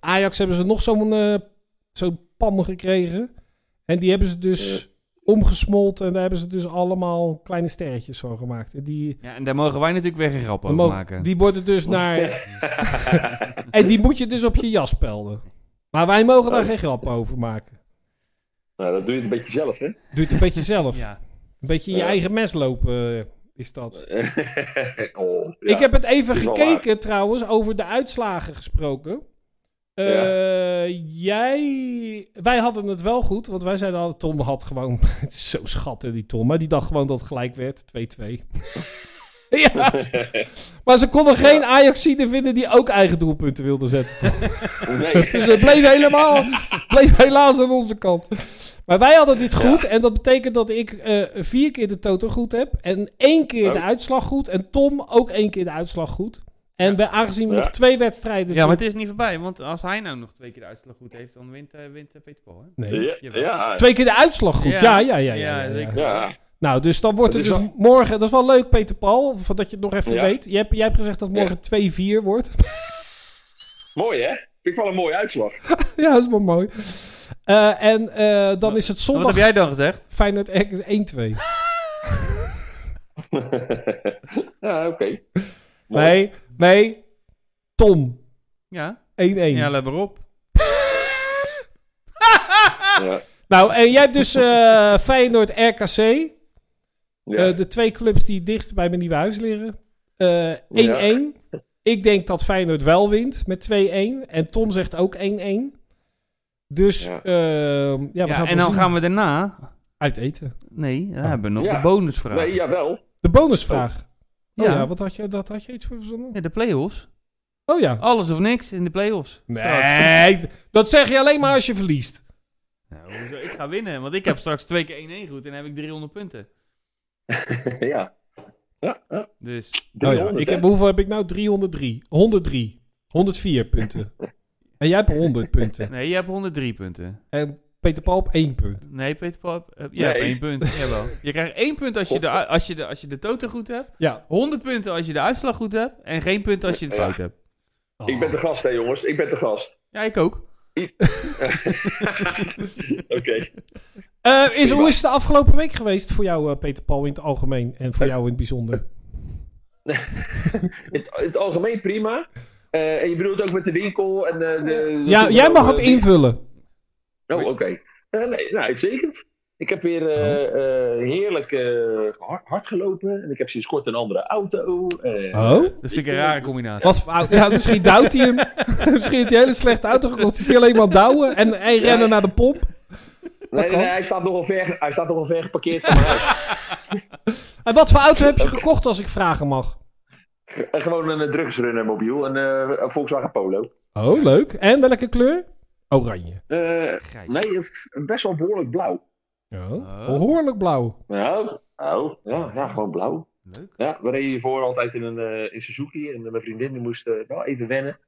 B: Ajax hebben ze nog zo'n eh, zo'n pan gekregen. En die hebben ze dus omgesmolten. En daar hebben ze dus allemaal kleine sterretjes van gemaakt. En die...
A: Ja, en daar mogen wij natuurlijk weer geen grap over
B: Mo-
A: maken.
B: [LAUGHS] Die worden dus
F: [LAUGHS]
B: naar. en die moet je dus op je jas spelden. Maar wij mogen daar
F: Oh.
B: geen grap over maken.
F: Nou, dat doe je het een beetje zelf, hè? [LAUGHS]
B: Doe het een beetje zelf.
A: [LAUGHS] Ja.
B: Een beetje in je
F: Ja.
B: eigen mes lopen eh, is dat.
F: oh,
B: Ik heb het even
F: is wel
B: gekeken trouwens, over de uitslagen gesproken. Eh, Jij, wij hadden het wel goed, want wij zeiden al, Tom had gewoon, [LAUGHS] het is zo schatten die Tom, maar die dacht gewoon dat het gelijk werd, 2-2. [LAUGHS]
F: [LAUGHS]
B: ja, maar ze konden geen Ajaxide vinden die ook eigen doelpunten wilde
F: [LAUGHS]
B: zetten. Tom.
F: Nee.
B: Dus [LAUGHS] het bleef
F: [LAUGHS]
B: helemaal, bleef helaas aan onze kant. Maar wij hadden dit goed en dat betekent dat ik eh, vier keer de toto goed heb en één keer de
F: Oh.
B: uitslag goed en Tom ook één keer de uitslag goed. En we, aangezien we
F: Ja.
B: nog twee wedstrijden...
A: Ja, maar het is niet voorbij, want als hij nou nog twee keer de uitslag goed heeft, dan wint, eh, wint eh, Peter Paul. Hè?
B: Nee.
F: Ja, ja,
B: Twee keer de uitslag goed, ja, ja, ja. ja, ja, ja.
A: zeker.
F: ja.
B: Nou, dus dan wordt het
F: Dat
B: dus
F: is
B: morgen... Dat is wel leuk, Peter Paul, voor dat je het nog even
F: Ja.
B: weet. Jij hebt, jij hebt gezegd dat morgen 2-4 wordt. [LAUGHS]
F: Mooi, hè? Vind ik wel een mooie uitslag. [LAUGHS]
B: ja, dat is wel mooi. Eh, en eh, dan is het
A: Maar Wat
B: zondag
A: heb jij dan gezegd?
B: Feyenoord ergens 1-2.
F: ja, oké. Mooi.
B: Nee, nee. Tom, 1-1.
A: Ja, ja let maar op.
F: Ja.
B: [LAUGHS] Nou, en jij hebt dus eh, Feyenoord RKC.
F: Ja.
B: Eh, de twee clubs die het dichtst bij mijn nieuwe huis liggen. Eh, 1-1. Ik denk dat Feyenoord wel wint met 2-1. En Tom zegt ook 1-1. Dus
F: Ja.
B: ehm, ja, we
A: Ja,
B: gaan
A: en dan gaan we daarna...
B: uit eten.
A: Nee,
B: Oh.
A: daar hebben we nog
F: Ja.
A: de bonusvraag.
F: nee, jawel. [LAUGHS]
B: De bonusvraag. Oh,
A: Ja.
B: ja. wat had je, dat had je iets voor verzonnen?
A: Ja, de play-offs.
B: Oh ja.
A: Alles of niks in de play-offs.
B: Nee, dat zeg je alleen maar als je verliest.
A: Nou, hoezo? ik ga winnen, want ik heb straks twee keer 1-1 goed en dan heb ik 300 punten.
F: ja. Ja, ja.
A: Dus,
B: Oh ja,
F: 300,
B: ik
F: hè?
B: heb, hoeveel heb ik nou? 303. 103. 104 punten. en jij hebt 100 punten.
A: nee, je hebt 103 punten.
B: En Peter Paul op 1 punt.
A: Nee, Peter Paul, eh, je
F: Nee.
A: hebt één punt. Jawel. Je krijgt één punt als je, de, als, je de, als je de toten goed hebt,
B: Ja.
A: 100 punten als je de uitslag goed hebt en geen punten als je het
F: Ja.
A: fout hebt.
F: Ik ben de gast, hè, jongens. Ik ben de gast.
A: Ja, ik ook.
F: Oké.
B: Eh, is, hoe is het de afgelopen week geweest voor jou, eh, Peter Paul, in het algemeen? En
F: Eh,
B: voor jou in het bijzonder?
F: In, het- in het algemeen prima. Eh, en je bedoelt ook met de winkel en eh, de... de-
B: Ja,
F: de-
B: jij mag
F: de-
B: het invullen.
F: Oh, oké. Eh, nee, nou, uitstekend. Ik heb weer
B: Oh.
F: eh, eh, heerlijk eh, hard, hard gelopen. En ik heb sinds kort een andere auto. Eh,
B: Oh?
A: Dat vind ik een rare combinatie.
B: Wat voor auto? Ja, misschien duwt hij hem. [LAUGHS] misschien heeft hij een hele slechte auto gekocht. Is hij alleen maar douwen en, en rennen naar de pomp?
F: Nee, nee,
B: kan.
F: nee, hij staat nogal ver, hij staat nogal ver geparkeerd
B: [LAUGHS]
F: van mijn huis.
B: En wat voor auto heb je gekocht, als ik vragen mag?
F: Eh, gewoon een eh, drugsrunner mobiel, een eh, Volkswagen Polo.
B: Oh, leuk. En welke kleur? Oranje.
F: Eh,
A: Grijs.
F: nee, eh, best wel behoorlijk blauw.
B: Oh.
A: Oh.
B: Behoorlijk blauw.
F: Nou, oh, ja, ja, gewoon blauw.
A: Leuk.
F: Ja, we reden hiervoor altijd in een eh, in Suzuki. En mijn vriendin die moest eh, wel even wennen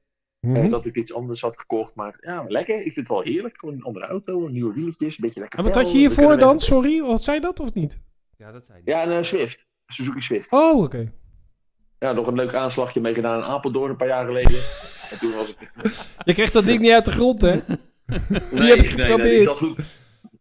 F: eh,
B: Mhm.
F: dat ik iets anders had gekocht. Maar ja, lekker. Ik vind het wel heerlijk. Gewoon een andere auto, nieuwe wieltjes, een beetje lekker
B: En wat
F: vel.
B: had je
F: We
B: hiervoor
F: kunnen
B: dan?
F: met-
B: Sorry, wat zei dat of niet?
A: Ja, dat zei hij.
F: Ja, een eh, Swift. Suzuki Swift.
B: Oh, oké.
F: Ja, nog een leuk aanslagje mee gedaan in Apeldoorn een paar jaar geleden. [LAUGHS] en toen was ik
B: Je kreeg dat ding niet uit de grond, hè?
F: Nee,
B: heb ik
F: nee, nee,
B: geprobeerd.
F: die, zat goed,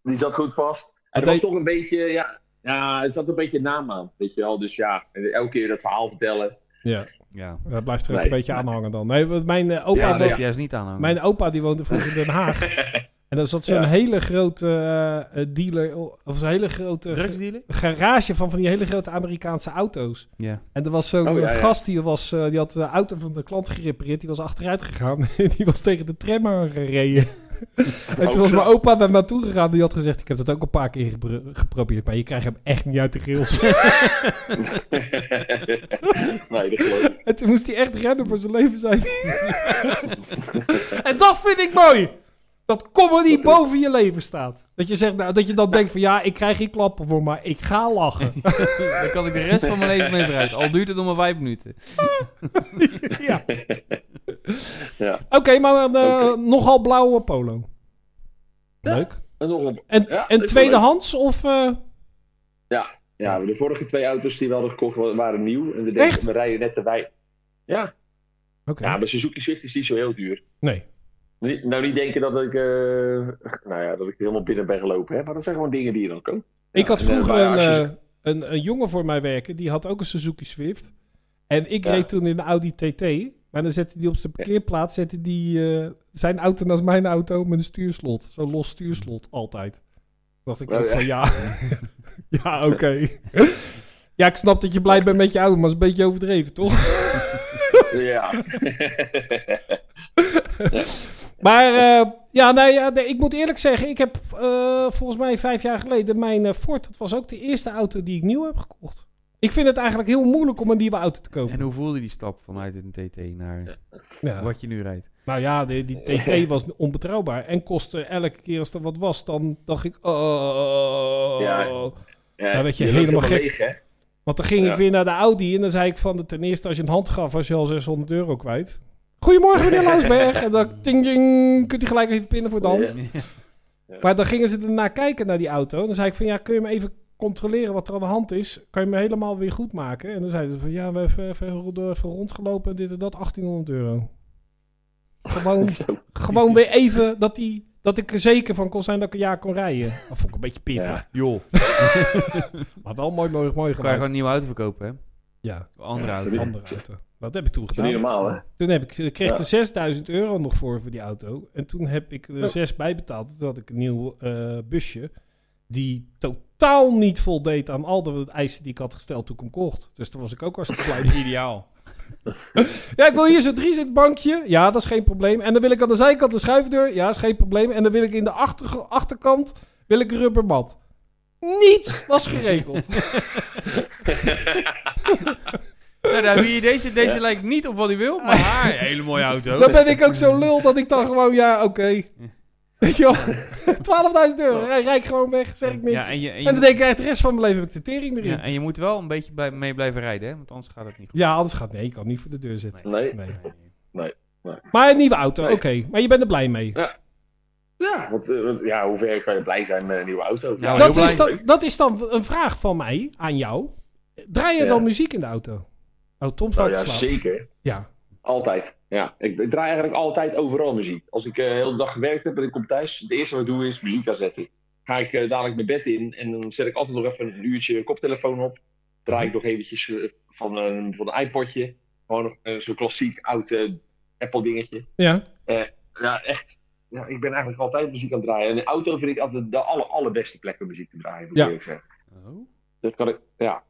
F: die zat goed vast.
B: Het
F: Het was
B: heet-
F: toch een beetje, ja, Ja, het zat een beetje naam aan, weet je wel. Dus ja, elke keer dat verhaal vertellen.
B: [LAUGHS]
F: [LAUGHS]
B: Ja,
A: Ja.
B: dat blijft er ook
F: Nee.
B: een beetje aanhangen dan. Nee, want mijn eh, opa,
F: Ja,
A: Ja,
F: nee,
B: woonde-
A: dat
F: ja.
A: juist niet aan.
B: mijn opa die woonde vroeger in Den Haag.
F: [LAUGHS]
B: en daar zat zo'n
F: Ja.
B: hele grote eh, eh, dealer, of zo'n hele grote ge-
A: drugsdealer?
B: garage van van die hele grote Amerikaanse auto's.
A: [LAUGHS] Ja.
B: En er was zo'n
F: Oh, ja,
B: eh,
F: ja.
B: gast die, was, eh, die had de auto van de klant gerepareerd. Die was achteruit gegaan. [LAUGHS] en die was tegen de tram aan
F: [LAUGHS]
B: gereden. en
F: Oh,
B: toen was mijn opa daar naartoe gegaan. Die had gezegd: Ik heb dat ook een paar keer gebru- geprobeerd. Maar je krijgt hem echt niet uit de
F: [LAUGHS]
B: rails.
F: nee, dat geloof ik.
B: en toen moest hij echt rennen voor zijn leven zijn. [LAUGHS] en dat vind ik mooi. Dat comedy boven je leven staat. Dat je, zegt, nou, dat je dan denkt van ja, ik krijg geen klappen voor, maar ik ga
F: [LAUGHS]
B: lachen.
A: Daar kan ik de rest van mijn leven mee vooruit. Al duurt het nog maar vijf minuten.
B: ja.
F: Ja.
B: Oké, maar eh,
F: Oké.
B: nogal blauwe polo.
F: Ja.
B: Leuk.
F: [LAUGHS] En nog op.
B: En,
F: Ja,
B: en
F: ik
B: tweedehands of... eh,
F: Ja, de vorige twee auto's die we hadden gekocht wa- waren nieuw. En we,
B: Echt?
F: denken, we rijden net te wij. Ja,
B: Oké.
F: ja, maar Suzuki Swift is niet zo heel duur.
B: Nee.
F: Niet- Nou, niet denken dat ik, eh, nou ja, dat ik helemaal binnen ben gelopen. Hè? Maar dat zijn gewoon dingen die je dan koopt.
B: ik
F: Ja,
B: had
F: en, eh,
B: vroeger
F: maar
B: een,
F: als je-
B: eh, een, een jongen voor mij werken. Die had ook een Suzuki Swift. En ik
F: Ja.
B: reed toen in de Audi TT. Maar dan zette die op zijn parkeerplaats... Zette die, eh, zijn auto naast mijn auto met een stuurslot. Zo'n los stuurslot, altijd. Toen dacht ik
F: Oh,
B: ook
F: ja.
B: van
F: [LAUGHS]
B: ja... [LAUGHS] ja, oké. [LAUGHS] ja, ik snap dat je blij bent met je auto... maar het is een beetje overdreven, toch?
F: [LAUGHS] [LAUGHS] Ja. [LAUGHS]
B: Maar eh, ja, nou ja, nee, ik moet eerlijk zeggen, ik heb eh, volgens mij vijf jaar geleden mijn eh, Ford. Dat was ook de eerste auto die ik nieuw heb gekocht. Ik vind het eigenlijk heel moeilijk om een nieuwe auto te kopen.
A: En hoe voelde die stap vanuit een TT naar
B: Ja.
A: wat je nu rijdt?
B: Nou ja, die, die TT was onbetrouwbaar en kostte elke keer als er wat was, dan dacht ik, oh.
F: Ja. ja
B: Nou, weet je,
F: loopt
B: helemaal
F: helemaal
B: gek.
F: leeg, hè?
B: Want dan ging
F: Ja.
B: ik weer naar de Audi en dan zei ik van, ten eerste als je een hand gaf, was je al 600 euro kwijt. Goedemorgen meneer Lausberg. En dan ding ding, kunt u gelijk even pinnen voor de hand. Maar dan gingen ze ernaar kijken naar die auto. En dan zei ik van ja, kun je me even controleren wat er aan de hand is? Kan je me helemaal weer goed maken? En dan zeiden ze van ja, we hebben even, even, even rondgelopen, dit en dat, 1800 euro.
F: [LAUGHS]
B: Gewoon,
F: Zo.
B: gewoon weer even dat, die, dat ik er zeker van kon zijn dat ik een jaar kon rijden. Dat vond ik een beetje pittig.
F: Ja.
A: [LAUGHS] Joh,
B: Maar wel mooi, mooi, mooi
A: kan je gewoon
B: gemaakt.
A: een nieuwe auto verkopen, hè?
B: Ja,
A: Een Andere
F: Ja,
A: auto.
F: sorry.
B: andere auto. Dat heb ik toen
F: Dat is niet
B: gedaan.
F: normaal, hè?
B: Toen heb ik, ik kreeg
F: Ja.
B: er 6000 euro nog voor voor die auto. En toen heb ik er
F: Oh.
B: 6 bij betaald. Toen had ik een nieuw eh, busje. Die totaal niet voldeed aan al de eisen die ik had gesteld toen ik hem kocht. Dus toen was ik ook hartstikke blij.
A: Ideaal.
B: ja, ik wil hier zo'n driezit bankje. Ja, dat is geen probleem. En dan wil ik aan de zijkant een schuifdeur. Ja, is geen probleem. En dan wil ik in de achter, achterkant wil ik een rubbermat. Niets was geregeld.
A: Nou, daar
F: [LAUGHS]
A: heb je deze. Deze lijkt niet op wat hij wil, maar haar. Hele mooie auto.
B: dan ben ik ook zo'n lul dat ik dan gewoon, ja,
A: [LAUGHS]
B: oké. Weet je wel? [LAUGHS] 12.000 euro. Rij, rij ik gewoon weg, zeg ik niks.
A: Oh. Ja, en je, en je,
B: En dan denk ik, echt, de rest van mijn leven heb ik de tering erin.
A: ja,
B: Ja,
A: en je moet wel een beetje blij- mee blijven rijden, hè? Want anders gaat het niet goed.
B: anders gaat nee, ik kan niet voor de deur zitten.
F: Nee.
B: Nee.
A: Nee.
B: Maar een nieuwe auto, oké.
F: Nee.
B: Maar je bent er blij mee.
F: [LAUGHS] Ja, want, eh, want ja, hoe ver kan je blij zijn met een nieuwe auto?
A: Nou,
B: dat,
A: heel
B: is
A: blij.
B: dan, dat is dan een vraag van mij aan jou. Draai je
F: Ja.
B: dan muziek in de auto? Oh, Tom
F: Nou
B: staat
F: ja,
B: te slapen.
F: zeker.
B: Ja.
F: Altijd. Ja, ik, ik draai eigenlijk altijd overal muziek. Als ik eh, de hele dag gewerkt heb en ik kom thuis, het eerste wat ik doe is muziek aanzetten. Ga ik eh, dadelijk mijn bed in en dan zet ik altijd nog even een uurtje koptelefoon op. Draai ik nog eventjes eh, van, een van een iPodje. Gewoon nog eh, zo'n klassiek oud eh, Apple dingetje.
B: Ja.
F: Ja, echt. Ja, ik ben eigenlijk altijd muziek aan het draaien. En de auto vind ik altijd de aller, allerbeste plek om muziek te draaien, moet
B: Ja.
F: ik eerlijk zeggen.
A: Oh.
F: Dat kan ik, ja.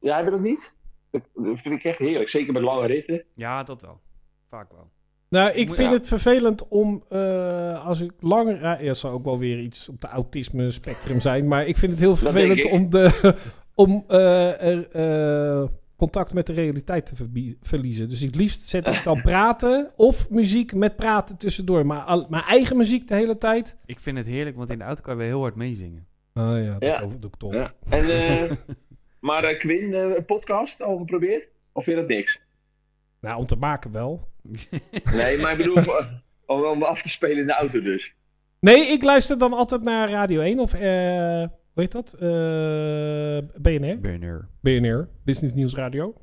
F: Ja, heb je dat niet? Dat dat vind ik echt heerlijk. Zeker met lange ritten.
A: Ja, dat wel. Vaak wel.
B: Nou, ik
A: Ja.
B: vind het vervelend om eh, als ik langer rij. Ja, het zou ook wel weer iets op de autisme spectrum zijn. Maar ik vind het heel
F: denk
B: vervelend
F: ik.
B: om, de, [LAUGHS] om eh, er, eh, contact met de realiteit te verbie- verliezen. Dus het liefst zet ik
F: [LAUGHS]
B: dan praten of muziek met praten tussendoor. Maar al- mijn eigen muziek de hele tijd.
A: Ik vind het heerlijk, want in de auto kan je weer heel hard meezingen.
B: Ah ja, dat
F: Ja.
B: over doe ik toch.
F: Ja. En, eh, [LAUGHS] maar eh, Quinn, eh, podcast al geprobeerd? Of vind je dat niks?
B: Nou, om te maken wel.
F: Nee, maar ik bedoel, eh, om, om af te spelen in de auto dus.
B: Nee, ik luister dan altijd naar Radio 1 of eh, hoe heet dat? Eh, BNR.
A: Burner.
B: BNR, Business Nieuws Radio.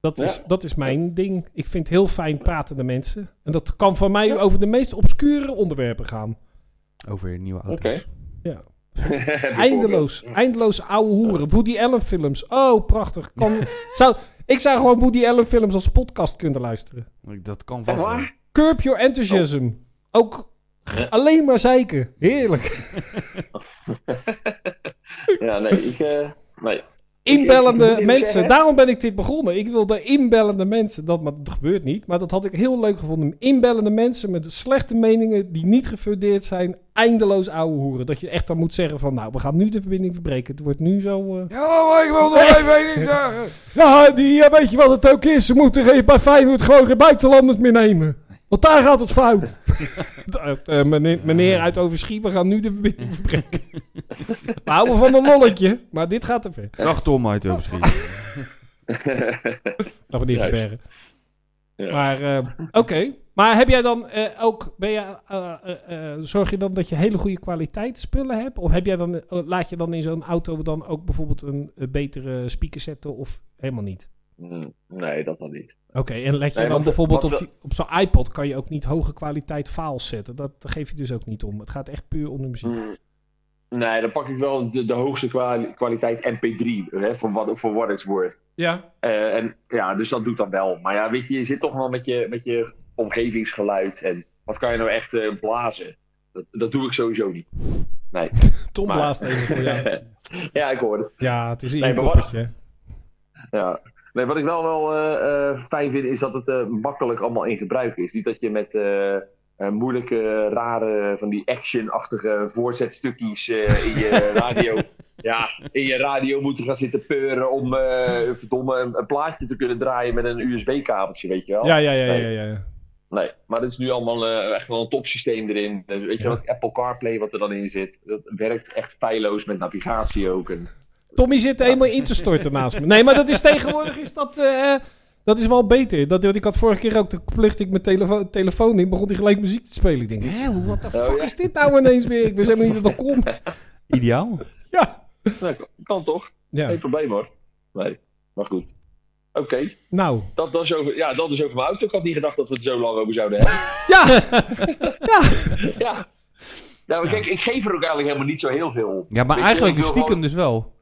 B: Dat is,
F: Ja.
B: dat is mijn ding. Ik vind heel fijn pratende mensen. En dat kan van mij over de meest obscure onderwerpen gaan.
A: Over nieuwe auto's.
F: [LAUGHS] Oké.
B: Ja. Eindeloos. Eindeloos ouwe hoeren. Woody Allen films. Oh, prachtig. Kan, [LAUGHS] zou, ik zou gewoon Woody Allen films als podcast kunnen luisteren.
A: Dat kan
F: Echt
A: vast.
F: waar?
A: wel.
B: Curb Your
F: Oh.
B: Enthusiasm. Ook g- alleen maar zeiken. Heerlijk.
F: Ja, nee, ik... eh, nee. [LAUGHS] Ik- ik
B: Inbellende
F: moet
B: mensen.
F: zeggen-
B: Daarom ben ik dit begonnen. Ik wilde inbellende mensen. Dat, maar dat gebeurt niet. Maar dat had ik heel leuk gevonden. Inbellende mensen met slechte meningen die niet gefundeerd zijn. Eindeloos ouwe hoeren. Dat je echt dan moet zeggen van... Nou, we gaan nu de verbinding verbreken. Het wordt nu zo... eh,
A: Ja, maar ik wil nog even één ding zeggen.
B: Ja, die, ja, weet je wat het ook is? Ze moeten geen- bij Feyenoord gewoon geen buitenlanders meer nemen. Want daar gaat het fout. [LAUGHS] Eh, eh, meneer, meneer uit Overschie, we gaan nu de verbinding verbreken. [LAUGHS] We houden van een lolletje, maar dit gaat te ver.
A: Dag Tom uit
F: [LAUGHS]
A: Overschiet.
B: Dat we niet
F: Juist.
B: verbergen.
F: Ja.
B: Maar, eh, oké. Maar heb jij dan eh, ook, ben jij, eh, eh, eh, zorg je dan dat je hele goede kwaliteit spullen hebt? Of heb jij dan, eh, laat je dan in zo'n auto dan ook bijvoorbeeld een, eh, betere speaker zetten of helemaal niet?
F: Mm, Nee, dat dan niet.
B: Oké, en let je
F: Nee,
B: dan
F: want de-
B: bijvoorbeeld
F: want eh,
B: op,
F: we-
B: die- op zo'n iPod kan je ook niet hoge kwaliteit files zetten. Dat, daar geef je dus ook niet om. Het gaat echt puur om de muziek.
F: Mm, Nee, dan pak ik wel de, de hoogste kwa- kwaliteit MP3, hè, voor, wat, voor what it's worth.
B: Ja.
F: Eh, en ja, dus dat doet dan wel. Maar ja, weet je, je zit toch wel met je, met je omgevingsgeluid. En wat kan je nou echt eh, blazen? Dat, dat doe ik sowieso niet. Nee.
B: Tom
F: Maar-
B: blaast even voor
F: [LAUGHS]
B: jou.
F: ja, ik hoor het.
B: Ja, het is in
F: Nee,
B: je
F: maar wat-
B: koppertje. hè.
F: Ja. Nee, wat ik wel wel eh, eh, fijn vind, is dat het eh, makkelijk allemaal in gebruik is. Niet dat je met eh, eh, moeilijke, rare, van die action-achtige voorzetstukjes eh, in
B: [LAUGHS]
F: je radio... Ja, in je radio moet gaan zitten peuren om eh, verdomme een, een plaatje te kunnen draaien met een USB-kabeltje, weet je wel.
B: Ja, ja, ja, ja,
F: Nee.
B: ja. ja.
F: Nee, maar dat is nu allemaal eh, echt wel een topsysteem erin. Dus weet je
B: Ja.
F: wat, Apple CarPlay wat er dan in zit, dat werkt echt feilloos met navigatie ook. En,
B: Tommy zit er helemaal in te storten naast me. Nee, maar dat is tegenwoordig is dat, eh, dat is wel beter. Dat, want ik had vorige keer ook, toen plugde ik mijn telefo- telefoon in, begon hij gelijk muziek te spelen. Ik denk, hè, hoe- what the
F: Oh,
B: fuck
F: ja.
B: is dit nou ineens weer? Ik wist helemaal niet dat dat kon.
A: Ideaal.
B: [LAUGHS] Ja.
F: nou, kan- kan toch?
B: ja.
F: Geen probleem hoor. Nee, maar goed. Oké,
B: Nou,
F: dat, dat, is over- ja, dat is over mijn auto. Ik had niet gedacht dat we het zo lang over
B: [LAUGHS]
F: zouden hebben.
B: ja.
F: ja. Nou, maar kijk, ik geef er ook eigenlijk helemaal niet zo heel veel op.
A: Ja, maar
F: Weet je,
A: eigenlijk
F: ik wil
A: stiekem
F: gewoon-
A: dus wel.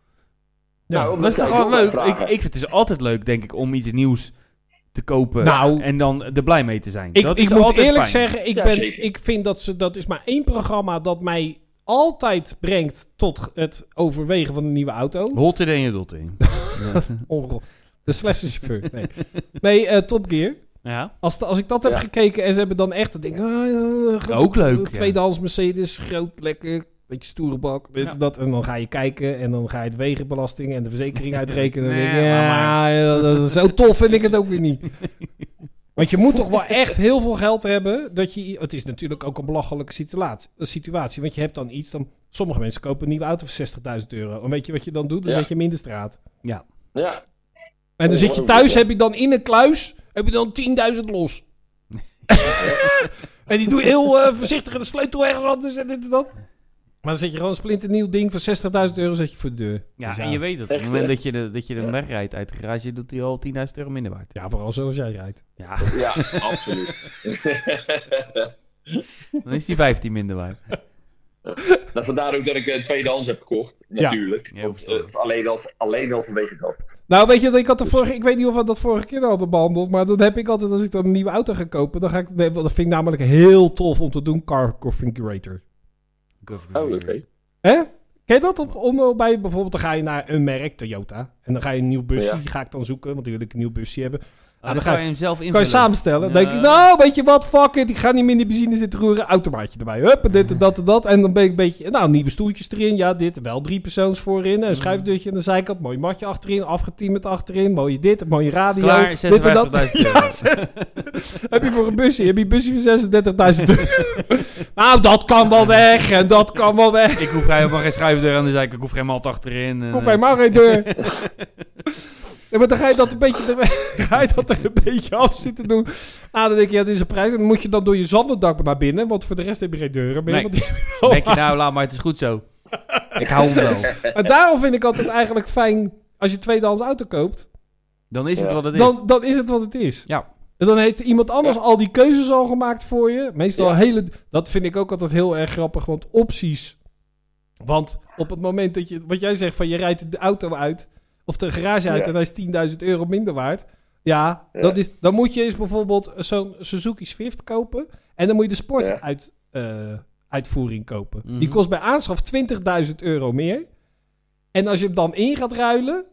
B: Ja,
F: omdat
A: Dat is
F: jij
A: toch wel
F: door
A: leuk?
F: blijft
A: Ik,
F: vragen.
A: ik vind het is altijd leuk, denk ik, om iets nieuws te kopen.
B: Nou.
A: en dan er blij mee te zijn.
B: Ik,
A: dat
B: ik
A: is
B: moet
A: altijd
B: eerlijk
A: fijn.
B: zeggen, ik,
F: Ja,
B: ben,
F: zeker.
B: ik vind dat ze, dat is maar één programma dat mij altijd brengt tot het overwegen van een nieuwe auto.
A: Holt in en je dot
B: [LAUGHS]
A: in.
B: Onro- De slechtste chauffeur. Nee, nee eh, Top Gear.
A: Ja.
B: Als, de- als ik dat heb
F: Ja.
B: gekeken en ze hebben dan echt, dan denk ik, ah, ja, groot- eh,
A: Ook leuk, ja.
B: Tweedehands Mercedes, groot, lekker, beetje stoere bak, dit
A: Ja.
B: en dat. En dan ga je kijken en dan ga je het wegenbelasting en de
A: [LAUGHS]
B: verzekering uitrekenen. En dan denk je,
A: Nee,
B: ja,
A: maar-
B: ja, dat is zo tof vind ik het ook weer
A: [LAUGHS]
B: niet. Want je moet toch wel echt heel veel geld hebben. Dat je, het is natuurlijk ook een belachelijke situatie, situatie. Want je hebt dan iets. Dan, sommige mensen kopen een nieuwe auto voor 60.000 euro. En weet je wat je dan doet? Dan
F: Ja.
B: zet je hem in de straat.
F: Ja,
B: En dan
F: Oh,
B: zit je
F: oh,
B: thuis,
F: ja.
B: heb je dan in een kluis, heb je dan 10.000
F: [LAUGHS]
B: los. en die doe je heel eh, voorzichtig en de sleutel ergens anders en dit en dat. Maar dan zet je gewoon een splinternieuw ding van 60.000 euro zet je voor de deur.
A: Ja,
B: Dus
A: en je weet dat. Op het
F: Echt,
A: moment
F: hè?
A: dat je, de, dat je hem wegrijdt uit de garage, doet hij al 10.000 euro minder waard.
B: Ja, vooral zoals jij rijdt.
A: Ja,
F: ja [LAUGHS] absoluut. [LAUGHS]
A: dan is die 15 minder
B: [LAUGHS]
A: waard.
F: nou, vandaar ook dat ik eh, tweedehands heb gekocht,
B: Ja.
F: natuurlijk.
A: Ja,
F: Want,
A: verstandig.
F: eh, alleen, al, alleen al vanwege dat.
B: Nou, weet je, dat ik had de vorige, ik weet niet of we dat vorige keer hadden behandeld, maar dan heb ik altijd, als ik dan een nieuwe auto ga kopen, dan ga ik, nee, want dat vind ik namelijk heel tof om te doen, car configurator.
F: Oh, oké.
B: Ah, Hè? Ken je dat? Op, om, eh, bij, bijvoorbeeld, dan ga je naar een merk, Toyota, en dan ga je een nieuw busje,
F: Ja.
B: die ga ik dan zoeken, want die wil ik een nieuw busje hebben.
A: Ah,
B: dan
A: dan
B: ga
A: ga
B: je-
A: je hem zelf invullen.
B: Kan je samenstellen? Dan denk ik,
A: Ja.
B: nou, weet je wat, fuck it. Ik ga niet meer in die benzine zitten roeren. Automaatje erbij. Hup, en dit
A: Mhm.
B: en dat en dat. En dan ben ik een beetje, nou, nieuwe stoeltjes erin. Ja, dit. Wel drie persoons voorin.
A: Mhm.
B: Een schuifdeurtje aan de zijkant. Mooi matje achterin. Afgetimmerd achterin. Mooie dit. Mooie radio.
A: Klaar,
B: dit en dat.
A: 56.000 euro.
B: [LAUGHS] Ja, ze-
A: [LAUGHS]
B: [LAUGHS] heb je voor een busje? Heb je een busje voor 36.000 euro? [LAUGHS] nou, dat kan wel weg. En dat kan wel weg.
A: Ik hoef helemaal geen schuifdeur aan de zijkant. Ik hoef geen mat achterin. en,
B: Komt
A: eh,
B: helemaal geen deur. Ja, maar dan ga je dat een beetje, dan [LAUGHS] ga je dat er een beetje af zitten doen. Ah, dan denk je, ja, dit is een prijs. En dan moet je dan door je zandendak naar binnen. Want voor de rest heb je geen deuren meer.
A: Nee.
B: want die-
A: [LAUGHS] Denk je nou, laat maar, het is goed zo. Ik hou hem wel.
B: Maar daarom vind ik altijd eigenlijk fijn... Als je tweedehands auto koopt,
A: Dan is het
F: Ja.
A: wat het is.
B: dan, dan is het wat het is.
A: Ja.
B: En dan heeft iemand anders al die keuzes al gemaakt voor je. Meestal
F: Ja.
B: hele... Dat vind ik ook altijd heel erg grappig. Want opties Want op het moment dat je, wat jij zegt, van je rijdt de auto uit of de garage uit
F: Ja.
B: en hij is 10.000 euro minder waard. Ja,
F: Ja.
B: Dat is, dan moet je eens bijvoorbeeld zo'n Suzuki Swift kopen en dan moet je de sport
F: Ja.
B: uit, eh, uitvoering kopen.
A: Mhm.
B: Die kost bij aanschaf 20.000 euro meer. En als je hem dan in gaat ruilen,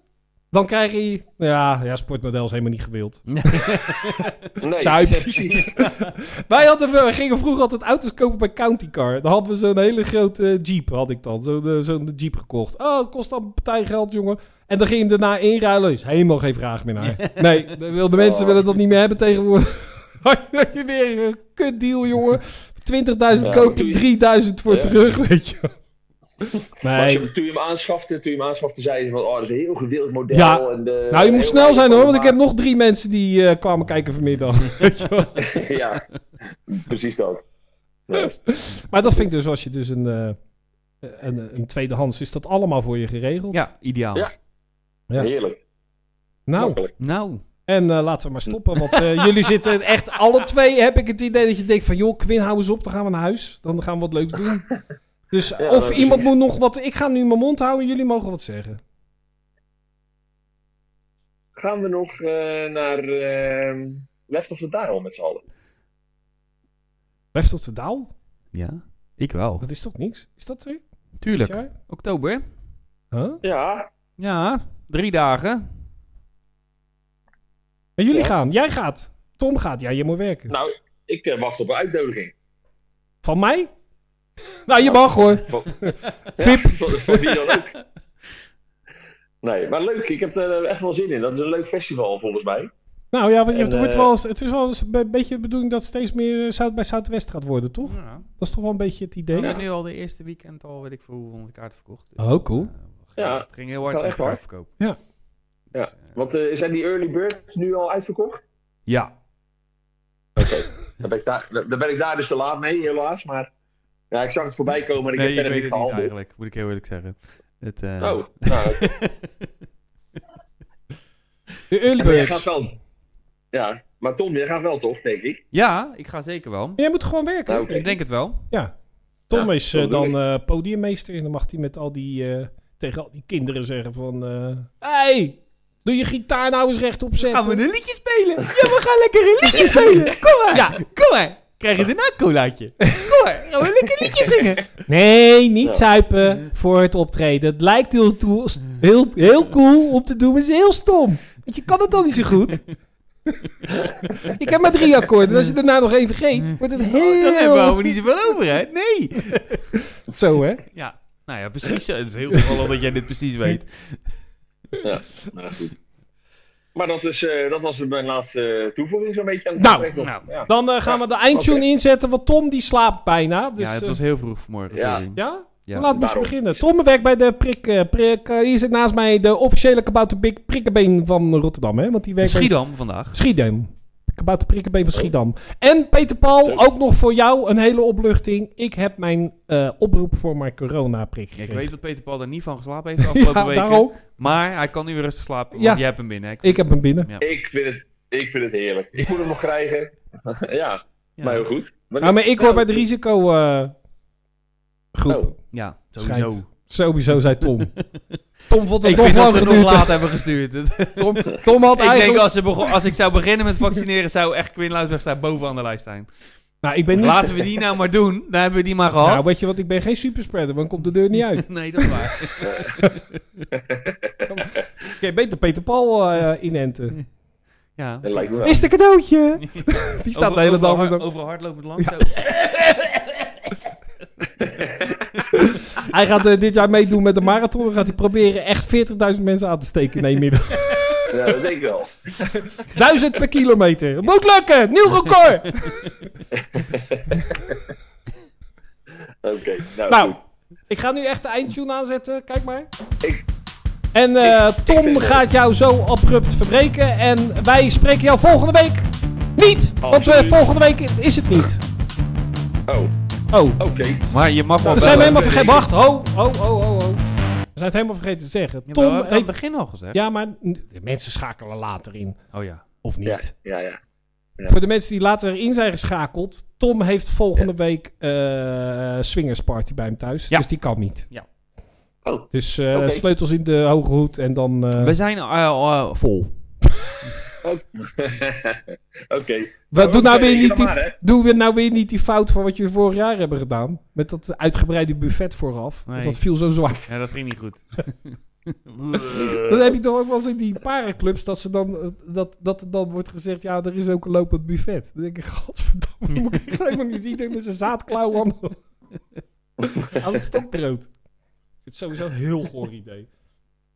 B: dan krijg je... Ja, ja sportmodel is helemaal niet gewild.
F: Nee, [LAUGHS]
B: Zuipt. [LAUGHS]
F: nee, precies.
B: Wij hadden, we gingen vroeger altijd auto's kopen bij County Car. Dan hadden we zo'n hele grote eh, Jeep, had ik dan. Zo'n eh, zo'n Jeep gekocht. Oh, dat kost dan een partij geld, jongen. En dan ging je hem daarna inruilen. Is helemaal geen vraag meer naar.
F: [LAUGHS]
B: Nee, de, wil- de mensen
F: Oh.
B: willen dat niet meer hebben tegenwoordig. [LAUGHS] Dat je weer een kut deal, jongen. 20.000
F: Ja,
B: koop je,
F: doe je-
B: 3000 voor
F: Ja.
B: terug, weet je.
F: [LAUGHS] Maar als
B: Nee.
F: je, toen je hem aanschafte, toen je hem aanschafte, zei ze van, oh, dat is een heel gewild model.
B: Ja.
F: En de,
B: Nou, je moet
F: eh, heel
B: snel zijn hoor, want ik
F: maar-
B: heb nog drie mensen die eh, kwamen kijken vanmiddag. Weet je wel.
F: [LAUGHS] ja, precies dat. Ja.
B: Maar dat vind ik dus, als je dus een, eh, een, een tweedehands, is dat allemaal voor je geregeld.
A: Ja, ideaal.
F: Ja.
B: Ja.
F: Heerlijk.
B: nou,
F: Makkelijk.
A: Nou,
B: en eh, laten we maar stoppen, want eh,
F: [LAUGHS]
B: jullie zitten echt, alle twee heb ik het idee dat je denkt van, joh, Quinn, hou eens op, dan gaan we naar huis. Dan gaan we wat leuks doen. Dus
F: Ja,
B: of
F: nou,
B: iemand
F: precies.
B: moet nog wat, ik ga nu mijn mond houden, jullie mogen wat zeggen.
F: Gaan we nog eh, naar eh, Left of the Dial met z'n allen?
B: Left of the Daal?
A: ja. Ik wel.
B: Dat is toch niks? Is dat er? dit
A: Tuurlijk.
B: jaar?
A: Oktober. hè?
B: Huh?
F: Ja.
A: Ja, drie dagen.
B: En jullie
F: Ja.
B: gaan, jij gaat. Tom gaat, ja, je moet werken.
F: Nou, ik eh, wacht op een uitnodiging.
B: Van mij? Nou, je mag hoor. Vip.
F: Ja, van, van wie dan ook. Nee, maar leuk. Ik heb er eh, echt wel zin in. Dat is een leuk festival volgens mij.
B: Nou ja, want je-
F: En,
B: het, wordt
F: eh,
B: wel, eens- het is wel eens een beetje de bedoeling dat het steeds meer eh, Zuid bij Zuidwest gaat worden, toch?
A: Ja.
B: Dat is toch wel een beetje het
A: We
B: idee.
A: hebben nu al de eerste weekend al, weet ik veel, hoeveel honderd kaarten verkocht.
B: Oh, cool.
A: Eh,
F: Ja,
A: Het ging heel hard
F: gaat
A: aan
F: echt
A: de
F: hard.
A: kaartverkoop.
B: Ja.
F: Ja.
A: Dus, eh,
F: Want eh, zijn die early birds nu al uitverkocht?
A: ja.
F: Dan ben ik daar, dan ben ik daar dus te laat mee, helaas. Maar ja, ik zag het voorbij komen, maar ik
A: Nee,
F: heb
A: ik
F: verder
A: weet
F: niet
A: het niet
F: gehandeld.
A: eigenlijk, moet ik heel eerlijk zeggen. Het, eh,
F: Oh, nou,
B: De early
F: maar jij
B: birds.
F: gaat wel. Ja, maar Tom, jij gaat wel toch, denk ik?
A: [LAUGHS] ja, ik ga zeker wel.
B: Jij moet gewoon werken.
F: Nou, oké.
A: Ik denk het wel.
B: Ja. Tom
F: Ja,
B: is eh,
F: dat bedoel
B: dan eh, podiummeester en dan mag hij met al die, eh, tegen al die kinderen zeggen van... eh, hey, doe je gitaar nou eens rechtop zetten.
A: een liedje spelen? Ja, we gaan lekker een liedje spelen. Kom maar. Ja, kom maar. Krijg je daarna een colaatje? [LAUGHS] Kom maar, gaan we lekker een liedje zingen?
B: Nee, niet
F: Ja.
B: zuipen voor het optreden. Het lijkt heel, toe- heel, heel cool om te doen, maar het is heel stom. Want je kan het dan niet zo
F: [LAUGHS]
B: goed. Ik heb maar drie akkoorden. En als je daarna nog één vergeet, wordt het
F: Oh,
A: Dan hebben we
B: heel...
A: er niet zoveel over, hè? Nee.
B: Zo, hè?
A: Ja, nou ja, precies. Het is [LAUGHS] heel toevallig dat jij dit precies weet.
F: Maar goed. [LAUGHS] Maar dat, is, eh, dat was mijn laatste toevoeging zo'n beetje aan het
B: Nou,
F: gesprek nog.
A: nou.
F: Ja.
B: Dan eh, gaan we de eindtune
F: Oké.
B: inzetten, want Tom die slaapt bijna. Dus,
A: ja, het
B: eh,
A: was heel vroeg vanmorgen.
F: Ja.
A: sorry.
B: ja?
A: Ja.
B: Hoe laat moest je
F: Daarom.
B: beginnen? Tom werkt bij de prik... eh, prik eh, hier zit naast mij de officiële kabouterbik prikkenbeen van Rotterdam, hè? Want die werkt bij-
A: Schiedam vandaag.
B: Schiedam. Kabouter Prikkenbeen
A: Oh.
B: van Schiedam. En Peter Paul, ook nog voor jou een hele opluchting. Ik heb mijn eh, oproep voor mijn coronaprik
A: Ja, ik
B: gekregen.
A: weet dat Peter Paul daar niet van geslapen heeft de afgelopen
B: [LAUGHS] Ja,
A: weken.
B: daarom.
A: Maar hij kan nu weer rustig slapen, want
B: Ja.
A: jij hebt hem binnen. hè?
B: Ik heb hem binnen.
F: Ik, vind het, ik vind het heerlijk. Ik moet hem nog krijgen. [LAUGHS] ja,
A: Ja.
F: maar heel goed. Maar
B: Nou, maar ik hoor bij de risico eh, groep.
F: Oh.
A: Ja, sowieso.
B: Schijnt. Sowieso, zei Tom. [LAUGHS] Tom vond het
A: Ik
B: nog
A: vind dat
B: lang
A: ze nog
B: geduurd.
A: laat hebben gestuurd. [LAUGHS]
B: Tom, [LAUGHS] Tom had
A: ik denk
B: eigenlijk...
A: als, ze begon- als ik zou beginnen met vaccineren, zou echt Quinn Luisberg staan bovenaan de lijst zijn.
B: Nou, ik ben niet...
A: Laten we die nou maar doen. Dan hebben we die maar
B: Nou,
A: gehad.
B: weet je wat? Ik ben geen superspreader, want komt de deur niet
A: [LAUGHS]
B: uit.
A: nee, dat is waar.
B: [LAUGHS] Oké, beter Peter Paul eh, inenten.
A: Ja.
F: dat lijkt me wel.
B: Is de [LAUGHS] cadeautje? Die staat de hele dag...
A: over,
B: met-
A: over, hardlopend langs.
B: Hij gaat eh, dit jaar meedoen met de marathon. Dan gaat hij proberen echt 40.000 mensen aan te steken in één
A: [LAUGHS]
B: middag.
F: Ja, dat denk ik wel.
B: 1000 per kilometer. Het moet lukken! Nieuw record!
F: Oké, nou,
B: Nou,
F: goed.
B: ik ga nu echt de eindtune aanzetten. Kijk maar.
F: Ik-
B: En eh, Tom
F: vind het
B: gaat jou zo abrupt verbreken. En wij spreken jou volgende week niet.
A: Oh,
B: Want we,
F: Absoluut.
B: volgende week is het niet.
F: Oh,
B: Oh,
F: oké.
A: Maar je mag wel
B: we zijn we
A: bellen.
B: helemaal vergeten. Wacht, ho, ho, ho, ho, ho. We zijn het helemaal vergeten te zeggen.
A: Ja, maar we
B: Tom
A: hebben het aan het
B: heeft...
A: begin al gezegd.
B: Ja, maar de mensen schakelen later in.
A: Oh ja.
B: Of niet.
F: Ja, ja, ja. [LAUGHS] Ja.
B: Voor de mensen die later in zijn geschakeld. Tom heeft volgende week eh swingersparty bij hem thuis.
A: Ja.
B: Dus die kan niet.
A: Ja.
F: Oh.
B: Dus eh,
F: Oké.
B: sleutels in de hoge hoed en dan... eh,
A: We zijn eh, eh, vol.
F: Oké.
B: Wat
F: Oh,
B: doe, nou
F: oké,
B: weer niet
F: dan
B: die,
F: maar, hè.
B: doen we nou weer niet die fout van wat jullie vorig jaar hebben gedaan? Met dat uitgebreide buffet vooraf. Want
A: Nee.
B: dat viel zo zwaar.
A: Ja, dat ging niet [LAUGHS] goed.
F: eh,
B: Dan heb je toch ook wel eens in die parenclubs dat, ze dan, eh, dat, dat er dan wordt gezegd... Ja, er is ook een lopend buffet. Dan denk ik, [LAUGHS] godverdomme, moet ik
A: [LAUGHS]
B: echt helemaal niet zien. Ik met zijn zaadklauw aan, aan het stokbrood. Het is sowieso een heel goor idee.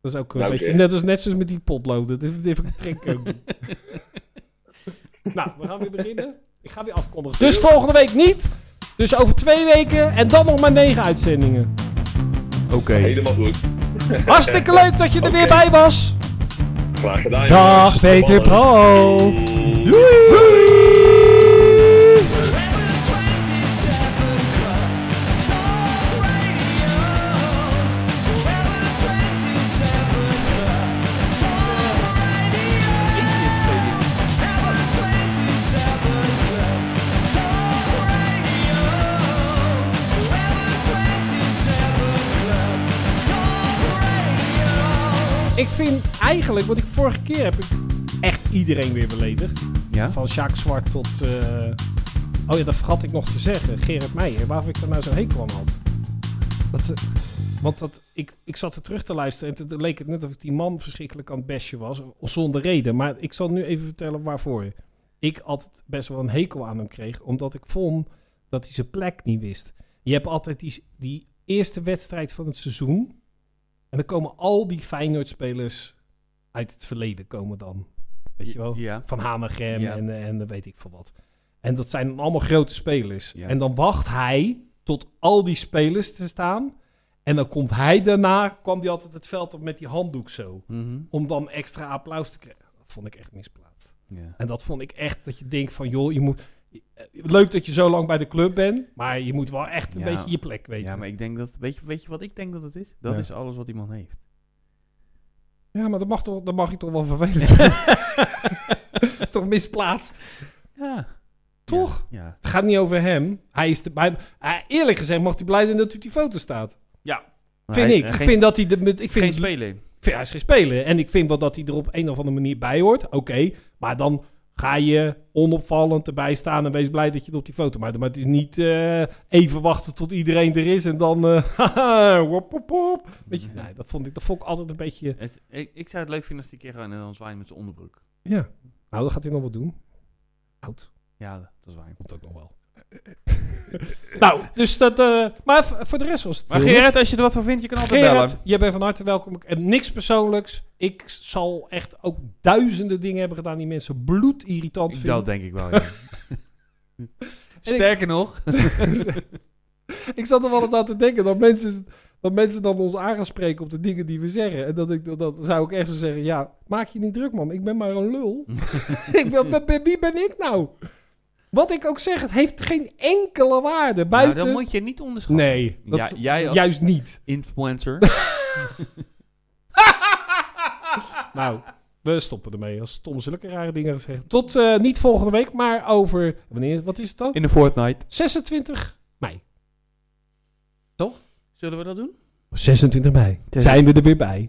B: Dat is ook eh, een
F: Nou,
B: beetje...
F: oké.
B: Net als net zoals met die potlood. Dat heeft dat trek
F: [LAUGHS]
B: ook niet. Nou, we gaan weer beginnen. Ik ga weer afkondigen. Dus volgende week niet. Dus over twee weken en dan nog maar negen uitzendingen.
A: Oké.
F: [LAUGHS] Helemaal goed.
B: Hartstikke leuk dat je er weer
F: Oké.
B: bij was.
F: Graag gedaan.
B: Dag
F: jongens.
B: Peter Pro. Ik vind eigenlijk, want ik vorige keer heb ik echt iedereen weer beledigd.
A: Ja?
B: Van Sjaak Zwart tot... eh, Oh ja, dat vergat ik nog te zeggen. Gerrit Meijer, waarvoor ik daar nou zo'n hekel aan had. Dat, eh, want dat, ik, ik zat er terug te luisteren en toen leek het net of ik die man verschrikkelijk aan het besje was. Zonder reden, maar ik zal nu even vertellen waarvoor. Ik altijd best wel een hekel aan hem kreeg, omdat ik vond dat hij zijn plek niet wist. Je hebt altijd die, die eerste wedstrijd van het seizoen. En dan komen al die Feyenoord-spelers uit het verleden komen dan. Weet je wel?
A: Ja.
B: Van Hanegem
A: Ja.
B: en, eh, en eh, weet ik veel wat. En dat zijn dan allemaal grote spelers.
A: Ja.
B: En dan wacht hij tot al die spelers te staan. En dan komt hij daarna, kwam hij altijd het veld op met die handdoek zo.
A: Mhm.
B: Om dan extra applaus te krijgen. Dat vond ik echt misplaatst.
A: ja.
B: En dat vond ik echt dat je denkt van joh, je moet... eh, Leuk dat je zo lang bij de club bent, maar je moet wel echt een
A: Ja.
B: beetje je plek weten.
A: Ja, maar ik denk dat... Weet je, weet je wat ik denk dat het is? Dat
B: Ja.
A: is alles wat iemand heeft.
B: Ja, maar dat mag, toch, dat mag je toch wel
A: [LAUGHS]
B: vervelend zijn? [LAUGHS] dat is toch misplaatst?
A: Ja.
B: Toch?
A: Ja.
B: Het gaat niet over hem. Hij is de, hij, hij- eerlijk gezegd mag hij blij zijn dat hij op die foto staat.
A: Maar
B: vind
A: hij-
B: ik.
A: eh,
B: Ik
A: geen-
B: vind dat hij... De, met- ik vind,
A: Geen speler.
B: ik vind- hij is geen speler. En ik vind wel dat hij er op een of andere manier bij hoort. Oké, maar dan ga je onopvallend erbij staan en wees blij dat je het op die foto maakt. Maar het is niet eh, even wachten tot iedereen er is en dan... eh, [LAUGHS] haha, wop, wop, wop. Weet je, nee, dat vond, ik, dat vond ik altijd een beetje...
A: Het- ik, ik zou het leuk vinden als die keer gewoon en dan zwaait met zijn onderbroek.
B: Ja, nou, dat gaat hij nog wel doen. Oud.
A: Ja, dat is waar.
B: Komt ook nog wel. [LAUGHS] nou, dus dat... eh, maar v- voor de rest was het...
A: Maar
B: heel
A: Gerard,
B: niks.
A: als je er wat van vindt, je kan altijd
B: Gerard,
A: bellen.
B: jij bent van harte welkom. En niks persoonlijks. Ik zal echt ook duizenden dingen hebben gedaan die mensen bloedirritant vinden.
A: Dat denk ik wel,
B: [LAUGHS]
A: ja. [LAUGHS] Sterker nog,
B: [LAUGHS] Ik zat er wel eens aan te denken dat mensen, dat mensen dan ons aanspreken op de dingen die we zeggen. En dat, ik, dat, dat zou ik echt zo zeggen, ja, maak je niet druk man, ik ben maar een
A: [LAUGHS]
B: lul. ik ben, ben- ben- wie ben ik nou? Wat ik ook zeg, het heeft geen enkele waarde
A: nou,
B: buiten...
A: dat moet je niet onderschatten.
B: Nee,
A: Ja,
B: dat,
A: jij als
B: juist niet. [LAUGHS]
A: influencer.
B: [LAUGHS] Nou, we stoppen ermee. Als Tom zulke rare dingen gezegd. Tot eh, niet volgende week, maar over... Wanneer, wat is het dan?
A: In de Fortnite.
B: 26 mei.
A: Zullen we dat doen?
B: 26 mei.
A: Zijn
B: Zijn we er weer bij.